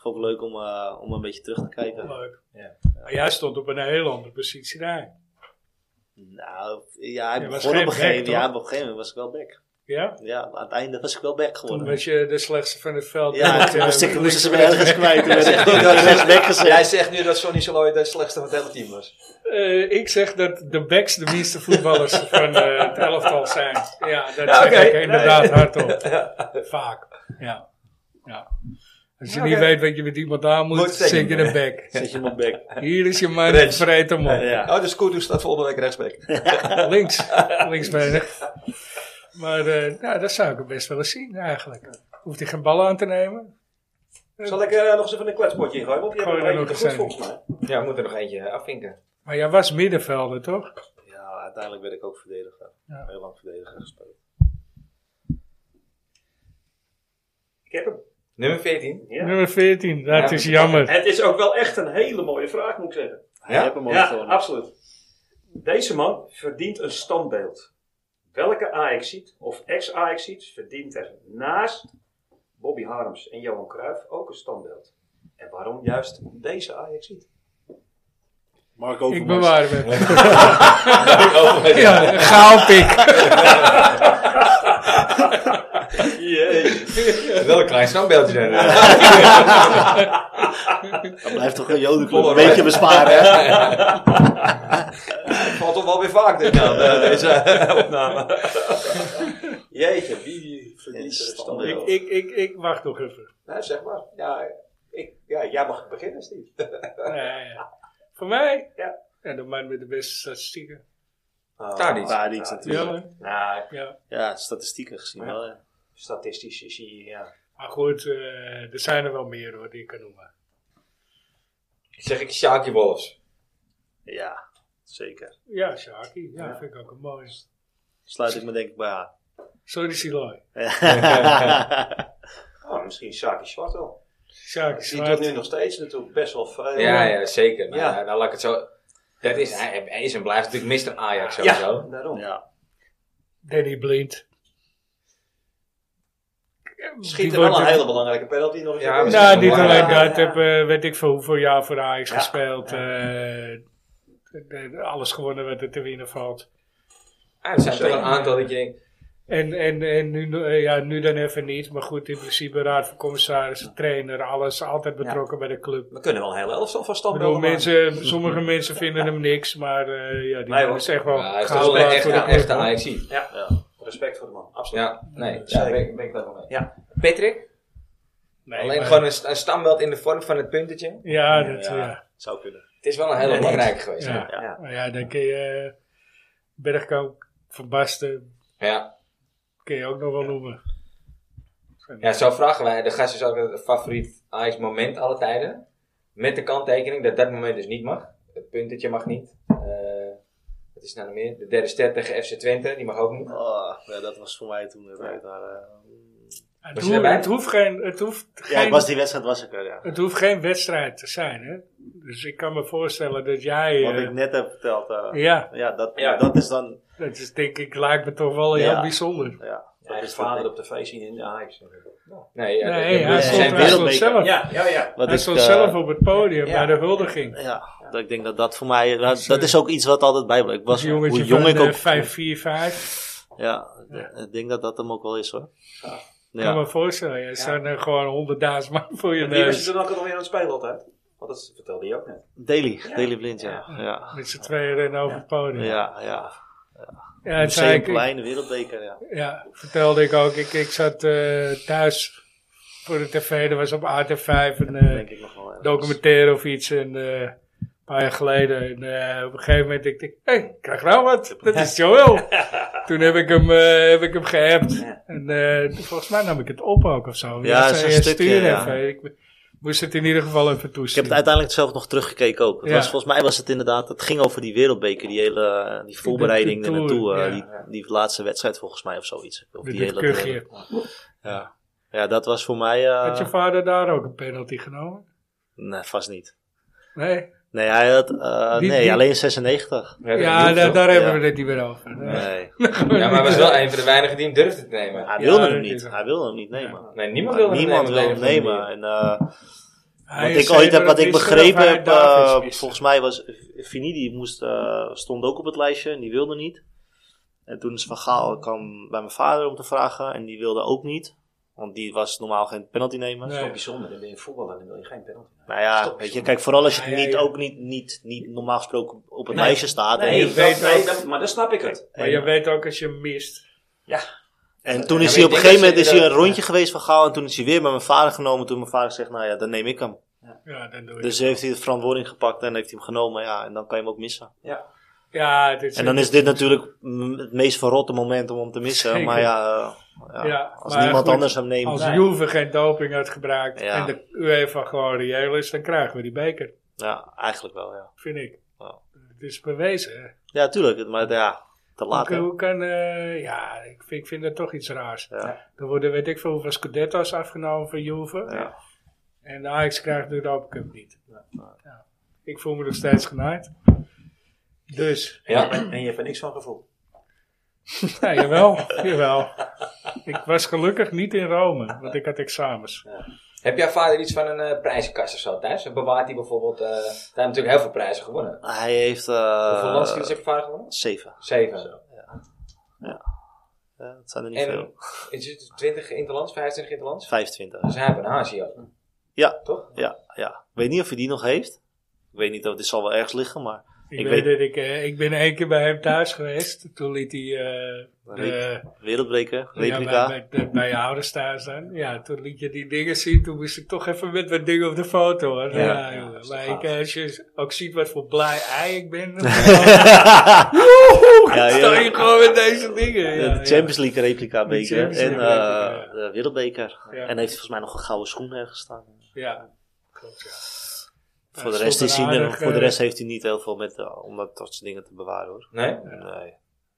C: Vond ik leuk om, eh, om een beetje terug te kijken.
B: Leuk.
A: Ja.
B: Maar jij stond op een heel andere positie daar.
C: Nou, ja, ik
B: Je was
C: begon op
B: geen
C: een gegeven
B: back,
C: moment. Ja,
B: toch?
C: op een gegeven moment was ik wel back.
B: Ja?
C: Ja, aan het einde was ik wel back
B: Toen
C: geworden.
B: was je de slechtste van het veld.
C: Ja,
B: Want,
C: toen
B: eh,
C: moest ik,
B: toen
C: moesten ze
B: ik
C: me
B: werd-
C: ergens kwijt. (laughs) Toen werd ik toen werd ik
E: Jij
C: weggezet.
E: zegt nu dat Sonny Saloy de slechtste van het hele team was.
B: Eh, ik zeg dat de backs de minste
E: (laughs)
B: voetballers van eh, het elftal zijn. Ja, dat
E: Ja,
B: zeg
E: oké.
B: ik inderdaad
E: Nee. (laughs)
B: hardop. Vaak. Ja. ja. Als je
E: Ja,
B: niet
E: oké.
B: weet wat je met iemand aan moet,
E: Moet
B: zit je
E: zeggen.
B: in een back.
C: Zet je hem op back.
B: Hier is je man,
E: Rens.
B: vreet hem op.
C: Ja.
E: Oh, dus Kudu staat volgende week
D: (laughs)
E: rechtsback. (laughs)
B: Links. Linksbenig. Maar eh, nou, dat zou ik hem best wel eens zien eigenlijk. Hoeft hij geen ballen aan te nemen?
E: Zal ik eh, nog eens even een kletspotje ingooien? Want die
B: Gooi
E: hebben we
B: er
E: een
B: nog
E: beetje goed
B: eens een.
E: volgens mij.
A: Ja, we moeten er nog eentje eh, afvinken.
B: Maar jij was middenvelder, toch?
C: Ja, uiteindelijk werd ik ook verdediger.
B: Ja.
C: Heel lang verdediger gespeeld.
D: Ik heb hem.
A: Nummer
E: (laughs)
A: 14.
D: Ja.
B: Nummer 14. Dat
A: Ja.
B: is jammer.
D: Het is ook wel echt een hele mooie vraag, moet ik zeggen.
C: Hij heeft hem ook
D: Ja,
C: gewonnen.
D: absoluut. Deze man verdient een standbeeld. Welke Ajaxiet of ex-Ajaxiet verdient er naast Bobby Harms en Johan Cruijff ook een standbeeld? En waarom juist deze Ajaxiet?
C: Mark
B: Ik
C: Overmars.
B: bewaar hem.
A: Oh,
B: ja, een gaal pik.
A: Wel een klein standbeeldje zijn. eh.
C: Dat blijft toch een jodenclub een (laughs) beetje besparen. hè?
E: Valt toch wel weer vaak dit naam, eh, deze
A: (laughs)
E: opname. Jeetje, wie verdient er een
B: Ik,
E: standbeeld?
B: ik, ik, ik wacht nog even.
E: Nou, zeg maar. Ja, ik, ja, jij mag beginnen, Steve.
B: Nee, ja. Eh, Voor mij?
E: Ja.
B: En de man met de beste statistieken.
E: Ah.
A: Tadic.
C: Waar iets natuurlijk.
B: Ja, hè?
D: Nou,
B: ja.
C: Ja, statistieken gezien wel. ja.
D: statistisch zie je, ja.
B: Maar goed, eh, er zijn er wel meer hoor, die ik kan noemen.
A: (laughs) Zeg ik Sjaakje Wolfs.
C: Ja, zeker.
B: Ja, Shaki. Ja, vind ik ook een mooie.
C: Sluit ik me denk ik (laughs) bij aan.
B: Sorry, Siloy.
E: Oh, misschien Saki Zwart wel.
B: Shaki
E: Die doet nu
B: Zwart.
E: nog steeds natuurlijk best wel veel.
A: Ja, ja, zeker. Maar,
E: Ja.
A: eh, nou, laat ik het zo... Dat is, hij hij is en blijft natuurlijk Mr. Ajax
E: Ja,
A: sowieso.
E: daarom.
C: ja.
B: Danny Blind.
E: Schiet
B: Die
E: er wel
B: wordt-
E: een hele belangrijke penalty nog eens.
A: Ja,
E: op.
B: Nou,
A: Misschien
B: niet
A: wel
B: alleen
A: belangrijk.
B: dat. Heb, eh, weet ik veel hoeveel jaar voor de Ajax
E: Ja,
B: gespeeld. eh, eh, alles gewonnen wat er te winnen valt.
A: Ah, er zijn toch een aantal dat je denkt...
B: En, en, en nu, eh, ja, nu dan even niet. Maar goed, in principe raad van commissarissen, trainer, alles. Altijd betrokken bij de club.
E: We kunnen wel een hele elftal
B: Ik bedoel,
E: van standbeelden maken.
B: mensen, sommige mensen vinden hem niks. Maar eh, ja, die
E: Nee,
B: man
E: hoor.
B: is echt wel
A: Ja, hij is
B: goud
A: toch wel
B: waard
A: een echte,
B: voor de club,
A: echte
B: hoor.
A: Ajax.
E: Respect voor de man, absoluut.
A: Ja, nee. Ja,
E: Zeker.
A: ben, ik- ben ik daar wel mee.
E: Ja.
A: Patrick?
B: Nee,
A: alleen
B: maar-
A: gewoon een, sta- een standbeeld in de vorm van het puntetje.
B: Ja, dat,
C: Ja.
B: ja.
C: Zou kunnen.
A: Het is wel een hele
E: Nee.
A: belangrijke geweest.
B: Ja.
A: Ja.
B: Maar Ja. dan kun je eh, Bergkamp, Van Basten,
A: Ja.
B: kun je ook nog wel noemen.
A: ja, zo vragen wij. De gast is ook het favoriet Ajax moment alle tijden. Met de kanttekening dat dat moment dus niet mag. Het puntetje mag niet. Eh wat is nou nog meer? De derde ster tegen FC Twente, die mag ook niet.
C: Oh, ja, dat was voor mij toen de tijd. Maar, eh,
B: Het,
A: Was je
B: hoeft-
A: daarbij?
B: het hoeft geen, het hoeft
C: ja,
B: geen,
C: ik was die wedstrijd was ik er, ja.
B: het hoeft geen wedstrijd te zijn. Hè? Dus ik kan me voorstellen dat jij...
C: Wat
B: eh,
C: ik net heb verteld. eh,
B: ja,
C: ja, dat,
E: Ja.
C: dat is dan...
B: dat is denk ik, lijkt me toch wel heel
C: Ja.
B: bijzonder.
C: Ja,
E: Ja,
C: dat
E: je
C: is vader
E: vader op tv zien in de Ajax.
A: Nee, ja,
B: Nee,
A: dat-
B: hij
A: dat-
C: ja,
A: zijn
B: stond,
C: ja.
B: hij
A: wel-
B: stond
C: wereldbeker.
B: zelf,
E: Ja, ja, ja.
C: Wat
B: hij
C: is
B: stond
C: eh,
B: zelf op het podium
E: ja.
B: bij de huldiging.
C: Ja, dat ik denk dat dat voor mij... eh, Dat, dat
B: eh,
C: is ook iets wat altijd bijblijft. Ik was,
B: Als
C: hoe
B: jongetje
C: jong
B: van
C: ik
B: eh,
C: ook...
B: 545.
C: Ja, ik denk dat dat hem ook wel is hoor.
B: Ik kan
C: Ja,
B: me voorstellen, jij staan er gewoon honderdduizend man voor je
E: Die was
B: neus.
E: er dan ook alweer aan het spelen altijd. Want eh, Oh, dat vertelde hij ook net.
C: Daily. Daily Blind, ja. Ja,
B: Met z'n tweeën rennen over het podium.
C: ja, ja.
B: Ja, het zei ik- ik,
C: Museumplein, de wereldbeker, ja.
B: Ja, vertelde ik ook. Ik, ik zat eh, thuis voor de tv. Er was op AT5 een eh,
C: Denk ik nog wel. ja.
B: documentaire of iets. En, eh, een paar jaar geleden. En eh, op een gegeven moment dacht ik, hé, ik krijg nou wat. Dat is
C: (laughs)
B: Joel. Toen heb ik hem, eh, heb ik hem geappt. En eh, volgens mij nam ik het op ook of zo.
C: Ja,
B: Dat
C: is
B: zei,
C: een
B: eh,
C: stukje,
B: stuur
C: ja.
B: even. Ik moest het in ieder geval even
C: Ik heb
B: toesturen.
C: het uiteindelijk zelf nog teruggekeken ook. Het
B: Ja.
C: was, volgens mij was het inderdaad, het ging over die wereldbeker, die hele eh, die voorbereiding
B: de
C: er naartoe.
B: tour,
C: eh,
B: ja.
C: die, die laatste wedstrijd volgens mij of zoiets. Of
B: Met
C: die
B: dit
C: hele
B: kuchje.
C: Ja. ja, dat was voor mij. eh,
B: Had je vader daar ook een penalty genomen?
C: Nee, vast niet.
B: Nee?
C: Nee, hij had, eh,
B: Wie-
C: nee
B: wie-
C: alleen 96.
A: We hebben
B: Ja,
A: het niet,
B: daar,
A: toch?
B: daar hebben
C: Ja.
B: we het niet meer over.
C: Nee.
A: ja, maar hij was wel een van de weinigen die hem durfde te nemen.
C: Hij wilde
B: Ja,
C: hem
B: dat
C: niet.
B: is-
C: Hij wilde hem niet nemen.
A: Nee, niemand wilde hem
C: Niemand
A: nemen.
C: wilde
A: op
C: hem
A: de een of andere
C: nemen. En,
B: (laughs)
C: eh,
B: Hij
C: wat
B: is
C: ik, ooit heb, wat ik
B: zeker
C: begrepen
B: dat
C: heb,
B: hij Davids
C: eh,
B: miste.
C: volgens mij was Finidi moest, eh, stond ook op het lijstje en die wilde niet. En toen is Van Gaal kwam bij mijn vader om te vragen en die wilde ook niet. Want die was normaal geen penalty nemen.
B: Nee.
E: is toch bijzonder. Dan ben je voetballer en dan wil je geen penalty.
C: Nou ja,
E: Stop.
C: weet je, kijk, vooral als je
B: Ja, ja,
C: niet,
B: ja.
C: ook niet, niet, niet normaal gesproken op het
E: Nee.
C: lijstje staat.
E: Nee,
C: En,
B: je
E: dat-
B: weet
E: nee,
B: ook-
E: dat- maar dan snap ik het.
B: Maar je weet ook als je hem mist.
C: en toen
A: Ja, maar
C: is hij
A: ik
C: op een
A: denk
C: gegeven
A: dat
C: moment is
A: je
C: hij een
A: dat-
C: rondje geweest van Gaal en toen is hij weer bij mijn vader genomen. Toen mijn vader zegt, nou ja, dan neem ik hem.
B: Ja, dan doe je
C: Dus
B: het.
C: heeft hij de verantwoording gepakt en heeft hij hem genomen. Ja, en dan kan je hem ook missen.
B: Ja, dit is
C: En dan is dit natuurlijk mm, het meest verrotte moment om hem te missen.
B: Zeker.
C: Maar ja, eh, ja,
B: Ja,
C: als
B: maar
C: niemand
B: goed,
C: anders hem neemt.
B: Als Juve geen doping had gebruikt
C: Ja.
B: en de UEFA gewoon reëel is, dan krijgen we die beker,
C: Ja, eigenlijk wel, ja.
B: vind ik.
C: Ja.
B: Het is bewezen. hè.
C: Ja, tuurlijk. Maar ja, te
B: Hoe
C: laat.
B: kan,
C: hè.
B: hoe kan eh, ja, ik vind, ik vind dat toch iets raars.
C: Ja.
B: Er worden, weet ik veel, hoeveel scudetto's afgenomen van Juve.
C: Ja.
B: En de Ajax krijgt de Europa Cup niet. Ja. Ik voel me nog steeds genaaid. Dus,
A: Ja.
E: En je hebt er niks van gevoeld.
B: ja, jawel, (laughs) jawel. Ik was gelukkig niet in Rome, want ik had examens.
A: Heb jouw vader iets van een eh, prijzenkast of zo thuis? Bewaart hij bijvoorbeeld... eh hij heeft natuurlijk heel veel prijzen gewonnen.
C: Hij heeft... eh,
A: Hoeveel landskiezen heb je vader gewonnen?
C: Zeven.
A: Zeven.
C: Ja, het zijn er niet
A: En
C: veel.
A: is het 20 interlands, 25 interlands?
C: 25.
A: Dus hij heeft een haasje ook.
C: Ja.
A: Toch?
C: Ja, ja. Ik weet niet of hij die nog heeft. Ik weet niet of dit zal wel ergens liggen, maar
B: Ik,
C: Ik
B: weet,
C: weet-
B: dat ik, eh, ik ben één keer bij hem thuis geweest. Toen liet hij eh, de,
C: wereldbeker,
B: ja,
C: replica. (laughs)
B: bij, bij, de- bij je ouders thuis dan. Ja, toen liet je die dingen zien. Toen moest ik toch even met wat dingen op de foto. Hoor. Ja, jongen. maar ik, eh, als je ook ziet wat voor blij ei ik
C: (laughs)
B: ben. dan
C: ja,
B: sta
C: ja.
B: je gewoon met deze dingen.
C: De
B: Ja, ja.
C: Champions League replica
B: De
C: beker
B: Champions
C: en
B: League
C: eh,
B: replica,
C: de wereldbeker.
B: Ja.
C: En hij heeft volgens mij nog een gouden schoen ergens staan.
B: Ja, klopt ja.
C: voor, de
B: stond
C: rest
B: een
C: is hij, er-
B: aardig,
C: voor de
B: eh,
C: rest heeft hij niet heel veel met, eh, om dat soort dingen te bewaren hoor.
A: Nee?
C: Nee.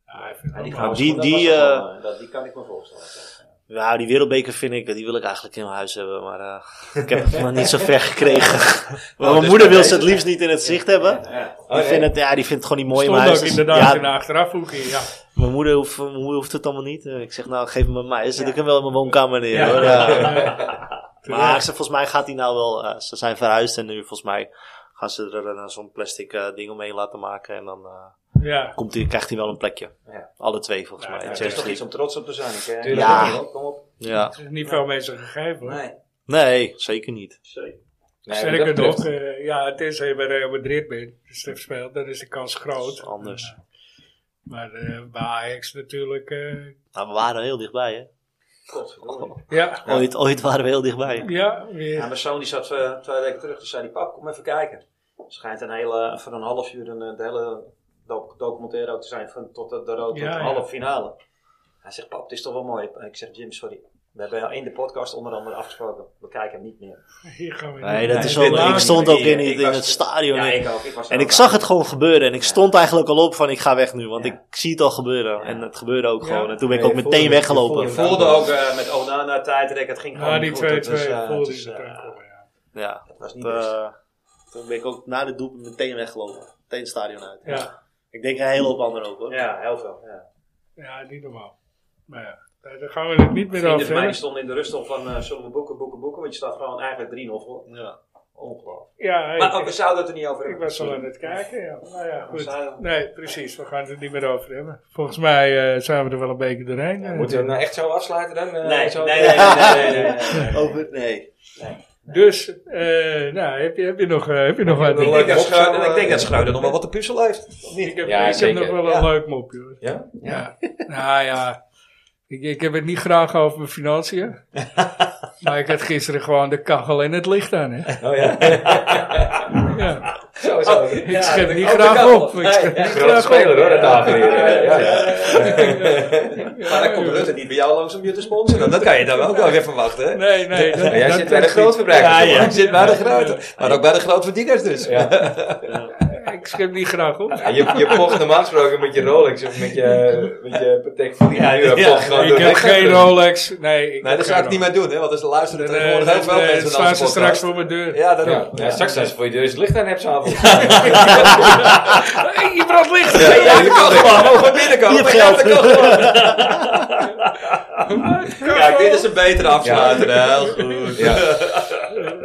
B: Ja, hij vindt
E: Ja,
B: het
E: die
B: ook
E: gouden
B: wel-
C: die-
E: schoen, dat
C: die,
E: was het
C: eh,
E: wel, eh, dat- Die kan ik me voorstellen.
C: Nou, die wereldbeker vind ik, die wil ik eigenlijk in mijn huis hebben, maar eh, ik heb het nog niet zo ver gekregen. (laughs) Maar mijn
E: dus
C: moeder
E: bij
C: wil ze het
E: deze-
C: liefst niet in het zicht hebben.
E: Ja.
A: Oh,
C: Die
A: nee.
C: vindt het, ja, die vindt het gewoon niet mooi in mijn
B: Stond
C: huis.
B: ook
C: Dus-
B: inderdaad
C: ja,
B: in de achterafhoekje. Ja.
C: Mijn moeder hoeft, mijn moeder hoeft het allemaal niet. Eh, Ik zeg, nou, geef hem aan mij. Zet ik hem wel in mijn woonkamer neer, hoor. Ja. Maar ze, volgens mij gaat hij nou wel... eh, ze zijn verhuisd en nu volgens mij gaan ze er eh, zo'n plastic eh, ding omheen laten maken. En dan eh,
B: ja.
C: komt hij, krijgt hij wel een plekje.
E: Ja.
C: Alle twee, volgens
B: Ja,
C: mij.
B: ja,
C: in
E: Het
B: dat
C: Champions
E: is toch iets
C: League.
E: om trots op te zijn. Ik, eh,
A: Tuurlijk.
C: Ja.
E: kom op, Kom op.
C: Ja.
B: Er is niet veel mensen gegeven hoor.
E: Nee.
C: Nee, zeker niet.
E: Zeker.
A: Nee,
B: Sterker
A: dat betreft-
B: nog, eh, ja, tenzij je bij Real Madrid bent, dus dat speelt, dan is de kans
C: Dat is
B: groot.
C: anders.
B: Maar eh, bij Ajax natuurlijk, eh,
C: Nou, we waren heel dichtbij, hè.
E: Godverdomme.
B: ja,
C: Ooit, ooit waren we heel dichtbij.
B: ja,
E: Ja,
B: weer.
E: mijn zoon die zat eh, twee weken terug. Toen zei die pap, kom even kijken. Schijnt een hele, van een half uur een, eh, de hele doc- documentaire ook te zijn. Van, tot de, de, rood- tot
B: Ja,
E: de
B: ja.
E: halve finale. Hij zegt, pap, het is toch wel mooi. Ik zeg, Jim, sorry. We hebben in de podcast onder andere afgesproken. We kijken hem niet meer.
B: Hier gaan we
C: Nee,
B: niet.
C: dat is
E: Nee,
C: wel...
E: dit
C: Ik
E: was-
C: stond ook in,
E: ik
C: het- in
E: was-
C: het stadion.
E: Ja,
C: en-
E: ik ook. Ik was
C: En
E: er
C: ik
E: ook
C: zag
E: bij.
C: het gewoon gebeuren. En ik
E: Ja.
C: stond eigenlijk al op van ik ga weg nu. Want
E: Ja.
C: ik zie het al gebeuren. En het gebeurde ook
B: Ja.
C: gewoon. En toen ben ik
A: Nee,
C: ook
A: je
C: meteen
A: voelde- je voelde
C: weggelopen.
E: Ik voelde ook eh, met Onana tijdrek. Het ging gewoon
B: Ja, Ah, die
E: niet
B: 2-2
E: goed. Het was, eh, het
B: voelde
E: is,
B: ik het
E: eh,
B: ook wel, ja.
C: Ja.
E: Het was niet
C: Dat,
E: best.
C: eh, toen ben ik ook na de doelpunt meteen weggelopen. Meteen het stadion uit.
B: ja.
C: Ik denk een hele hoop anderen ook hoor.
E: Ja, heel veel. Ja.
B: Ja, niet normaal. Maar ja, daar gaan we het niet meer
E: Vrienden
B: over
E: van mij die
B: hebben.
E: stonden in de rust al van eh, zullen we boeken, boeken, boeken. Want je staat gewoon eigenlijk 3-0 voor.
C: Ja.
E: Ongelooflijk.
B: Ja, ik,
E: Maar oh, we zouden het er niet over
B: ik
E: hebben.
B: was al aan het kijken, ja. Nou ja,
E: zijn
B: goed.
E: we-
B: Nee, precies, we gaan het er niet meer over hebben. Volgens mij eh, zijn we er wel een beetje doorheen. eh.
A: Moeten we hem nou echt zo afsluiten dan? Eh,
E: Nee,
A: zo-
E: nee, nee, nee,
B: (laughs)
E: nee, nee, nee, nee, nee.
C: Over, nee.
B: Dus, eh, nou, heb je, heb je nog, eh, heb je nog wat?
E: Ik denk dat Schreuder- Ik denk dat Schreuder nog wel wat te puzzelen heeft.
B: Ik heb,
A: Ja,
B: ik heb
A: zeker.
B: nog wel een leuk mopje hoor.
A: Ja?
B: Ja. Nou ja, ik, ik heb het niet graag over mijn
A: (laughs)
B: financiën. maar ik had gisteren gewoon de kachel en het licht aan. Hè?
A: Oh ja. (laughs)
B: Ja.
A: Zo zo.
E: Oh.
B: Ik schep niet
A: ook de
B: graag
A: kachel.
B: op. Ik schep niet
A: Grote
B: graag
A: speler
B: op.
A: hoor, dat avond hier. eh, Ja, ja.
E: Maar dan komt Rutte niet bij jou langs om je te sponsoren. Dat kan je dan ook wel weer verwachten. hè?
B: Nee, nee. Dat,
A: Maar jij
B: dat-
A: zit bij de
B: dat-
A: grootverbruikers.
E: Ja,
A: hoor.
E: ja. Zit bij de grote. Maar ook bij de grootverdieners dus.
A: Ja.
B: Ik schep niet graag op.
A: Ja, je, je pocht normaal gesproken met je Rolex of met je, met je Patek Philippe.
G: Ja,
A: Je
G: ja.
A: pocht gewoon
B: ik
A: door.
B: heb geen Rolex. Nee, ik
G: Nee, dat zou ik niet meer doen, hè, want er luisteren
B: Nee,
G: tegenwoordig
B: nee,
G: heel veel
B: nee,
G: mensen naar
B: staan
G: onze
B: ze straks
G: podcast.
B: voor mijn deur.
G: Ja, daarom.
A: Ja, ja, straks als je voor je deur is het licht aan hebt s'avonds.
B: Hey, je brandt licht.
G: Ja, ja, dat kan gewoon. Van
C: Hier
G: binnenkomen. Ja,
C: geldt.
G: dat kan gewoon.
B: Ah,
G: Kijk, dit is een betere afsluiter. Heel goed.
A: Ja.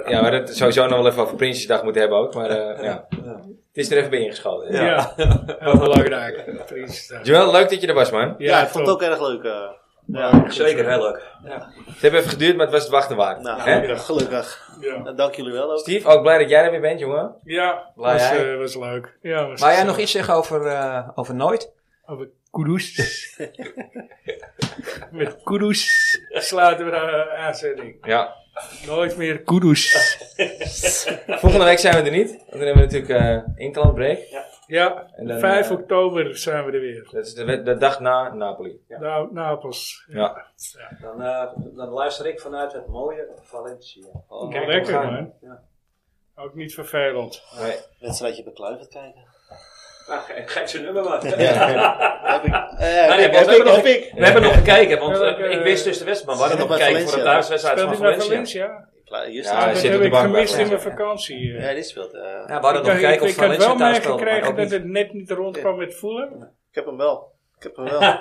A: ja, maar dat sowieso nog wel even over Prinsjesdag moeten hebben ook. Maar eh, ja. het is er even bij ingeschoten.
B: Ja, heel belangrijk. Prinsjesdag.
A: Joël, leuk dat je er was, man.
C: Ja, ik
B: top.
C: vond het ook erg leuk. eh. ja,
G: Zeker, heel leuk.
A: Het heeft even geduurd, maar het was het wachten waard.
C: nou,
A: Hè?
C: gelukkig. gelukkig.
B: Ja,
C: Nou, dank jullie wel ook.
A: Steve, ook blij dat jij er weer bent, jongen.
B: ja
A: Blij
B: was,
A: jij?
B: eh, was leuk. Ja, was
G: Wou jij nog iets zeggen over, eh, over nooit?
B: Over kudoes. Met kudoes sluiten we de eh, aanzending.
A: Ja.
B: Nooit meer kudoes.
A: Volgende week zijn we er niet. Want dan hebben we natuurlijk eh interlandbreak.
B: Ja,
A: En dan,
B: 5
A: eh,
B: oktober zijn we er weer.
A: Dat is de, wed- de dag na Napoli.
B: Nou, Napels.
A: Ja.
E: Dan, eh, dan luister ik vanuit het mooie Valencia.
A: Oh,
B: Wel lekker man. Ook niet vervelend.
A: Nee.
C: Wedstrijdje bekluiverd kijken.
E: Ah, ge- geef zijn nummer (laughs) maar.
C: Heb ik. eh,
E: (laughs) Nou,
C: heb
E: nee,
C: ik, heb
E: want we, hebben
C: ik,
E: nog,
C: heb ik.
E: we hebben nog gekeken, want
B: Welke,
E: eh, ik wist dus de wedstrijd, maar we hadden
C: Speelt
E: nog
C: hij bij
E: gekeken voor de
C: Valencia?
E: thuiswedstrijd
B: Speelt
E: van
B: hij naar
E: Valencia.
B: Valencia?
C: Kla- Hier
A: Ja,
C: staat
A: hij
B: Dat
A: zit
B: heb
A: op de
B: ik
A: bank
B: gemist
A: bij
B: in mijn
A: Valencia.
B: vakantie. eh.
C: Ja, dit speelt. eh,
G: Ja, we hadden
B: Ik,
G: nog
B: dacht, ik,
G: gekeken of
B: ik had
G: Valencia
B: wel
G: thuis speelde, maar
B: meegekregen
G: ook
B: dat
G: niet.
B: het net niet rondkwam met voelen.
C: ik heb hem wel. Ik heb hem
E: (laughs)
C: wel.
B: Dat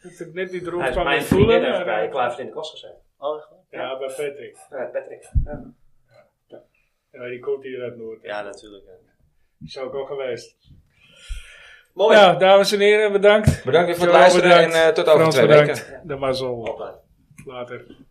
B: het net niet
E: Hij is
B: rondkwam
E: mijn
B: met
E: vriendin
B: voelen.
E: heeft
B: maar,
E: bij
B: eh,
E: Kluivert in de kast gezeten.
C: Oh, echt waar?
B: Ja, bij Patrick.
E: Eh, Patrick.
B: Ja, die komt hier uit Noord.
C: ja, natuurlijk. ja.
B: Is ook al geweest.
E: Mooi.
B: Nou, dames en heren, bedankt.
A: Bedankt weer voor het
B: Joël,
A: luisteren
B: bedankt.
A: en eh, tot over
B: Frans,
A: twee weken.
B: bedankt. De mazzel.
E: Altijd.
B: Later.